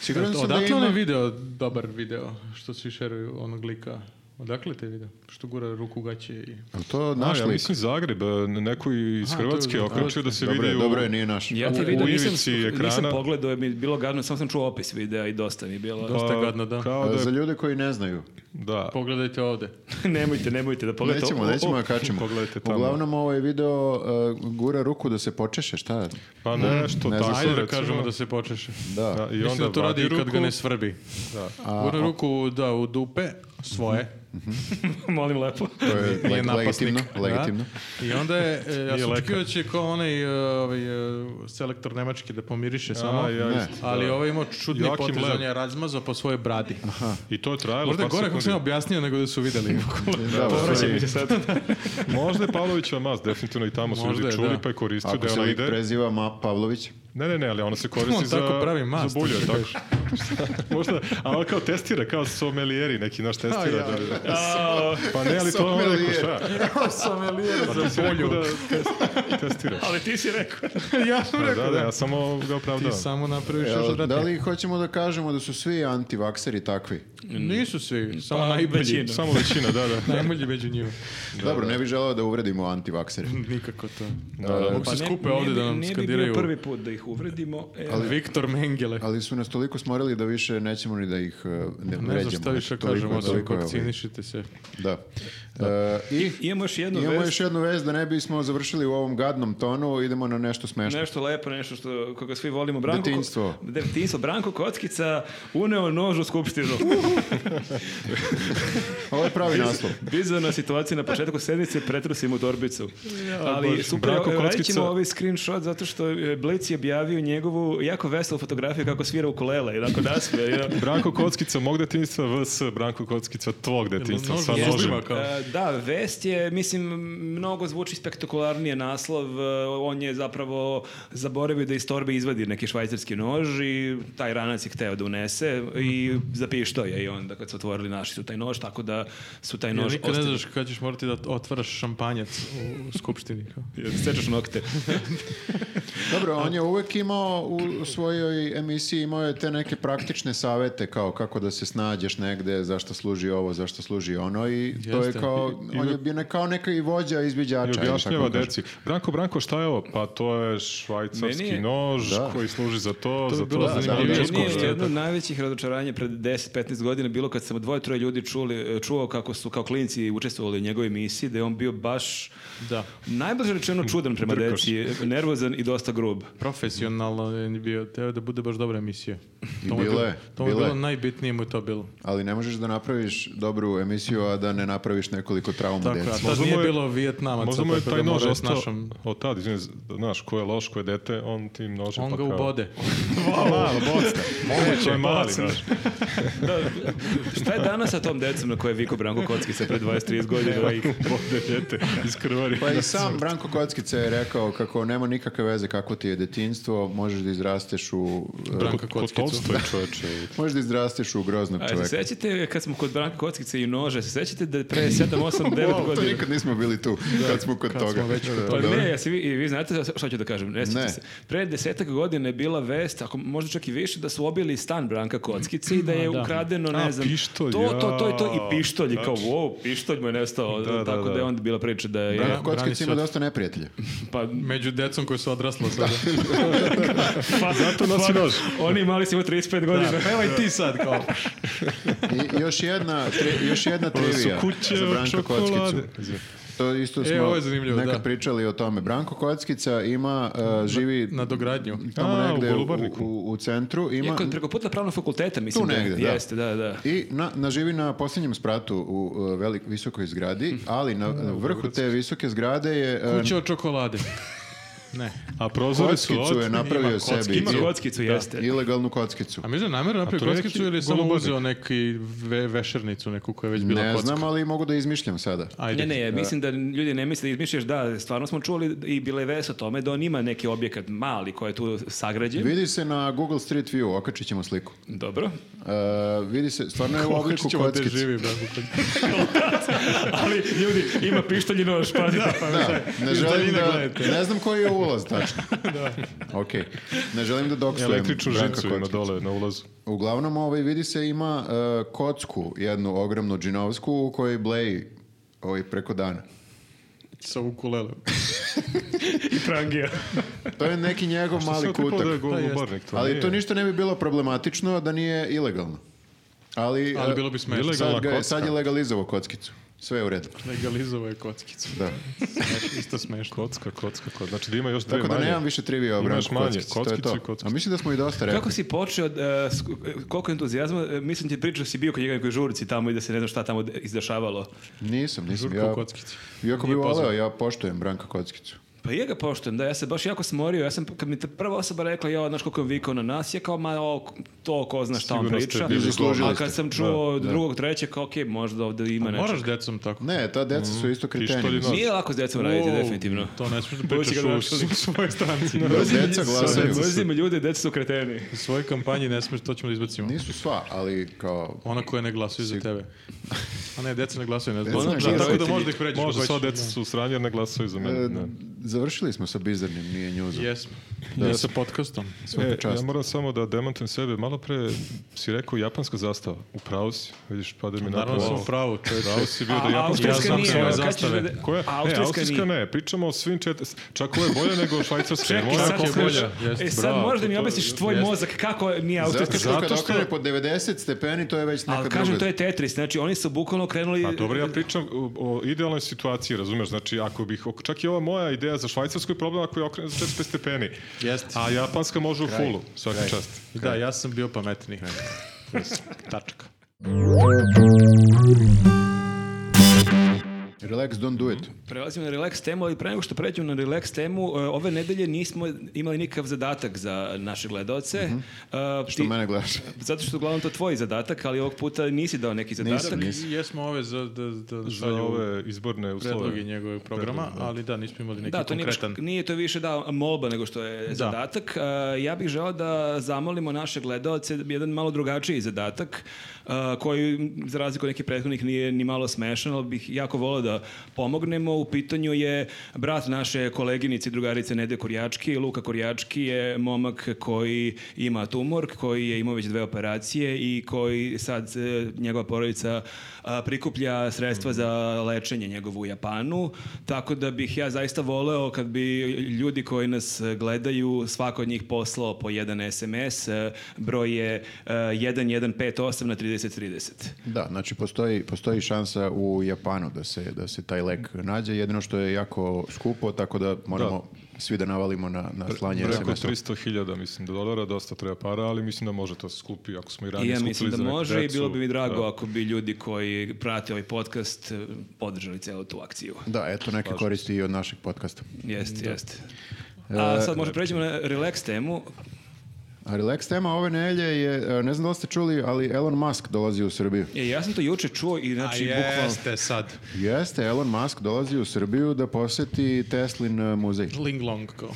D: Siguran sam da
B: Odakle
D: ima...
B: onaj video, dobar video, što svi šeruju onog lika? Odakle te video? Što gura ruku u gaće i...
D: Jel To
A: A,
D: naš
A: ja
D: lik?
A: mislim Zagreb, e, neko iz
B: Aha, to je
A: Hrvatske je
B: za-
A: okrećio da se
D: Dobro
A: vidi
D: je,
A: u...
D: dobro je, nije naš.
C: Ja
A: U-
C: ti
A: u
C: vidio, nisam,
A: ivici
C: nisam
A: ekrana.
C: pogledao, je mi bilo gadno, samo sam čuo opis videa i dosta mi je bilo.
B: Dosta je gadno, da.
A: Pa, Kao
D: A
A: da,
D: Za
A: je-
D: ljude koji ne znaju.
A: da.
B: Pogledajte ovde.
C: nemojte, nemojte da pogledate.
D: Nećemo,
C: O, o, o.
D: nećemo da kačemo.
A: Pogledajte tamo.
D: Uglavnom ovaj video uh, gura ruku da se počeše, šta?
A: Pa nešto
D: ne znam.
A: tako,
B: Ajde da
A: recimo.
B: kažemo da se počeše.
D: Da.
A: Da, I
B: Mislim
A: onda
B: da to radi
A: vadi
B: i kad
A: ruku.
B: ga ne svrbi. Da. Gura ruku, da, u dupe, svoje.
C: Molim lepo.
D: To je
B: Nije
D: E, leg-
B: napasnik.
D: legitimno,
B: Da.
D: legitimno.
B: I onda je, e, ja
A: Nije
B: sam
A: lekar.
B: očekio da će kao onaj e, ovaj, e, selektor nemački da pomiriše samo.
A: A, ja
D: Ne.
A: isto, da.
B: Ali ovaj imao čudni
A: Joakim
B: potez,
A: Lev.
B: on je razmazao po svojoj bradi.
A: I to je trajalo
B: Možda je
A: par
B: gore kako
A: sekundi.
B: sam ja objasnio nego da su videli.
D: Da,
C: Povraća
D: u
C: mi se
D: stvari,
C: sad.
A: Možda je Pavlovićeva mas, definitivno i tamo su
B: Možda
A: ljudi
B: je,
A: čuli
B: da.
A: pa je koristio
D: Ako
A: da
D: se
A: ona
D: lik
A: ide.
D: preziva Ma Pavlović,
A: Ne, ne, ne, ali ona se koristi
B: On
A: za,
B: tako pravi mast,
A: za bulje,
B: što
A: tako.
B: kažeš.
A: Možda, a ona kao testira, kao sommelieri, neki naš testira.
B: A, ja.
A: da- da- Pa ne, ali to je ono rekao,
D: Sommelier.
A: šta? Pa
B: Sommelier
A: ti si rekao da test- testiraš.
C: Ali ti si rekao.
B: ja sam
A: Da, Pa
B: rekao
A: da,
B: da.
A: ja samo ga
B: Ti
A: opravdavam.
B: samo napraviš
D: Jel,
B: još odvratnije.
D: da li hoćemo da kažemo da su svi antivakseri takvi?
B: Nisu svi, samo
C: Pa,
B: najbolji.
C: većina.
A: Samo većina, da, da.
B: Najbolji među njima.
D: Dobro, ne bih želeo da uvredimo antivaksere.
B: Nikako to.
A: Da, da.
B: Mogu se skupe ovde da nam
C: Pa Ne bi bio
B: skandiraju.
C: prvi put da ih uvredimo. E,
B: Ali Viktor Mengele.
D: Ali su nas toliko smorili da više nećemo ni da ih e, ne vređamo.
B: Ne znam šta više
D: Toliko-
B: kažemo, osim
D: toliko je ovaj. ovo.
B: vakcinišite se.
D: Da. E, I
C: Imamo još jednu
D: imamo
C: vest.
D: još jednu vez da ne bismo završili u ovom gadnom tonu, idemo na nešto smešno.
C: Nešto lepo, nešto što, koga svi volimo. Branko,
D: Detinjstvo.
C: Detinjstvo. Branko Kockica uneo nož u skupštinu.
D: Ovo je pravi naslov.
C: Bizarna situacija na početku sedmice, pretrusim u torbicu. Ali super,
A: Branko
C: evo, radit ćemo
A: Kockica.
C: ovaj screenshot zato što e, Blic je objavio njegovu jako veselu fotografiju kako svira ukulele i onako nasmije. you know.
A: Branko Kockica, mog detinjstva, VS, Branko Kockica, tvog detinjstva, sa
B: Nož-
A: nožima.
B: nožima, kao.
C: E, Da, vest je, mislim, mnogo zvuči spektakularnije naslov. e, On je zapravo zaboravio da iz torbe izvadi neki švajcarski nož i taj ranac je hteo da unese i zapišto je i onda kad su otvorili našli su taj nož, tako da su taj
B: Ja
C: nož
B: nikad ne
C: ostavili.
B: znaš kada ćeš morati da otvaraš šampanjac u skupštini. kao.
C: Sečeš nokte.
D: Dobro, on je uvek imao u svojoj emisiji imao je te neke praktične savete kao kako da se snađeš negde, zašto služi ovo, zašto služi ono i to je
B: Jeste.
D: kao, on je bio ne- kao neka i vođa izviđača.
A: I
D: ili
A: objašnjava
D: tako kažem.
A: deci. Branko, Branko, šta je ovo? Pa to je švajcarski
C: Meni je-
A: nož
D: Da.
A: koji služi za to,
B: bi
A: za to,
B: bilo
A: za to. Da,
B: zanimljivo. Bio
C: Meni
B: je skoro,
A: da,
C: je
B: je
C: jedno
B: tako.
C: od najvećih razočaranja pred 10-15 godina bilo kad sam dvoje troje ljudi čuli, e, čuo kako su kao klinci učestvovali u njegovoj emisiji, da je on bio baš
B: Da.
C: najbliže rečeno čudan prema
A: Drkaš.
C: deci, nervozan i dosta grub.
B: Profesionalno je bio, teo da bude baš dobra emisija.
D: I
B: mu
D: bila
B: bilo-
D: je,
B: To mu je
D: bila je.
B: bilo najbitnije mu je to bilo.
D: Ali ne možeš da napraviš dobru emisiju, a da ne napraviš nekoliko trauma
B: Tako, a
D: deci.
B: tad
A: Možda
B: nije
A: mu je-
B: bilo Vijetnamaca.
A: Možda mu je
B: pa
A: taj
B: ga
A: nož
B: morali s
A: ostao,
B: našom-
A: od tad, izvini, znaš, ko je loš, ko je dete, on tim nožem
B: On
A: pa
B: ga
A: kao-
B: ubode.
A: Malo, bocka. Moguće, je mali, znaš.
C: Da, šta je danas sa tom decom na koje je Viko Branko Kockica pred 20-30 godina?
A: Ubode dete, iskrvari.
D: Pa i sam Branko Kockica je rekao kako nema nikakve veze kako ti je detinstvo, možeš da izrasteš u... e,
B: Branka
A: Kod
B: Kockicu.
A: Tolstoj čoveče.
D: Možeš da izrasteš u groznog
C: A se
D: čoveka.
C: sećate kad smo kod Branka Kockice i nože, se sećate da je pre 7, 8, 9
D: Wow, to
C: godina?
D: nikad nismo bili tu, kad smo kod toga. Da,
C: Pa
D: dobro.
C: ne, jesi vi, i vi znate šta ću da kažem, ne sjećate
D: Ne.
C: se. Pre desetak godina je bila vest, ako možda čak i više, da su obili stan Branka Kockice i da je
B: da.
C: ukradeno, ne
A: A,
C: znam,
A: pištolj,
C: to, to, to i to
A: jao.
C: i pištolj, i kao,
A: Znači-
C: wow, pištolj mu je nestao,
A: Da, da,
C: tako da,
A: da.
C: je onda bila priča da je,
D: Branko
B: brani
D: Kockica ima
B: sud.
D: dosta neprijatelja.
C: pa,
B: Među decom koji su odrasla sada.
C: pa
A: Zato nosi nož.
C: oni mali su imali 35 godina.
B: Da, pevaj ti sad kao.
D: I još jedna, tri- još jedna
A: Ovo su
D: trivija
A: kuće
D: za
A: od
D: Branka Kockicu.
A: čokolade.
D: To isto
B: E,
D: smo
B: ovo je zanimljivo,
D: nekad
B: da.
D: pričali o tome. Branko Kockica ima, e, živi
B: Na dogradnju.
D: tamo
A: A, u
D: negde u,
A: Golubarniku.
D: u- u centru. Ima,
C: Iako je preko puta pravnog fakulteta, mislim
D: Tu negde,
C: da,
D: da.
C: jeste, da, da.
D: I na, na živi na posljednjem spratu u e, velik, visokoj zgradi, ali na, na vrhu te visoke zgrade je... e,
B: Kuća od čokolade. Ne.
A: A prozori su
D: Kockicu je
A: od...
D: napravio sebi.
C: Ima
D: i-
C: kockicu, jeste.
D: Ilegalnu kockicu.
B: A mi znam, namjerno
A: to je
B: napravio
A: neki
B: kockicu ili je samo
A: golubarnik.
B: uzeo neki ve, vešernicu neku koja je već bila
D: Ne
B: kocka?
D: znam, ali mogu da izmišljam sada.
B: Ajde.
C: Ne, ne, mislim da ljudi ne misle, izmišljaš da, stvarno smo čuli i bila je vest o tome da on ima neki objekat mali koji je tu sagrađen.
D: Vidi se na Google Street View, okačit ćemo sliku.
C: Dobro.
D: E, vidi se, stvarno je u obliku
B: Obliku ćemo gde
D: kockice.
B: živi, Branko Kockica.
C: Ali ljudi, ima pištolj i nož, pazite.
D: Da, ne
B: Iz
D: želim
B: daljine
D: da,
B: gledajte.
D: ne znam koji je ulaz tačno. Ok, ne želim da doksujem.
A: Električnu
D: Branka
A: žicu ima
D: Kockicu.
A: dole na ulazu.
D: Uglavnom, ovaj, vidi se ima e, kocku, jednu ogromnu džinovsku u kojoj bleji ovaj, preko dana.
B: Sa ukulele.
C: I prangija.
D: To je neki njegov mali kutak.
A: Da Pa je golubarnik, to
D: Ali
A: nije.
D: to ništa ne bi bilo problematično da nije ilegalno. Ali,
B: Ali
D: e,
B: bilo bi smešno.
A: ilegalna
D: sad, ga je, sad je
A: kocka.
D: legalizovao kockicu. Sve je u redu.
B: Legalizovao je kockicu.
D: Da.
B: Smeš- Isto smešno.
A: Kocka, kocka, kocka. Znači da ima još dve
D: Tako da
A: manje.
D: nemam više trivija o
A: Imaš
D: Branku
A: manje,
D: Kockici. To je
A: kockicu
D: to.
A: i kockicu.
D: A mislim da smo i dosta rekli.
C: Kako si počeo, e, s- koliko entuzijazma, e, mislim ti je pričao da si bio kod njega u nekoj žurci tamo i da se ne znam šta tamo de- izdešavalo.
D: Nisam, nisam.
B: Žurka u
D: Ja,
B: kockici.
D: iako bi voleo, ja poštujem Branka Kockicu.
C: Pa i ja ga poštujem, da, ja se baš jako smorio, ja sam, kad mi ta prva osoba rekla, ja, znaš koliko je on vikao na nas, ja kao, ma, o, to ko zna šta on
A: Sigurno ste
C: priča.
A: bili
D: Zaslužili
C: A kad
D: ste.
C: sam čuo drugog, trećeg, kao, okej, možda ovdje ima nešto.
B: Pa Moraš decom tako.
D: Ne, ta deca su isto
A: Pištolj i
D: kreteni.
A: nož.
C: Nije lako s djecom raditi,
B: Wow,
C: definitivno.
B: To ne smiješ da
C: Bolje si
B: pričaš
C: ga
B: u
C: našli.
B: s- svojoj stranci.
D: Deca glasaju.
C: Mrzim ljude, djeca su kreteni.
B: U svojoj kampanji ne smiješ, to ćemo da izbacimo.
D: Nisu sva, ali kao...
B: Ona koja ne glasuje za tebe. A ne, deca ne glasuju, ne znam.
D: Deca ne
B: Da, Tako da
D: glasaju.
B: možda ih vređaš.
A: Možda
B: ako
A: sva
B: hoćeš.
A: deca su u sranju jer ne glasaju za mene.
D: e,
A: ne.
D: Završili smo sa bizarnim, nije njuzom.
B: Jesmo. Da. sa podcastom.
A: E,
D: čast.
A: ja moram samo da demantujem sebe. Malo pre si rekao japanska zastava. U pravu si. Vidiš, pada mi na
B: Naravno sam u pravu, čovječe.
A: Pravo si bio
C: A,
A: da japanska
C: austrijska
A: zastava.
B: nije,
A: Ja
B: evo,
A: znam
B: kad
A: zastave.
C: ćeš da-
A: Koja?
C: a,
A: ne,
C: austrijska
A: austrijska
C: nije.
A: ne. Pričamo o svim četiri... Čak ovo je bolje nego švajcarska.
C: Čekaj,
A: Moja
C: sad,
A: koka-
B: je bolja,
C: e,
B: jeste,
C: sad
B: bravo,
C: možda mi
B: to-
C: objasniš tvoj
B: jeste.
C: mozak kako nije
D: Zato
C: autista.
D: što kad
A: Zato što-
D: okrene po 90 stepeni, to je već neka
C: Ali
D: druga...
C: kažem, to je Tetris, znači oni su bukvalno krenuli...
B: Pa
A: A dobro, ja pričam o, o idealnoj situaciji, razumeš, znači ako bih, ok- čak i ova moja ideja za švajcarsku je problem ako je okrenem za 45 stepeni,
B: Jeste.
A: a japanska može u fulu, svaka čast.
B: I Da, ja sam bio pametniji. Tačka.
D: Relax, don't do it.
C: Prelazimo na relax temu, ali pre nego što pređemo na relax temu, e, ove nedelje nismo imali nikav zadatak za naše gledaoce. E,
D: Mhm. Što
C: ti-
D: mene gledaš?
C: Zato što je uglavnom to tvoj zadatak, ali ovog puta nisi dao neki zadatak.
D: Nisam, nisam.
B: Jesmo ove za, da, da,
A: Za
B: šalju
A: ove izborne uslove.
B: predloge njegovog programa, ali da, nismo imali neki
C: Da, to nije, baš-
B: konkretan.
C: nije to više da molba nego što je zadatak. E, ja bih želeo da zamolimo naše gledaoce jedan malo drugačiji zadatak e, koji za razliku od nekih prethodnih nije ni malo smešan, ali bih jako voleo da pomognemo. U pitanju je brat naše koleginice i drugarice Nede Korjački. Luka Korjački je momak koji ima tumor, koji je imao već dve operacije i koji sad e, njegova porodica a, prikuplja sredstva za lečenje njegovu u Japanu, tako da bih ja zaista voleo kad bi ljudi koji nas e, gledaju, svako od njih poslao po jedan SMS, e, broj je e, 1158 na 3030.
D: Da, znači postoji, postoji šansa u Japanu da se, da se taj lek nađe, jedino što je jako skupo, tako da moramo svi da navalimo na, na slanje
A: Preko
D: SMS-a.
A: 300.000, mislim, dolara, dosta treba para, ali mislim da može to se skupi, ako smo i
C: I
A: ranije
C: ja
A: skupili
C: mislim da
A: za neku
C: može i
A: decu.
C: bilo bi mi drago
A: Da.
C: ako bi ljudi koji prate ovaj podcast e, podržali celu tu akciju.
D: Da, eto neke koristi i od našeg podcasta.
C: Jeste, jeste. A sad možda pređemo na relax temu.
D: A relax tema ove nelje je, e, ne znam da li ste čuli, ali Elon Musk dolazi u Srbiju.
C: E, ja sam to juče čuo i
B: A
C: znači bukvalno...
B: jeste sad.
D: Jeste, Elon Musk dolazi u Srbiju da poseti Teslin e, muzej.
B: Ling long kao.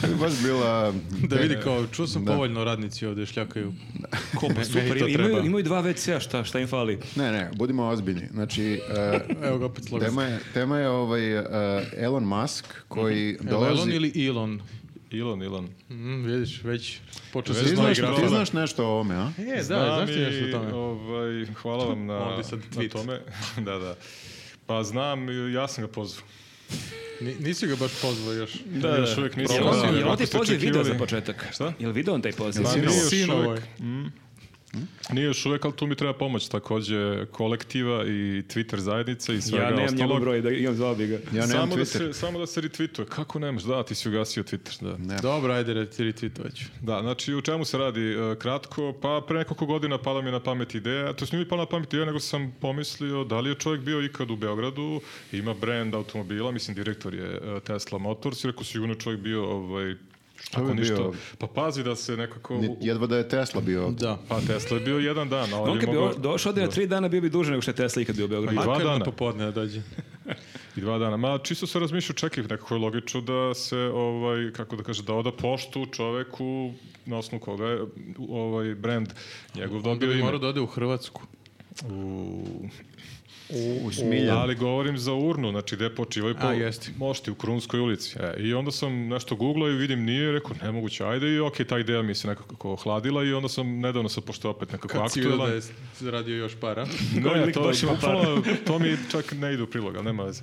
D: To bi baš bila...
B: Da vidi kao, čuo sam
D: Da.
B: povoljno radnici ovde šljakaju. Ko
C: Super,
B: pa super,
C: imaju, imaju dva WC-a, šta, šta im fali?
D: Ne, ne, budimo ozbiljni. Znači, e,
B: Evo ga opet slogan.
D: tema je, tema je ovaj, e, Elon Musk koji dolazi...
B: Elon ili Elon?
A: Elon, Elon.
B: Mm, vidiš, već počeo
D: Ti
B: se zna
D: znaš,
B: igra.
D: ti znaš nešto o ovome, a?
B: E, da,
A: Znam
B: znaš ti
A: i,
B: nešto o tome?
A: Ovaj, hvala vam na,
B: Ovdje sad
A: na
B: tweet.
A: tome. da, da. Pa znam, ja sam ga pozvao.
B: Ni- Nisi ga baš pozvao još.
A: Da, još uvijek nisam.
C: Jel
A: Da,
C: on, jel on
A: vjerojatno
C: taj
A: ste
C: poziv video za
A: očekivali.
C: početak?
A: Šta?
C: Jel video on taj poziv?
A: Pa nije još
B: Sinovo je.
A: uvijek. Nije još uvijek, ali tu mi treba pomoć takođe kolektiva i Twitter zajednice i svega
C: ja nemam njegov
A: ostalog.
C: broj, da imam zvao bi ga.
D: Ja nemam
A: samo, da se,
D: Twitter.
A: samo da se retweetuje. Kako nemaš? Da, ti si ugasio Twitter. Da.
B: Dobro, ajde, retweetovat ću.
A: Da, znači u čemu se radi e, kratko? Pa pre nekoliko godina pala mi je na pamet ideja, to nije mi pala na pamet ideja, nego sam pomislio da li je čovjek bio ikad u Beogradu, ima brand automobila, mislim direktor je e, Tesla Motors, i rekao si juno čovjek bio ovaj,
D: bi
A: ako ništa,
D: bio?
A: pa pazi da se nekako...
D: Ni- Jedva da je Tesla bio ovdje.
B: Da.
A: Pa Tesla je bio jedan dan, a on,
C: On
A: je
C: kad bi
A: mogao...
C: o- došao ovdje na tri dana, bio bi duže nego što je Tesla ikad bio u Beogradu.
A: Pa dva
B: Makar na
A: dana.
B: popodne da dođe.
A: I dva dana. Ma čisto se razmišljao, čekaj, nekako je logično da se, ovaj, kako da kaže, da oda poštu čoveku na osnovu koga je ovaj brand njegov
B: Onda
A: dobio
B: bi
A: ime.
B: morao da ode u Hrvatsku.
A: U-
D: U Smiljan.
A: Ali govorim za urnu, znači gde počivaju po
B: A, jeste.
A: mošti u Krunskoj ulici. E, I onda sam nešto googlao i vidim nije, rekao nemoguće, ajde i okej, ta ideja mi se nekako ohladila i onda sam nedavno sam pošto je opet nekako
B: Kad si vidio da
A: aktuelan.
B: je zaradio još para.
A: Ne,
C: lik
A: to,
C: baš ima para.
A: bukvalno, to mi čak ne ide u prilog, ali nema veze.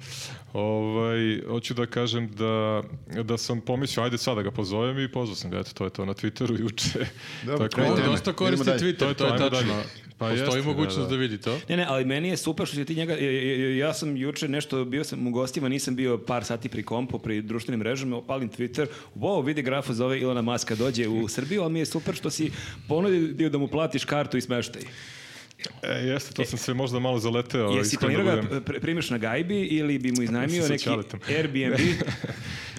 A: Ovaj, hoću da kažem da, da sam pomislio, ajde sada ga pozovem i pozvao sam ga, eto, to je to na Twitteru juče.
D: Dobro,
A: Tako
D: kraj
A: da- ono,
B: On
D: teme.
B: dosta
D: Idemo
B: koristi
D: dalje.
B: Twitter, to je,
A: to, ajmo
B: tačno.
A: dalje. Pa
B: Postoji
A: jeste, da,
B: mogućnost
A: da.
B: da, vidi to.
C: Ne, ne, ali meni je super što si ti njega, e, e, e, ja sam juče nešto, bio sam u gostima, nisam bio par sati pri kompu, pri društvenim mrežama, opalim Twitter, wow, vidi grafu zove Ilona Maska, dođe u Srbiju, ali mi je super što si ponudio da mu platiš kartu i smeštaj.
A: E, jeste, to sam se možda malo zaleteo.
C: Jesi
A: iskreno da
C: planirao ga
A: budem.
C: pr- primiš na gajbi ili bi mu iznajmio
A: Sa
C: neki
A: Ćaletom.
C: Airbnb?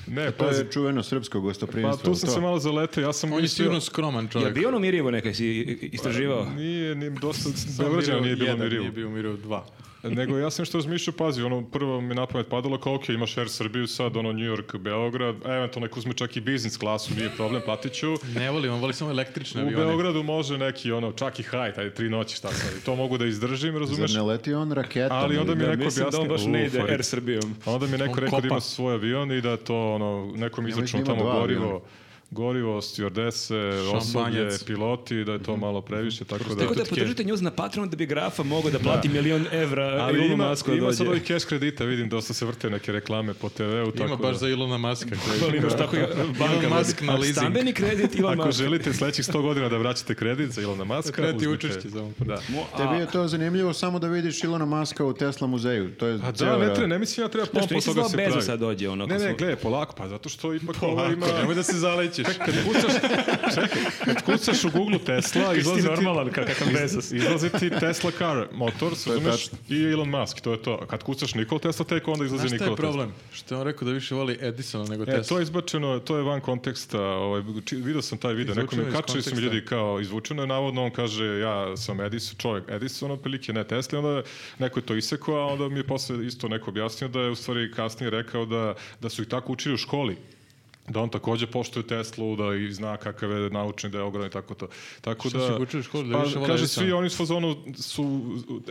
A: Ne,
D: To
A: pazi,
D: je čuveno srpsko
A: Pa
D: gostoprimstvo.
A: tu sam
D: to?
A: se malo zaletao, ja sam
B: On je
A: mislio-
B: sigurno skroman
C: Je
B: čovjek.
C: bio on
A: ono
C: u Mirjevo nekaj si istraživao?
A: Nije, nije, dosta
B: Samo
A: Beograđana
B: umirao
A: nije bilo
B: jedan,
A: mirivo.
B: Nije bio umirao dva.
A: Nego ja sam što razmišljao, pazi, ono prvo mi je na pamet padalo kao, ok, imaš Air Srbiju sad, ono New York, Beograd, eventualno nek uzme čak i biznis klasu, nije problem, platit ću.
B: Ne volim, on voli samo električne
A: U
B: avione.
A: Beogradu može neki, ono, čak i hajt, ajde, tri noći, šta sad, i to mogu da izdržim, razumeš?
D: Zar ne leti on raketom?
A: Ali onda mi je
D: ili-
A: neko
C: Mislim da on
A: objasnio-
C: baš
A: U,
C: ne ide
A: Farid.
C: Air Srbijom.
A: A Pa onda mi je neko
B: On
A: rekao da
B: kopa.
A: ima svoj avion i da to, ono, neko mi
D: Ja mislim
A: izračunao
D: da ima
A: tamo
D: dva
A: gorivo,
D: aviona.
A: gorivo, stjordese, osoblje,
B: Šampanjac.
A: piloti, da je
B: Mhm.
A: to malo previše, tako da...
C: Tako da podržite njuz na Patreon da bi grafa mogao da plati milion evra
A: Ali
C: Elonu
A: ima,
C: Musku da
A: ima
C: dođe.
A: sad ovih cash kredita, vidim dosta se vrte neke reklame po TV-u.
B: Ima
A: tako
B: baš
A: da-
B: za Ilona Maska. koji-
C: Ali imaš tako i banka.
B: Elon Musk na
C: vodi.
B: leasing.
C: Stambeni kredit Elon
A: Ako
C: Musk.
A: želite sledećih 100 godina da vraćate kredit za Ilona Maska,
B: Kreti
A: uzmite- Pa
B: učešće za
A: Da.
D: Tebi je to zanimljivo samo da vidiš Ilona Maska u Tesla muzeju. To je
A: A da,
D: cijela-
A: Pa ne treba, ne mislim ja treba
C: Znaš,
A: pompa
C: nisi
A: toga
C: zvao
A: se
C: Bezosa
A: pravi.
C: dođe, ono, ako
A: Ne, ne,
C: smo-
A: gledaj, polako, pa zato što ipak ovo ima...
B: Nemoj da se zaleći.
A: ćeš. Kad kucaš, čekaj, kad kucaš u Google Tesla,
C: Ti
A: izlazi ti,
C: normalan, kakav Bezos.
A: izlazi ti Tesla car Motors,
D: je
A: razumeš,
D: tačno.
A: i Elon Musk, to je to. A Kad kucaš Nikola Tesla, tek onda izlazi
B: Znaš šta je
A: Nikola Tesla.
B: problem? Što je on rekao da više voli Edisona nego
A: E,
B: Tesla.
A: to je izbačeno, to je van konteksta. Ovaj, či, video sam taj video, neko
B: Izvučeno
A: mi
B: iz
A: kačili su mi
B: konteksta.
A: ljudi kao izvučeno je, navodno on kaže ja sam Edison, čovjek Edison, otprilike ne Tesla, onda je neko je to isekao, a onda mi je posle isto neko objasnio da je u stvari kasnije rekao da, da su ih tako učili u školi da on takođe poštuje Teslu, da i zna kakav je naučni da je ogran i tako to. Tako
B: Šta
A: da, Pa,
B: su ih učili u školi, da više vole
A: kaže,
B: Edisona?
A: svi oni su u fazonu su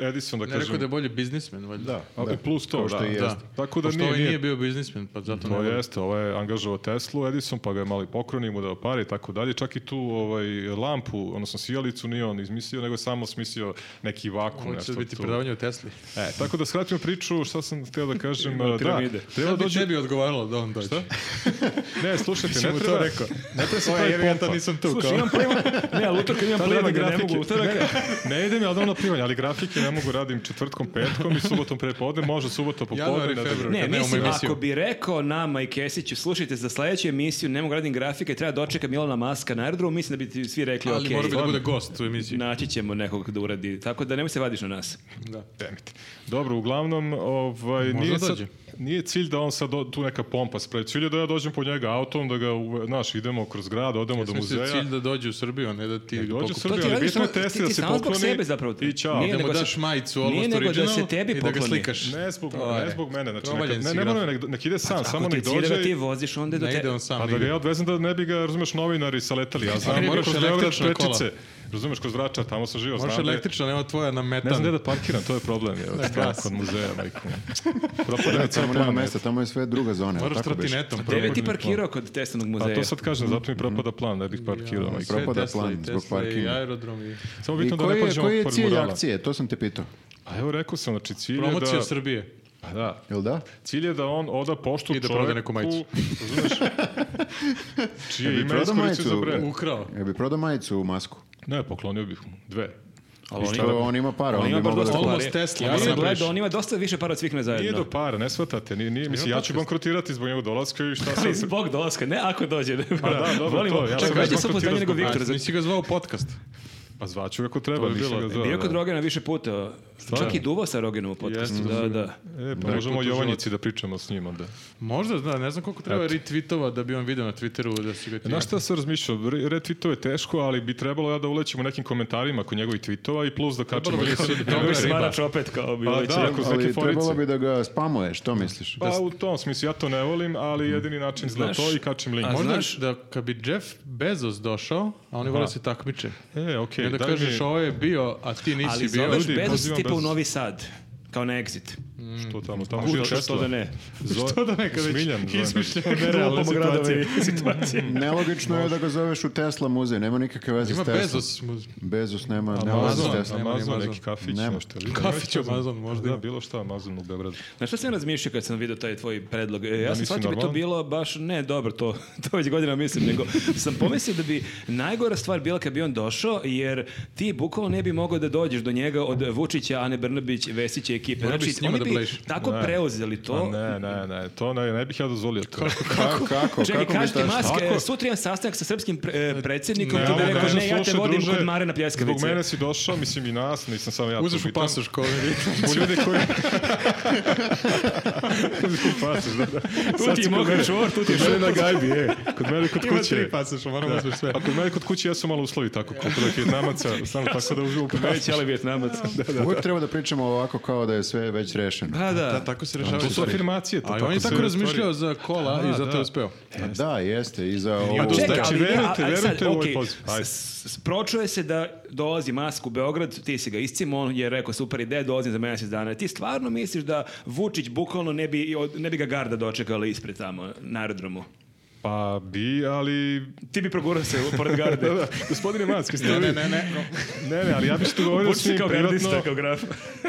A: Edison, da
B: Ne rekao
A: kažem.
B: da je bolji biznismen, valjda. Da.
A: A, plus to,
D: kao što
A: da,
D: i
A: da.
D: jeste.
A: Tako da
B: Pošto
A: nije,
B: ovaj
A: nije
B: nije bio biznismen, pa zato ne
A: to
B: voli.
A: jeste, ovo je angažovao Teslu, Edison, pa ga je mali pokroni mu dao pare i tako dalje. Čak i tu ovaj, lampu, odnosno sijalicu nije on izmislio, nego je samo smislio neki vakum.
B: Ovo će
A: nešto
B: sad biti
A: tu.
B: predavanje o Tesli.
A: E, tako da skratimo priču, šta sam htio da kažem. da,
C: piramide.
A: treba
B: Treba dođe...
A: dođe...
B: Ne bi odgovaralo da on dođe. Šta?
A: Ne, slušajte, ne
B: mu to
A: treba...
B: rekao.
A: Ne treba se
B: Ovo je
A: pravi
B: jebi ga,
A: pompa.
B: to nisam tu.
C: Slušaj,
B: kao.
C: imam plima, ne, ali utorka imam
A: Pa Da
C: plima,
A: radim
C: ne
A: grafike.
C: mogu, utorak,
A: Ne, ne idem ja odavno na primanje, ali grafike ne mogu radim četvrtkom, petkom i subotom prepodne, može subota popodne.
B: Januar i
A: nedelja.
B: februar.
A: Ne,
B: Kad
C: Ne,
B: nemamo
C: mislim,
B: emisiju.
C: ako
B: ako
C: bi rekao nama i Kesiću, slušajte, za sledeću emisiju ne mogu radim grafike, treba dočekam Milana Maska na aerodromu, mislim da bi ti svi rekli,
B: Ali
C: ok,
B: mora bi da bude gost u emisiji.
C: naći ćemo nekog da uradi, tako da nemoj se vadiš na nas.
A: Demite. Dobro, uglavnom, ovaj,
B: Možda
A: nije, sad,
B: dođe.
A: nije cilj da on sad do- tu neka pompa spreči. Cilj je da ja dođem po njega autom, da ga, uve- znaš, idemo kroz grad, odemo do
B: Mislim
A: muzeja.
B: da
A: E,
B: je cilj da dođe u Srbiju, a ne da ti
A: Dođe u
B: pokupi.
A: Srbiju,
C: ti
A: ali
C: radiš
A: bitno je
C: samo- ti-
A: Tesli
C: ti
A: da se
C: samo zbog
A: pokloni
C: sebe zapravo.
A: i čao.
C: Nije
B: Da mu
C: nego da
B: Pa daš
C: se-
B: majicu
C: nije
B: Almost
C: nego da se
B: Original
C: tebi
B: i da ga
C: pokloni.
B: slikaš.
A: Ne zbog,
B: To
A: mene,
B: je.
A: ne zbog mene, znači neka,
B: Provaljen
A: ne,
B: si
A: ne
B: graf.
A: mora nek, nek ide sam, samo
C: Ako ti je
A: nek
C: cilj da
A: dođe
C: ti
A: i,
C: voziš, onda je do
B: Ne ide
C: te...
B: on sam.
A: a pa da ga ja odvezem da ne bi ga, razumeš, novinari saletali, ja
B: ne
A: znam,
B: bi
A: moram
B: baš
A: kroz Beograd
B: električna kola.
A: prečice, razumeš, kroz Vrača, tamo sam živo,
B: Možeš
A: znam da je-
B: električna, nema tvoja na metan.
A: Ne znam gde da parkiram, to je problem, je, stvarno, kod muzeja, majko. Propada mi ceo
D: Tamo nema
A: plan,
D: mesta, tamo je sve druga zona. jel
B: Moraš
D: tako beše?
B: trotinetom.
C: Gde bi ti
B: propadne.
C: parkirao kod Teslinog
A: A
C: muzeja?
A: Pa to sad kažem, zato mi
B: Mhm.
A: propada plan, ne bih parkirao. majko.
B: Sve
D: Propada
B: Tesla
D: plan
B: i
D: zbog
B: Tesla i
D: parkinga.
B: aerodrom i...
A: Samo
D: I
A: bitno da
D: koji
A: ne
D: je,
A: pođemo
D: koji je
A: pored
D: cilj
A: murala.
D: akcije? To sam te pitao.
A: A evo rekao sam, znači cilj je
B: Promocija
A: da...
B: Srbije.
A: Pa da.
D: Jel da?
A: Cilj je da on oda poštu
B: I da proda
A: čoveku...
B: neku majicu.
A: Razumeš? Čije
D: bi
A: ime
D: prodao
A: iskoristio za
D: majicu?
A: brend.
B: Ukrao.
D: Ja bi prodao majicu u masku.
A: Ne, poklonio bih mu. Dve.
C: Ali on
D: Što
C: ima-
D: on ima para,
C: on
D: on
C: ima
D: bi
C: baš
D: mogao da...
C: dosta pare.
B: Almost Tesla,
C: Ja
B: ali
C: sam
B: napraviš.
C: gledao, on ima dosta više para od svih
D: E,
C: nas
A: Nije
C: zajedno.
A: do para, ne shvatate. Nije, nije,
D: pa
A: mislim, ja ću
B: podcast.
A: bankrotirati zbog njegovog dolaska i šta
C: Ali
A: sad... se-
C: zbog dolaska, ne ako dođe. Ne,
A: Pa da, dobro,
C: Volimo.
A: to, ja
C: Čak
A: sam
C: veće
A: baš
C: supoznanje
A: konfuzio
C: nego
A: zbog
C: Viktor.
B: A, nisi ga zvao u podcast.
A: Pa zvaću ga ako treba,
B: To bi
A: nisam
B: bilo-
D: e,
A: ga zvao,
C: Bio kod
A: da.
C: Rogena više puta.
A: Stvarno?
C: Čak i duvao sa Rogenom u podcastu. Da, da.
A: E, pa možemo o Jovanjici da pričamo s njim onda.
B: Možda, da, ne znam koliko treba retweetova da bi on video na Twitteru da si ga ti...
A: E, Znaš šta sam razmišljao? Re- Retweetove je teško, ali bi trebalo ja da ulećem u nekim komentarima kod njegovih tweetova i plus da kačemo...
B: bi ga
A: kao-
B: se-
A: kao
B: Dobra
C: Dobri
A: riba.
C: smarač opet kao bi
A: Pa
C: ovaj
A: da,
C: čovjek.
A: ako za
D: Ali
A: keforice.
D: trebalo bi da ga spamuješ, što misliš?
A: Pa u tom smislu, ja to ne volim, ali jedini način za
C: Znaš,
A: to i kačim link.
C: a
A: Možda-
B: Možda
C: znaš-
B: da kad bi Jeff Bezos došao, a oni vole se takmiče.
A: E, okej,
B: I onda
A: daj
B: kažeš
A: mi-
B: ovo je bio, a ti nisi
C: Ali
B: bio.
C: zoveš
A: ljudi,
C: Bezos
A: pozivam
C: tipa
A: Bezosa.
C: u Novi Sad. Kao na exit.
A: Što tamo, tamo živa
C: Kuću što
A: Tesla.
C: da ne.
A: Zo-
B: Što da neka već
A: Smiljan, zovem.
B: izmišljamo
C: Lupamo
B: nerealne situacije.
C: gradove i situacije.
D: Nelogično je da ga zoveš u Tesla muzej, nema nikakve veze
B: Ima
D: s Tesla.
B: Bezos. mu-
D: Bezos nema, nema veze s
A: Amazon,
D: Tesla.
A: Amazon,
B: Nema ni Amazon.
A: neki kafić,
D: Nema.
A: nešto. Vidim,
B: Kafić
A: nešto.
B: Amazon možda
A: Da,
B: ima.
A: bilo šta Amazon u Beogradu.
C: Znaš šta sam ja razmišljao kad sam vidio taj tvoj predlog? E, ja sam
A: nisi
C: shvatio da bi to
A: normalan?
C: bilo baš, ne dobro, to, to već godina mislim, nego sam pomislio da bi najgora stvar bila kad bi on došao, jer ti bukvalno ne bi mogao da dođeš do njega od Vučića, Ane Brnabić, Vesića i ekipe.
B: Morao bi
C: Znači,
B: s njima
C: oni
B: da
C: bi
B: blejiš.
C: tako
A: Ne.
C: preuzeli
A: Pa
C: to.
A: ne, ne, ne, to ne, ne bih ja dozvolio to.
D: Kako, kako,
C: Čekaj,
D: kako mi
C: kaži ti
D: tačno?
C: Mask, e,
A: Ako-
C: sutra imam sastanak sa srpskim pre- e, predsjednikom,
B: Ne,
C: tu bi
B: ovo
C: rekao,
B: kažem,
C: ne, ja te
A: slušaj,
C: vodim
A: druže,
C: kod Mare na pljeskavice. Pa
A: Zbog mene si došao, mislim i nas, nisam sam ja. tu
B: Uzeš u
A: bitan.
B: pasoš kao ovaj lik.
A: Zbog ljudi koji... Uzeš u pasoš, da, da.
C: Tu ti je mokar čvor, tu ti je
A: Kod mene
C: šup.
A: na gajbi, je. Kod mene kod
B: Ima
A: kuće.
B: tri pasoša, moramo da. uzmeš sve.
A: A kod mene kod kuće jesu malo uslovi tako, kod kod vijetnamaca, samo tako da uzmem u pasoš.
C: Većali Vjetnamac.
D: Uvijek treba da pričamo ovako kao da je sve već rešeno.
C: Pa Da, da.
B: Da, tako se rešavaju.
A: To su
B: stvari.
A: afirmacije, to
B: Ali on je
A: se
B: Pa tako razmišljao
A: stvari-
B: za kola
A: A,
B: i zato
A: da.
B: je uspeo.
D: A Pa Da, jeste, i za ovu...
A: dosta-
C: Pa Čekaj,
A: Znači,
C: ali ne,
A: verujte,
C: a- a
A: verujte
C: sad,
A: u ovaj
C: okej,
A: poziv. Ajde.
C: s- s- Pročuje se da dolazi Mask u Beograd, ti si ga iscimo, on je rekao super ideja, dolazim za mjesec dana. Ti stvarno misliš da Vučić bukvalno ne bi, i od- ne bi ga garda dočekala ispred tamo na aerodromu?
A: Pa bi, ali...
C: Ti bi progurao se pored garde.
A: Da, da, gospodine Mac, jeste
B: Ne,
A: vi?
B: ne, ne, ne.
A: Ne, ne, ali ja bih se dogovorio
C: Vučić
A: s njim
C: je kao gardista,
A: privatno.
C: kao graf.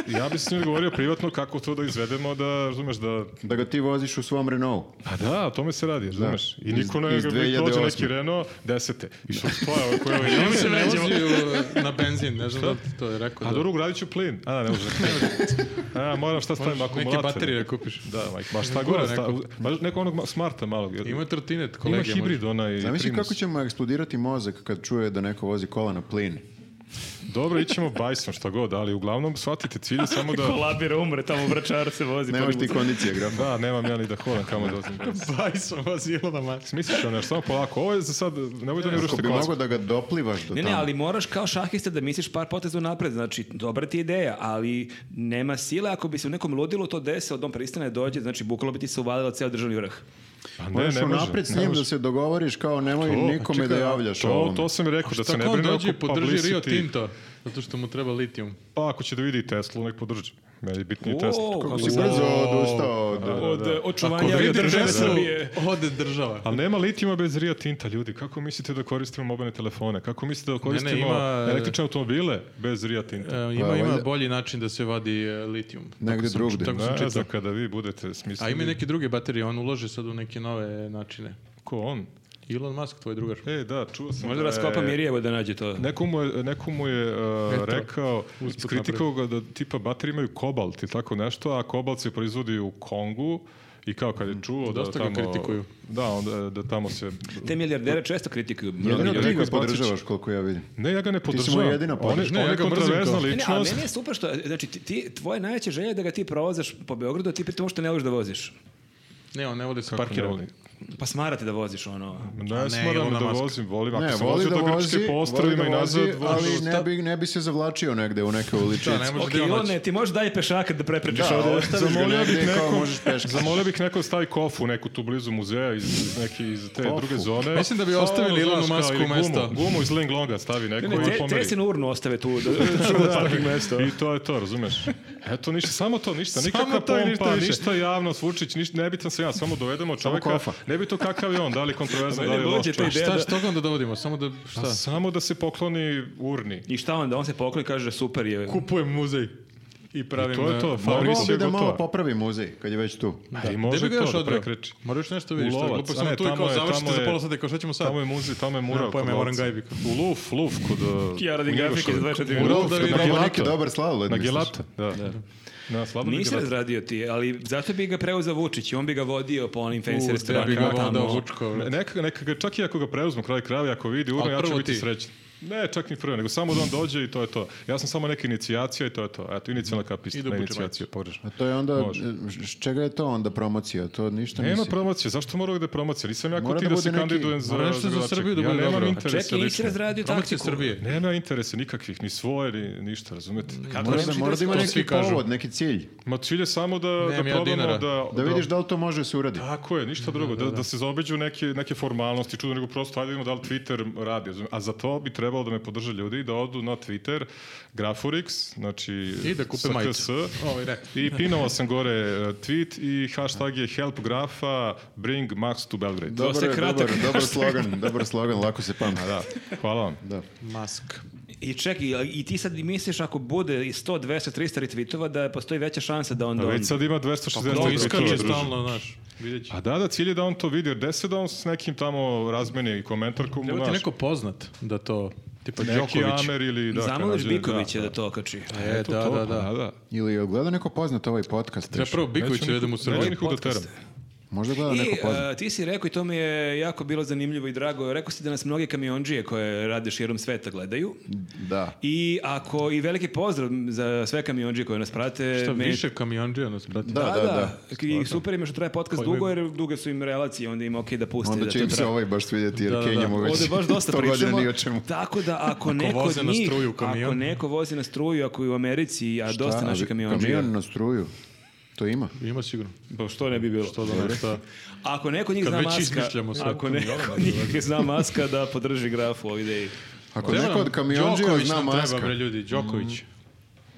A: Ja bih se s njim dogovorio privatno kako to da izvedemo, da, razumeš, da...
D: Da ga ti voziš u svom Renaultu.
A: A da, o tome se radi, razumeš. I
D: Iz-
A: niko ne
D: iz
A: ga uvijek dođe
D: 2008.
A: neki Renault desete. I što to je ovo koje
B: Ne
A: je...
B: se ne vozi u- na benzin, ne znam da li ti to je rekao.
A: A
B: da-
A: dobro, ugradit ću plin. A, ne može. A, moram šta stavim
B: Možeš
A: akumulator.
B: Neke baterije da kupiš.
A: Da, majk, baš šta
B: Gura
A: gore. Sta,
B: neko.
A: baš neko onog ma- smarta malog. jer-
B: Ima trotine
A: pet kolege. Ima
B: hibrid
A: hibrid onaj
D: Zamisli
A: primus.
D: kako će mu eksplodirati mozak kad čuje da neko vozi kola na plin.
A: Dobro, ićemo bajsom šta god, ali uglavnom shvatite cilje samo da...
C: Kolabira umre, tamo u vračaru se vozi.
D: Nemaš
C: pa
D: ti kondicije, graf.
A: Da, nemam ja ni da hodam kamo da ozim bajs.
B: Bajsom vas Ilona Max.
A: Smisliš ono, samo polako. Ovo je za sad, nemoj da ne
D: Ako
A: rušite
D: bi
A: kocku.
D: mogao da ga doplivaš do
C: Ne,
D: tamo.
C: ne, ali moraš kao šahista da misliš par poteza napred. Znači, dobra ti je ideja, ali nema sile. Ako bi se u nekom ludilu to desilo, dom pristane dođe, znači bukvalo bi ti se uvalila ceo državni vrh.
A: Pa
D: Moraš unapred s njim da se dogovoriš kao nemoj nikome da javljaš o
A: to,
D: ovome.
A: to sam i rekao, da se
B: Šta
A: ne
B: kao
A: brine
B: dođe i
A: oko
B: podrži Rio
A: publicity.
B: Tinto? Zato što mu treba litijum.
A: Pa ako će da vidi i Teslu, nek podrži. Meni je bitniji
C: O,
A: Tesla.
C: kako
D: Kako
C: si
D: si brzo odustao od...
C: Od e, očuvanja
B: Ako vidi
C: države
B: Teslu,
C: Srbije.
B: ode država.
A: Ali nema litijuma bez Rio Tinta, ljudi. Kako mislite da koristimo mobilne telefone? Kako mislite da koristimo
B: ima-
A: električne automobile bez Rio Tinta?
B: E,
D: Pa,
B: ima, ima
D: valjda-
B: bolji način da se vadi e, litijum.
D: Negde
B: Tako sam-
D: drugde.
B: Tako sam
A: Ne
B: čitao.
A: znam, kada vi budete
B: A ima i
A: smislili.
B: neke druge baterije, on ulaže sad u neke nove načine.
A: Ko on?
B: Elon Musk, tvoj drugar.
A: E, da, čuo sam
C: Možda
A: da
C: vas kopa
B: E.
A: je-
C: Mirjevo da nađe to.
A: Neko mu je, neko mu je uh,
B: Eto,
A: rekao,
B: usput
A: iskritikovao ga da tipa baterije imaju kobalt i tako nešto, a kobalt se proizvodi u Kongu i kao kad je čuo da
B: Dosta ga
A: tamo...
B: kritikuju.
A: Da, onda, e, da tamo se...
C: Te milijardere često kritikuju.
D: Jedino
A: Rodrigo
D: ti ga
A: Izbacić.
D: podržavaš koliko ja vidim.
A: Ne, ja ga ne
D: si mu
A: podržavam.
D: jedina
A: On je-
D: podrška.
A: On
B: Ne, ja
A: je
B: ga mrzim
A: kontroverzna
B: kao- Ne,
C: Ne, ne, a
A: ličnost.
C: meni je super što, znači, ti, ti, tvoje najveće želje je da ga ti provozaš po Beogradu, a ti pritom što ne voliš da voziš.
B: Ne, on ne voli se
A: Parkirao.
B: parkirati.
C: Pa smarate da voziš ono.
A: Ne,
B: ne,
A: smaram
B: Ilona
A: da
B: Musk.
A: vozim, volim. Ako
D: Ne,
A: sam
D: voli
A: vozio
D: da
A: do
D: vozi,
A: Grčke po
D: voli da
A: ostravima i
D: vozi,
A: nazad, ono vožu
D: ali ne bi, ne bi se zavlačio negde u neke uličice.
B: Da, ne može
C: Ok,
B: da je on
C: Ilone, ti možeš dalje pešaka da Znači, preprečeš
D: Da,
C: ovde.
D: ostaviš ga
A: Zamolio
D: negde
A: bih
D: kao
A: nekom,
D: možeš peške.
A: zamolio bih neko da stavi kofu neku tu blizu muzeja iz, iz neke iz te
D: Kofu.
A: druge zone.
B: Mislim da bi
A: Pa,
B: ostavili
A: ono,
B: Ilonu
A: znaš, kao, ili
B: Masku mesta.
A: Gumu, gumu iz Ling Longa stavi neko
C: Ne,
A: i
C: te,
A: pomeri.
C: tesinu urnu ostave tu. Da, da, mesto.
A: I to je to, razumeš? Eto, ništa, samo to, ništa,
B: Samo
A: nikakva
B: to i ništa
A: pompa,
B: više.
A: ništa javno, Vučić, ništa, nebitan sam ja, samo dovedemo čoveka,
D: kofa.
A: ne bi to kakav je on, da li kontroverzan, da Pa
C: Mene
A: li loš
C: luđe te
A: čovjek.
C: ideje.
B: Šta,
C: da-
B: što ga onda dovodimo? Samo da, šta?
A: Samo da se pokloni urni.
C: I šta onda? On se pokloni i kaže super je.
B: Kupujem muzej i pravim...
A: I to je to,
B: e,
A: Fabri-
D: Mogao bi
A: Mauricio
D: da malo
A: gotovo.
D: popravi muzej, kad je već tu.
A: Da. I
B: Gde
A: može
B: bi ga još
A: to da
B: odveo?
A: prekreči.
B: Moraš još nešto vidiš.
A: U
B: šta je,
A: lovac.
B: Glupo
A: A
B: sam
A: ne,
B: tu i
A: tamo
B: kao
A: je-
B: završite
A: tamo
B: za
A: je-
B: pola sata, kao šta ćemo sad?
A: Tamo je muzej, tamo je mural.
B: Nemam pojma,
A: kod
B: ja moram
A: Lovca.
B: gajbi.
A: U luf, luf, kod... uh,
C: Ja radim
A: Njegoša.
C: grafike za 24
A: U
C: minuta.
A: luf,
B: Da
A: kod
B: vidim.
A: Nagelata.
D: Pravi neki dobar sladoled.
A: Na
D: misliš?
A: gelata, da. Na slabo
C: Nisi
A: gelata.
C: razradio ti, ali zašto bi ga preuzeo Vučić i on bi ga vodio po onim fancy
B: U, treba bi ga
C: restoranima
B: onda
C: tamo.
B: obučko.
A: Ne- Neka, neka ga, čak i ako ga preuzmu kraj krave, ako vidi urno,
B: Ali
A: ja ću
B: prvo
A: biti
B: ti.
A: srećan. Ne, čak ni prvo, nego samo da on dođe i to je to. Ja sam samo neka inicijacija i to je to. Eto, inicijalna kapista,
B: I da
A: ne
B: obuče
A: inicijacija, pogrešno.
D: A Pa to je onda,
A: Može.
D: s čega je to onda promocija? To ništa
A: Nema
D: nisi.
A: promocije, zašto mora da promocija? Nisam ja
D: Mora
A: kod ti
D: da
A: da,
D: bude
A: se
D: neki-
A: kandidujem za,
B: Mora nešto za
A: gradonačelnika.
B: Srbiju da bude
A: Ja
B: dobro.
A: nemam
B: A
A: interesa
C: Pa Čekaj, nisi
A: lično.
C: razradio
B: Promocija
C: taktiku.
B: Srbije.
A: Nema interesa nikakvih, ni svoje, ni ništa, razumete? Znači,
D: Mora
C: nemaš
D: da,
C: ti
D: mora da ima
B: to
D: neki
B: svi kažu.
D: povod, neki cilj.
A: Ma cilj je samo da, da
B: Nemam ja
A: probamo
B: dinara.
A: da...
D: Da vidiš da li to može da se uradi.
A: Tako je, ništa drugo, da, da, se zaobiđu neke, neke formalnosti, čudno, nego prosto ajde vidimo da li Twitter radi, razumem. a za to bi trebalo da me podrže ljudi i da odu na Twitter, Grafurix, znači
B: I da kupe
A: sa
B: majicu.
A: KS.
B: Ovaj, ne.
A: i pinovao sam gore e, tweet i hashtag je help grafa bring Max to Belgrade.
D: Dobar,
C: Dosta
D: je,
C: kratak
D: dobar, dobar slogan, dobar slogan, lako se pamti.
A: Da, hvala vam.
D: Da.
B: Mask.
C: I čekaj, a- i ti sad misliš ako bude i 100, 200, 300 retvitova da postoji veća šansa da onda
A: A
C: on...
A: Pa već sad ima 260
B: Da, on Pa iskače
A: tweetova, druže.
B: stalno, znaš. Vidjet će.
A: A Pa da, da, cilj je da on to vidi, jer desi da on s nekim tamo razmeni komentar komu,
B: Treba ti
A: znaš,
B: neko poznat da to... Tipa
A: neki
B: Đoković.
A: Amer ili... Da,
C: Zamoliš
A: Kanađanin,
C: Bikovića da to okači.
B: E,
A: Eto
B: da,
A: to,
B: da,
A: pa
B: da.
A: da.
D: Ili je gledao neko poznat ovaj podcast?
B: Treba
D: još?
B: prvo Biković
A: Neću
B: da idem u
A: nikog- neću
B: Srbiju.
A: nikog da teram.
D: Možda je gledao
C: I e,
D: neko poznat.
C: a, ti si rekao i to mi je jako bilo zanimljivo i drago. Rekao si da nas mnogi kamionđije koje rade širom sveta gledaju.
D: Da.
C: I ako i veliki pozdrav za sve kamionđije koje nas prate.
B: Šta
C: meni-
B: više kamionđija nas prati.
C: Da,
D: Da,
C: da, I super im je što traje podcast
B: Koji bi-
C: dugo jer duge su im relacije, onda im ok da puste
D: Onda
C: da
D: će
C: to
D: im se
C: traje.
D: ovaj baš svidjeti jer
B: Da, da, da.
D: Kenjamo već
C: Ovde baš dosta
D: 100 godina
C: pričamo.
D: ni o čemu.
C: Tako da ako, neko
B: voze
C: od
B: na
C: njih,
B: struju kamion.
C: ako neko vozi na struju, ako i u Americi, a dosta
D: Šta?
C: naših kamionđija.
D: Kamion na struju. To ima.
B: Ima sigurno.
C: Pa što ne bi bilo?
B: To da nešto...
C: Ako neko od njih
B: Kad
C: zna
B: već
C: maska,
B: izmišljamo sve
C: ako neko od njih zna maska da podrži graf u ovoj ideji.
D: Ako neko od kamionđija
B: Đoković
D: zna
B: nam
D: maska.
B: treba, bre, ljudi. Đoković.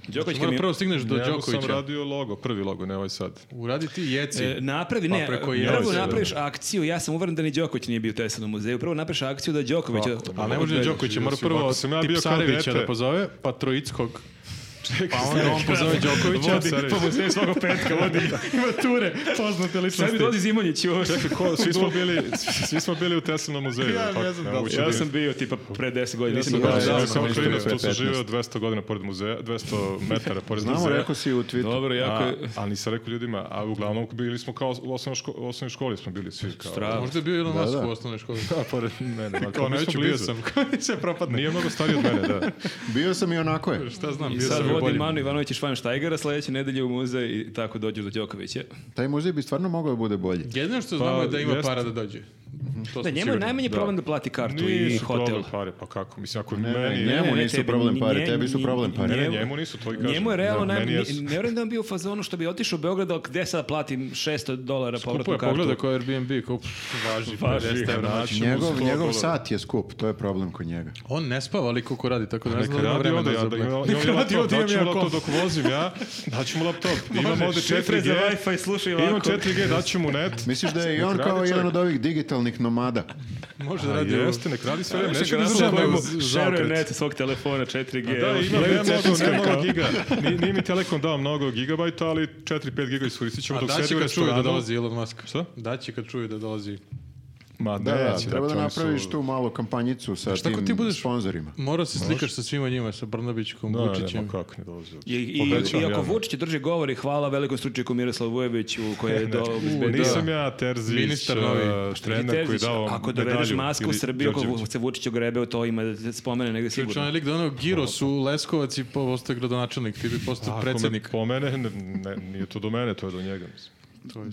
C: Đoković
B: Mora
C: kamion-
B: Znači, prvo stigneš do
A: ja mu sam
B: Đokovića.
A: radio logo, prvi logo, ne ovaj sad.
B: Uradi ti jeci.
C: E, napravi,
B: Pa
C: ne,
B: preko
C: prvo
B: Jelena.
C: napraviš akciju, ja sam uveren da ni Đoković nije bio u Teslinom muzeju, prvo napraviš akciju da Đoković...
B: A Pa, ne može Đokovića, mora
A: Ovako
B: prvo
A: sam ja bio kao
B: Tipsarevića
A: dete.
B: da pozove, pa Troickog. Pa onda on pozove Đokovića.
A: Vodi,
B: Sorry.
A: po muzeju svakog petka vodi.
B: Ima ture, poznate
C: Sad mi
B: ličnosti.
C: dolazi Zimonjić ovo.
A: Čekaj, ko, Pa svi smo bili, svi smo bili u Teslinom muzeju.
B: Ja ne
A: tako,
B: znam da li-
A: moguće
C: Ja
A: biti.
C: sam bio tipa pre 10 godina.
A: Ja sam bio,
C: Nisam ga
A: ja
D: Ja
A: sam
D: sam
A: kao
D: isto
A: klinac,
D: bio
A: tu sam
D: 15.
A: živeo 200 godina pored muzeja, 200 metara pored
D: Znamo,
A: muzeja.
D: rekao si u tweetu.
C: Dobro, jako
A: A,
C: je...
A: a nisam rekao ljudima, a uglavnom bili smo kao u osnovnoj ško- osnovnoj školi, smo bili svi kao...
C: Strava.
B: Možda je bio Elon Musk
D: da.
B: u osnovnoj školi.
A: Da, pored mene. ali
B: Kao
A: mi smo
B: neću, bio
A: blizu.
B: sam. se propadne.
A: Nije mnogo stariji od mene, da.
D: Bio sam i onako je.
B: Šta znam, bio
C: Sad
B: sam i
C: vodi
B: bolji.
C: Manu Ivanović i Švajnštajgera sledeće nedelje u muzej i tako dođu do Đokovića.
D: Taj muzej bi stvarno mogao da bude bolji.
B: Jedino što znamo je da ima
A: jest.
B: para da dođe.
C: Da,
B: To smo
C: njemu je
B: sigurni.
C: najmanji problem da plati kartu i
A: Nisu
C: hotel.
A: problem pare, pa kako? Mislim, ako
D: Ne,
A: meni...
D: ne, Njemu nisu problem
C: ni-
D: pare,
C: nje-
D: tebi su
C: ni-
D: problem pare.
A: Ne, njemu nisu, to i kažem.
C: Njemu je realno
A: Da,
C: naj...
A: meni
C: ne,
A: jesu.
C: ne verujem da je on bio u fazonu što bi otišao u Beograd, ali gde sad platim 600 dolara
B: Kupo
C: povratnu
B: je
C: kartu.
B: pogleda kao Airbnb, kao pff, važi,
A: Važi,
B: 50 evra.
A: naći ćemo
D: Njegov,
A: 100
D: njegov
A: dolara.
D: sat je skup, to je problem kod njega.
B: On ne spava, ali koliko radi, tako da ne znam
A: Neka
B: ono, da ima
A: radi onda
B: vremena za
A: ja, da
B: oblak.
A: imam, imam
B: Neka radi
A: laptop,
B: onda,
A: daću
B: imam
A: mu
B: ja
A: laptop
B: komp.
A: dok vozim ja, daću mu laptop. Imam
C: Može,
A: ovde
C: šifre
A: 4G,
C: za Wi-Fi, slušaj
A: imam
C: ovako.
A: 4G, daću mu net.
D: Misliš da je i on
A: Ukrade
D: kao jedan
A: čovjek.
D: od ovih digitalnih nomada?
B: Može da
A: A
B: radi ovo.
A: jeste, nek radi sve vreme,
C: Znači, Mislim,
A: neće da izražava
C: garantuje da mu
A: mu
C: šeruje
A: zaokret.
C: net svog telefona 4G.
A: Da,
C: evo,
A: ima
C: gledaj
A: ne mnogo,
C: cetinska
A: ne mnogo
C: kao.
A: giga. Ni- Nije mi Telekom dao mnogo gigabajta, ali 4-5 giga iskoristit ćemo
B: A
A: dok
B: da
A: sedi
B: će
A: u
B: kad čuju da
A: restoranu.
B: dolazi Elon Musk.
A: Šta?
B: Da će kad čuju da dolazi.
A: Ma
D: Da, da,
A: neće,
D: treba da
B: dakle,
A: znači, oni su-
D: napraviš tu malu kampanjicu sa
B: Šta ako
D: tim
B: ti budeš-
D: sponzorima.
B: Mora se slikaš sa svima njima, sa Brnabićkom,
A: Da, ne,
B: Vučićem.
A: ma kako ne dolazi.
C: I, i,
A: Obećavam
C: i ako
A: javno.
C: Vučić drži govor i hvala velikom stručnjaku Miroslavu Vujeviću koji je do...
A: Znači, U,
C: obezbedio-
A: Nisam ja Terzić,
B: Ministar
A: uh,
B: novi.
A: trener koji je dao
C: Ako dovedeš
A: medalju,
C: masku u
A: ili
C: Srbiju, ako
A: Đorđević.
C: se Vučić ogrebeo, to ima da se spomene negde
B: Ključno
C: sigurno.
B: je lik da ono Giros u Leskovac i postao gradonačelnik, ti bi postao predsjednik.
A: Ako me pomene, ne, ne, nije to do mene, to je do njega. Mislim.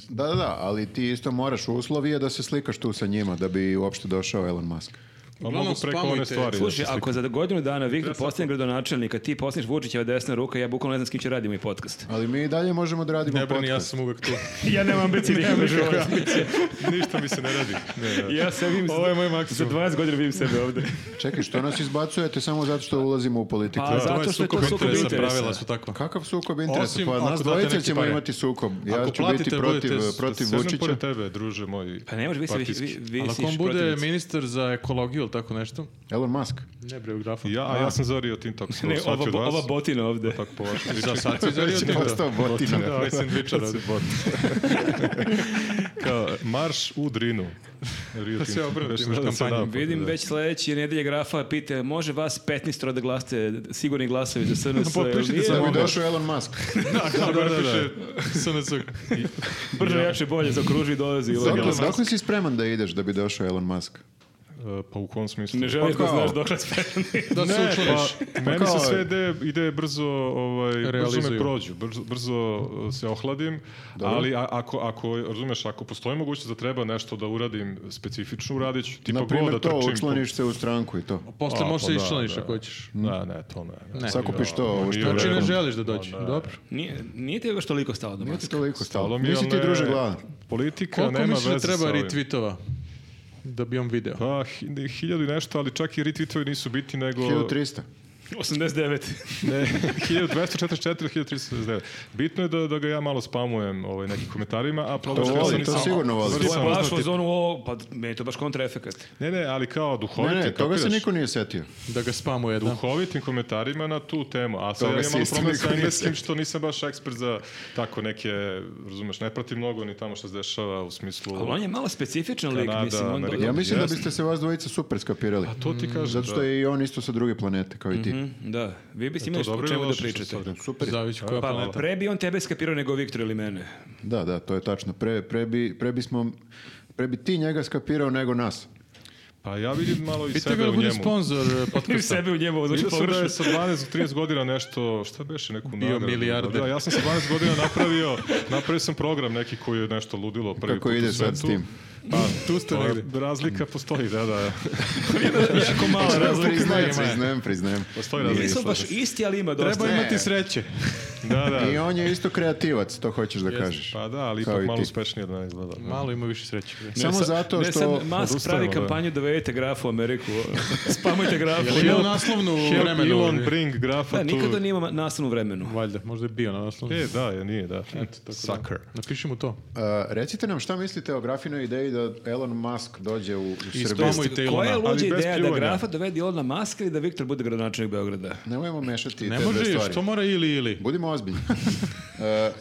D: Da, da, da, ali ti isto moraš uslov je da se slikaš tu sa njima da bi uopšte došao Elon Musk.
A: Pa
B: Uglavnom,
A: mogu preko
B: spamujte.
A: one stvari. znači,
C: Slušaj,
A: da se
C: ako za godinu dana Viktor postane gradonačelnik, a ti postaneš Vučićeva desna ruka, ja bukvalno ne znam s kim će radimo i podcast.
D: Ali mi i dalje možemo da radimo
B: Ne brini, ja
D: podcast.
B: sam uvek tu.
C: ja nemam ambicije
A: slikam. Ništa mi se ne radi. Ne, ne.
C: Ja se vidim,
B: Ovo je moj
C: za
B: maksimum.
C: 20 godina vidim sebe ovde.
D: Čekaj, što nas izbacujete samo zato što ulazimo u politiku?
C: Pa,
D: Da.
C: zato što je to sukob interesa.
B: Pravila su takva.
D: Kakav sukob interesa?
B: Osim
D: Pa
B: ako
D: nas
B: date
D: dvojica
B: neke
D: ćemo
B: pare.
D: imati sukob. Ja
B: Ako
D: ću
B: platite,
D: biti protiv,
B: budete-
D: protiv
A: Sedem
D: Vučića.
A: pored tebe, druže moj.
C: Pa ne može, vi se vi,
A: partijski.
C: vi, vi
B: Ali
C: si
B: ako on bude
C: protivnici.
B: ministar za ekologiju ili tako nešto,
D: Elon Musk.
B: ne bre, u grafu.
A: Ja, a ja sam za Rio Tinto, ako sam
C: Ne,
A: dobro
C: ova,
A: shvatio od
C: bo-
A: vas.
C: ova botina ovde.
A: Tako po vašem
B: Za
A: priču.
B: sad si za Rio
D: Već je
B: Tinto.
D: postao botina.
A: Da, ovaj sandvičar radi bot. Kao, marš u Drinu. Rio
B: se
A: Tinto.
B: obrati,
A: Već
B: imaš
A: nadam se
B: kampanju.
A: naopako,
C: Vidim
A: da.
C: već sledeće nedelje grafa pite, može vas 15 da glasate sigurni glasovi za SNS.
B: Potpišite
C: jel nije?
B: se,
D: Da bi
B: molim vas.
D: došao Elon Musk.
B: Da, kao da, da, da. SNS.
C: Brže, jače, bolje, zaokruži i dolazi. ovaj
D: Dokle, dokle si spreman da ideš da bi došao Elon Musk?
A: E, Pa u kom smislu?
C: Ne želiš
D: Pa
C: da
D: kao?
C: znaš dok nas
B: Da se učlaniš.
A: Pa, meni se sve ideje, ideje brzo, ovaj, brzo
B: Realizuju.
A: me prođu, brzo, brzo uh, se ohladim, ali a- ako, ako, razumeš, ako postoji mogućnost da treba nešto da uradim specifično, uradit ću, tipa
D: Na
A: go da
D: primjer to,
A: pa trčim. po-
D: učlaniš se u stranku i to.
B: Posle
A: A,
B: možeš
A: pa
B: se
A: da,
B: išlaniš
A: da.
B: ako hoćeš.
A: Ne, ne, to ne.
B: Ne.
D: Sakupiš to, ovo što je
B: Znači ne
D: rekao.
B: želiš da dođe.
A: Pa da.
B: Dobro.
C: Nije, nije ti još toliko stalo do
D: Nije ti
C: maske.
D: toliko
A: Stalo
D: stalo.
A: mi je,
D: Nisi ti
A: ali ne,
D: druže gladan.
A: Politika
B: Koliko
A: nema
B: misliš da
A: veze sa
B: treba
A: ovim.
B: retweetova da bi on video?
A: Pa, hi- hiljadu i nešto, ali čak i retweetovi nisu biti, nego...
D: 1300.
C: 89.
A: Ne, 1244, 1369. Bitno je da, da ga ja malo spamujem ovaj, nekim komentarima, a problem
D: To
A: što ja sam
D: voli, to
A: nisam-
D: sigurno voli.
A: Vrlo
C: To je
A: sam
C: baš
A: uznati-
C: u zonu, o, pa meni je to baš kontraefekat.
A: Ne, ne, ali kao
D: Ne,
A: duhovite,
D: ne, toga se
A: kapiraš?
D: niko nije setio.
B: Da ga spamuje, da.
A: duhovitim komentarima na tu temu. A sad
D: Toga
A: ja
D: se
A: imam malo
D: isto
A: problem
D: niko
A: sa
D: nije
A: engleskim što nisam baš ekspert za tako neke, razumeš, ne pratim mnogo ni tamo što se dešava u smislu...
C: Ali on je malo specifičan lik,
A: Kanada,
C: mislim. On do-
A: Amerika.
D: Ja mislim da
A: Jasno.
D: biste se vas dvojica super skapirali.
A: Pa To ti kažem.
D: Mm, Zato što
A: da.
D: je i on isto sa druge planete, kao i
C: Mhm.
D: ti.
C: Mm, Da, vi biste imali
A: to
C: o
A: dobro
C: čemu
A: ili
C: da
A: loše što
C: pričate.
A: sad?
D: Super. je.
B: Zavisi koja
C: Pa
B: planeta.
C: pre bi on tebe skapirao nego Viktor ili mene.
D: Da, da, to je tačno. Pre, pre, bi, pre, bismo, pre bi ti njega skapirao nego nas.
A: Pa ja vidim malo i
B: Pitaj ga
A: sebe
B: da
A: u
B: bude
A: njemu.
B: sponsor eh,
C: Ti
B: podcasta.
C: sebe u
D: Pa
C: njemu, znači
A: Vidio sam da
C: pogrešno.
A: je sa 12 do 13 godina nešto, šta beše, neku
B: Bio
A: nagradu.
B: milijarder.
A: Da, ja sam sa 12 godina napravio, napravio sam program neki koji je nešto ludilo prvi
D: Kako
A: put u
D: ide
A: svetu.
D: sad s tim? Mm.
A: Pa, tu
B: ste negde.
A: Razlika postoji, da, da.
C: Jako mala razlika.
D: Priznajem, priznajem, priznajem.
A: Postoji razlika.
C: Nisu baš isti, ali ima dosta.
B: Treba
D: Ne.
B: imati sreće.
A: Da, da.
D: I on je isto kreativac, to hoćeš da kažeš.
A: Pa da, ali
D: Kao
A: ipak
D: i
A: malo
D: ti.
A: uspješnije od mene izgleda. Da.
B: Malo ima više sreće.
D: Samo
C: Ne, sa-
D: zato
C: ne,
D: što...
C: sad Musk pravi
A: odustajemo, da.
C: kampanju dovedete grafu u Ameriku. Spamujte grafu.
B: Ili je u naslovnu
A: Help
B: vremenu.
A: Elon bring grafa
C: Da,
A: tu.
C: nikada nije imao nastavnu vremenu.
B: Valjda, možda je bio na naslovnu.
A: E, da, je, nije, da. Sucker.
B: Napiši mu to.
D: Uh, recite nam šta mislite o grafinoj ideji da Elon Musk dođe u, u Srbiju.
B: Ispamujte
C: Koja je
B: Ilona.
A: ali
C: luđa
A: bez
C: ideja da
A: pljuvanja.
C: grafa dovede Ilona Maska ili da Viktor bude gradonačelnik Beograda?
D: Nemojmo mešati
B: Ne
D: te dve
B: može,
D: stvari.
B: što mora ili ili.
D: Budimo ozbiljni. E, e,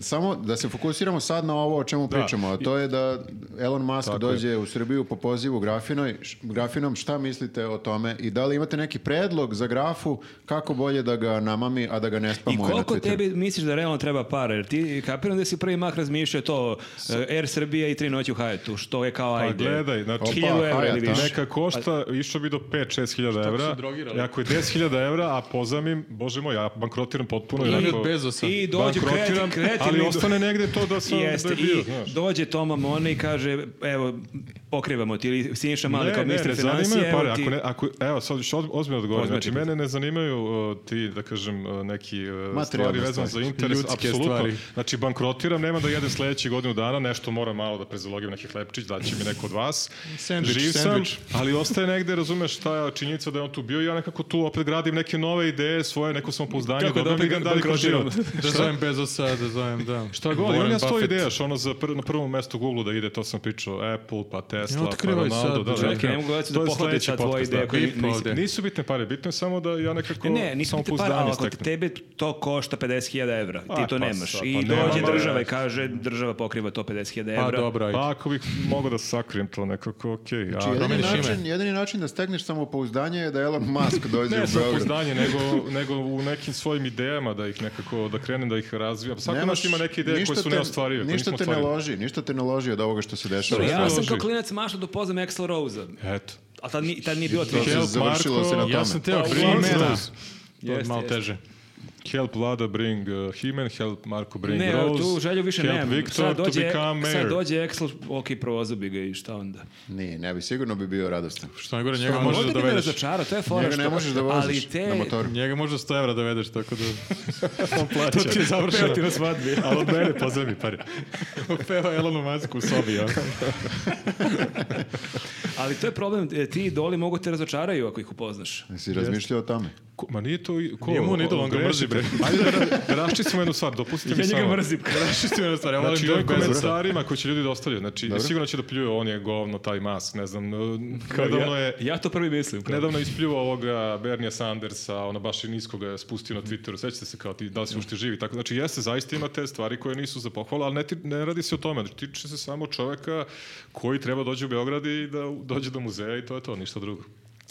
D: samo da se fokusiramo sad na ovo o čemu pričamo, a to je da Elon Musk dođe u Srbiju po pozivu Grafinoj, š- Grafinom, šta mislite o tome i da li imate neki predlog za Grafu kako bolje da ga namami, a da ga ne
A: Pa
C: I
D: spamuje na
C: koliko
D: Twitteru?
C: tebi misliš da realno treba para? Jer ti kapiram da si prvi mah razmišljao to e, Air Srbija i tri noći u Hajetu, što je kao
A: Pa
C: ajde.
A: gledaj, znači,
D: Opa,
C: Hiljadu evra ili
D: Hyatt, a?
C: više.
A: Neka košta, išao bi do 5-6 hiljada evra.
B: drogirali.
A: I Ako je 10 hiljada evra, a pozamim, bože moj, ja bankrotiram potpuno.
B: Bolje
A: onako-
B: od Bezosa.
C: I dođu
A: bankrotiram,
C: kreativni, kreativni.
A: ali ostane negde to da sam
C: Jeste,
A: da je bio,
C: i
A: znaš.
C: dođe Toma Mona i kaže, evo, pokrivamo ti, ili Siniša Mali kao ministar
A: zanimaju
C: financija,
A: pare.
C: evo ti...
A: Ako ne, ako, evo, sad ću od- ozbiljno odgovorim.
C: Ozbiljno ti
A: Znači, mene ne zanimaju uh, ti, da kažem, uh, neki uh,
D: Materijalne
A: stvari vezane za
D: stvari.
A: interes.
B: Ljudske
A: apsolutno.
B: stvari.
A: Znači, bankrotiram, nema da jedem sledećih godinu dana, nešto moram malo da prezalogim neki hlepčić, daće mi neko od vas.
B: Sendvič,
A: Živ
B: sendvič.
A: sam, ali ostaje negde, razumeš, ta činjenica da je on tu bio i ja nekako tu opet gradim neke nove ideje, svoje, neko samopouzdanje,
C: Kako
A: dobim
C: da
A: i ga dalje kroz
C: bankrotiram?
A: život.
B: Da zovem Bezosa, da zovem, da.
A: Šta god,
B: Warren
A: imam Pa ja sto
B: Buffett.
A: idejaš, ono za pr- na prvom mestu Google da ide, to sam pričao, Apple, pa Tesla, pa
B: otkrivaj sad,
A: Ronaldo, da, da,
B: čekaj,
A: da.
C: ne mogu gledati
A: To
C: da
A: je
C: pohvate
A: sledeći
C: sad tvoje
A: podcast,
C: ideje
A: da.
C: koje
A: Bitno
B: nisi-
A: ovde. Nisu bitne pare, bitno je samo da ja nekako
C: Ne, nisu ti para, ali
A: samopouzdanje
C: ako
A: steknem.
C: tebi to košta 50.000 evra, ti
A: A,
C: to
A: pa
C: nemaš.
A: sad, pa
C: I
A: nema,
C: dođe
A: ma,
C: država
A: ne.
C: i kaže, država pokriva to 50.000 evra.
B: Pa dobro, ajde.
A: Pa ako bih mogao da sakrijem to nekako, okej. a-
D: Znači, jedini,
B: promeniš ime.
D: način, jedini način da stegneš samopouzdanje je da Elon Musk
A: ne
D: dođe u Beograd.
A: samopouzdanje, nego, nego u nekim svojim idejama da ih nekako, da krenem da ih razvijam. Svako od nas
D: Nemaš-
A: ima neke ideje
D: ništa
A: koje su
D: te-
A: neostvarive, koje
D: Ništa
A: nismo
D: te ne
A: ostvarili.
D: loži, ništa te ne loži od ovoga što se dešava.
A: Dobro,
C: Ja sam kao
A: Loži.
C: klinac mašao da upoznam Axl Rose-a.
A: Eto.
C: A tad, ni, tad nije bilo
D: To se
A: Help
D: završilo
A: Marko,
D: se na tome.
B: Ja sam teo
A: Pa,
B: Help
A: Warren
B: Rose.
A: Rose.
B: To je
C: Jeste,
B: malo
C: jeste.
B: teže.
A: Help Vlada bring uh, Himen, help Marko bring
C: Ne, evo,
A: Rose.
C: tu želju više
A: help
C: nemam.
A: Viktor
C: sad
A: to
C: dođe,
A: become mayor.
C: sad dođe Axl, ok, provazu bi ga i šta onda.
D: Nije, ne bi, sigurno bi bio radostan.
B: Što najgore, njega
A: Pa
B: možeš da
C: Možda bi me
B: dovedeš.
C: razočarao, to je fora
D: Njega
C: što...
D: ne možeš da voziš
C: ali te,
D: na motoru.
B: Njega možda 100 evra dovedeš, tako da...
A: on plaća. to ti je završeno.
B: Peo ti
A: na svadbi. Ali od mene pozdravi pare.
B: Peva Elonu Masku u sobi, ja.
C: ali to je problem, e, ti idoli mogu te razočaraju ako ih upoznaš.
D: Jesi razmišljao o tome?
A: Ko, ma nije to... i- Ko,
B: Nije mu ni idol,
A: o-
B: on ga
A: grešite.
B: mrzi,
A: Ajde da, da raščistimo jednu stvar, dopustite mi samo.
B: Rašisti na stvar, ja volim
A: Znači, u
B: Joe
A: ovim
B: Bezosa.
A: komentarima koji će ljudi dostavljaju, znači, sigurno će da pljuje, on je govno, taj mask, ne znam, nedavno je...
C: ja to prvi mislim. kao.
A: Nedavno je ispljuo ovoga Bernija Sandersa, ono baš i nisko ga je spustio na Twitteru, sećate se kao ti, da li si ušte živi, tako, znači jeste, zaista ima te stvari koje nisu za pohvalu, ali ne, ti- ne radi se o tome, znači tiče se samo čoveka koji treba dođe u Beograd i da u- dođe do muzeja i to je to, ništa drugo.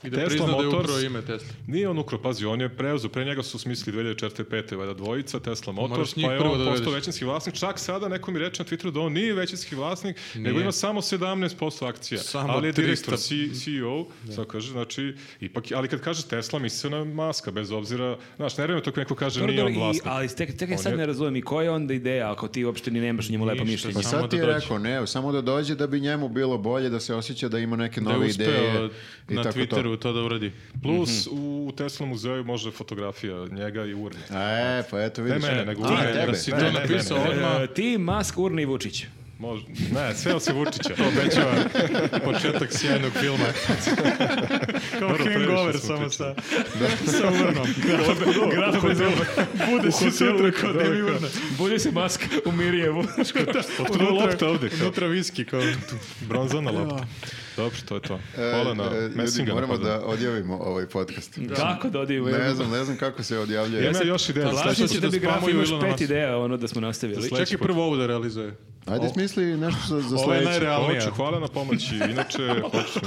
B: I da prizna da je upravo ime Tesla.
A: Nije on ukro, pazi, on je preuzeo, pre njega su smislili 2004-2005, valjda dvojica, Tesla
B: Moraš
A: Motors,
B: njih
A: pa je
B: prvo
A: on
B: da
A: postao
B: dovedeš.
A: većinski vlasnik. Čak sada neko mi reče na Twitteru da on nije većinski vlasnik, nego ima samo 17% akcija.
B: Samo
A: ali je direktor,
B: 300.
A: C- CEO, sad kaže, znači, ipak, ali kad kaže Tesla, misli se na maska, bez obzira, znaš, ne vreme to kad neko kaže
C: Dobro,
A: nije on
C: dobro, i-
A: vlasnik.
C: ali tek, tek
A: On
C: sad
A: je-
C: ne razumijem i koja je onda ideja ako ti uopšte ni nemaš o njemu lepo
B: Ništa,
C: mišljenje.
D: Pa
B: Samo
D: sad ti
B: da
D: je
B: dođe.
D: rekao, ne, samo da dođe da bi njemu bilo bolje, da se osjeća da ima neke
B: Da je
D: nove
B: uspeo
D: ideje i
B: na
D: tako
B: Twitteru to da uradi.
A: Plus, u Tesla muzeju može fotografija njega i urne.
D: to. E, pa eto vidiš.
A: Ne mene, nego
D: A,
A: urne.
D: tebe.
B: Da si
A: Ne,
B: to
A: ne, ne,
B: napisao
A: ne, ne.
B: odmah.
C: E, ti, Musk, Urni i Vučić.
A: Može, ne, sve osim Vučića.
B: To obećava početak sjajnog filma. Kao
A: Dobro, previše
B: hangover
A: smo
B: samo
A: pričali.
B: sa, sa urnom. Graf kod urna. Bude se sutra kod Demi urna.
C: Bolje se Musk u Mirjevu.
A: Otkud je lopta ovde? kao?
B: Unutra viski kao tu.
A: Bronzana lopta. Dobro, to je to.
D: E,
A: Hvala na
D: e, ljudi,
A: Messinga.
D: moramo
A: napadam.
D: da odjavimo ovaj podcast.
C: Kako da odim u
D: Ne znam, ne znam kako se odjavljuje.
A: Ima još ideja. za
C: Lažno
A: sledeće.
C: će
B: će
C: da
B: da
C: bi graf
B: spamuju
C: imaš
B: Ilona
C: pet
B: Maska.
C: ideja, ono da smo nastavili.
B: Čekaj prvo ovu da realizuje.
D: Ajde smisli nešto za, za
B: Ovo je
D: sledeće.
B: najrealnija.
A: Hoću, hvala na pomoći. Inače, hoću.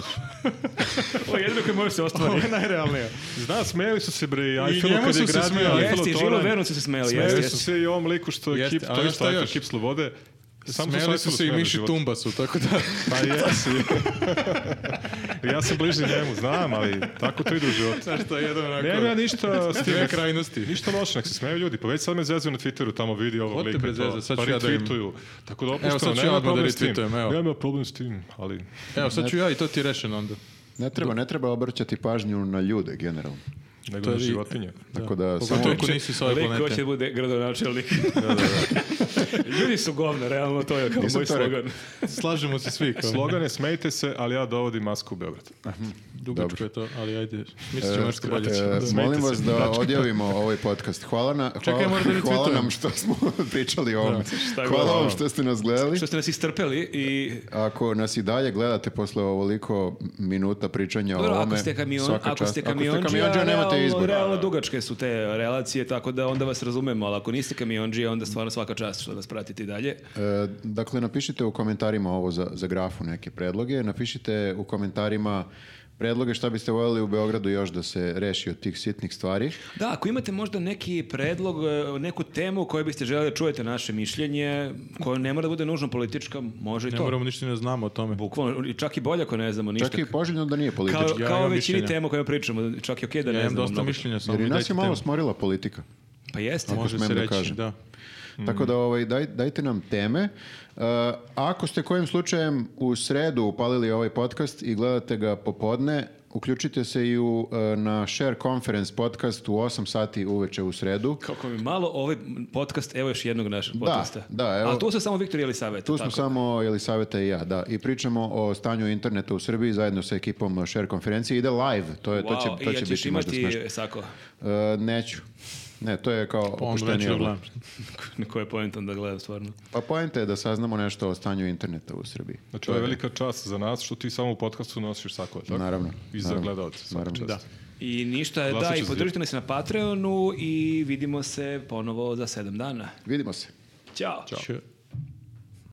C: Ovo je jedino koje može se
B: Ovo
C: ostvariti.
B: je najrealnija.
A: Zna, smeli su se bre i Eiffelu
B: njemu
A: kad je
B: su se
A: gradio
B: smeli.
A: Eiffelov
C: Jeste, i Žilo
A: toranj.
C: Verno su se smeli.
A: Smeli
C: Jeste,
A: su
C: jeste.
A: se i ovom liku što je
B: Jeste,
A: kip,
B: ali
A: to je
B: znaš šta
A: Stajfer,
B: još?
A: kip slobode. Sam
B: Smeli su se i Miši Tumbasu, tako da...
A: Pa jesi. ja sam bliži njemu, znam, ali tako to ide u životu.
B: Znaš šta, jedan onako...
A: Nemam ja ništa s tim.
B: Dve krajnosti.
A: Ništa loše, nek se smeju ljudi. Pa već sad me zezaju na Twitteru, tamo vidi ovog
B: Od
A: lika.
B: tebe
A: i to.
B: zeza, sad
A: pa
B: ću ja da im-
A: retweetuju. Tako da opušteno,
B: Evo, sad ću ja
A: nema
B: odmah da
A: problem s tim.
B: retweetujem, evo.
A: Nema problem s tim, ali...
B: Evo, sad ću ja i to ti rešeno onda.
D: Ne treba, ne treba obraćati pažnju na ljude generalno.
A: nego na životinje.
D: Tako da, samo,
B: Pogotovo ako nisi s ove
C: Lik
B: planete.
C: hoće da bude gradonačelnik. Ljudi su govna, realno to je kao
D: Nisam
C: moj
D: to rekao.
C: slogan.
B: Slažemo se svi. Kao.
A: Slogan je smejte se, ali ja dovodim masku u Beograd.
B: Dugačko je to, ali ajde. Mislim ćemo nešto bolje.
D: E,
B: Da.
D: molim vas da odjavimo ovaj podcast. Hvala, na, hvala,
B: Čekaj, moram da
D: hvala
B: retweetujem.
D: nam što smo pričali o ovome.
C: je
D: hvala
C: bilo?
D: vam što ste nas gledali.
C: Što ste nas istrpeli i...
D: Ako nas i dalje gledate posle ovoliko minuta pričanja
C: Dobro,
D: o ovome,
C: ako ste kamion,
D: svaka
C: ako ste
D: čast. Ako
C: kamionđija,
D: kamionđija, nemate
C: realno-
D: izbor.
C: Realno dugačke su te relacije, tako da onda vas razumemo, ali ako niste kamionđija, onda stvarno svaka čast što nas pratite i dalje.
D: E, dakle, napišite u komentarima ovo za, za grafu neke predloge. Napišite u komentarima predloge šta biste voljeli u Beogradu još da se reši od tih sitnih stvari.
C: Da, ako imate možda neki predlog, e, neku temu o kojoj biste želeli da čujete naše mišljenje, koja ne mora da bude nužno politička, može i
B: Ne
C: to.
B: moramo ništa ni da znamo o tome.
C: Bukvalno, i čak i bolje ako ne znamo ništa.
D: Čak i poželjno da nije
C: kao
D: politički.
B: Ja
C: kao
B: imam
C: većini
B: mišljenja.
C: tema o kojima pričamo, čak i okej da
B: Ja
C: ne
B: imam
C: znamo
B: dosta
C: mnogo.
B: mišljenja, samo
D: Jer i
B: mi
D: nas
B: dajte
D: je malo
B: temu.
D: smorila politika.
C: Pa jeste.
D: Može.
B: Može
D: smem
B: se
D: da
B: reći,
D: kažem.
B: da.
D: Tako da ovaj, daj, dajte nam teme. Uh, ako ste kojim slučajem u sredu upalili ovaj podcast i gledate ga popodne, uključite se i u, uh, na Share Conference podcast u 8 sati uveče u sredu.
C: Kako mi malo ovaj podcast, evo još jednog našeg podcasta.
D: da, evo.
C: Ali tu su samo Viktor i Elisaveta.
D: Tu smo
C: tako?
D: samo Elisaveta i ja, da. I pričamo o stanju interneta u Srbiji zajedno sa ekipom Share konferencije. Ide live, to, je, to
C: Wow,
D: će,
C: i
D: to
C: ja
D: će
C: ćeš
D: biti možda
C: imati
D: smešno.
C: sako.
D: Uh, neću. Ne, to je kao
B: Pa onda neću
D: opuštenije.
B: da gledam.
C: Na koje point onda gledam stvarno.
D: Pa poenta je da saznamo nešto o stanju interneta u Srbiji.
A: Znači, ovo je velika čast za nas što ti samo u podcastu nosiš sako, tako?
D: Naravno,
A: I za
D: naravno,
A: gledalce, svaka
D: naravno.
A: čast.
D: Da.
C: I ništa,
A: Glasit
C: da,
A: ću
C: i
A: za
C: podržite nas na Patreonu i vidimo se ponovo za sedam dana.
D: Vidimo se.
C: Ćao.
B: Če-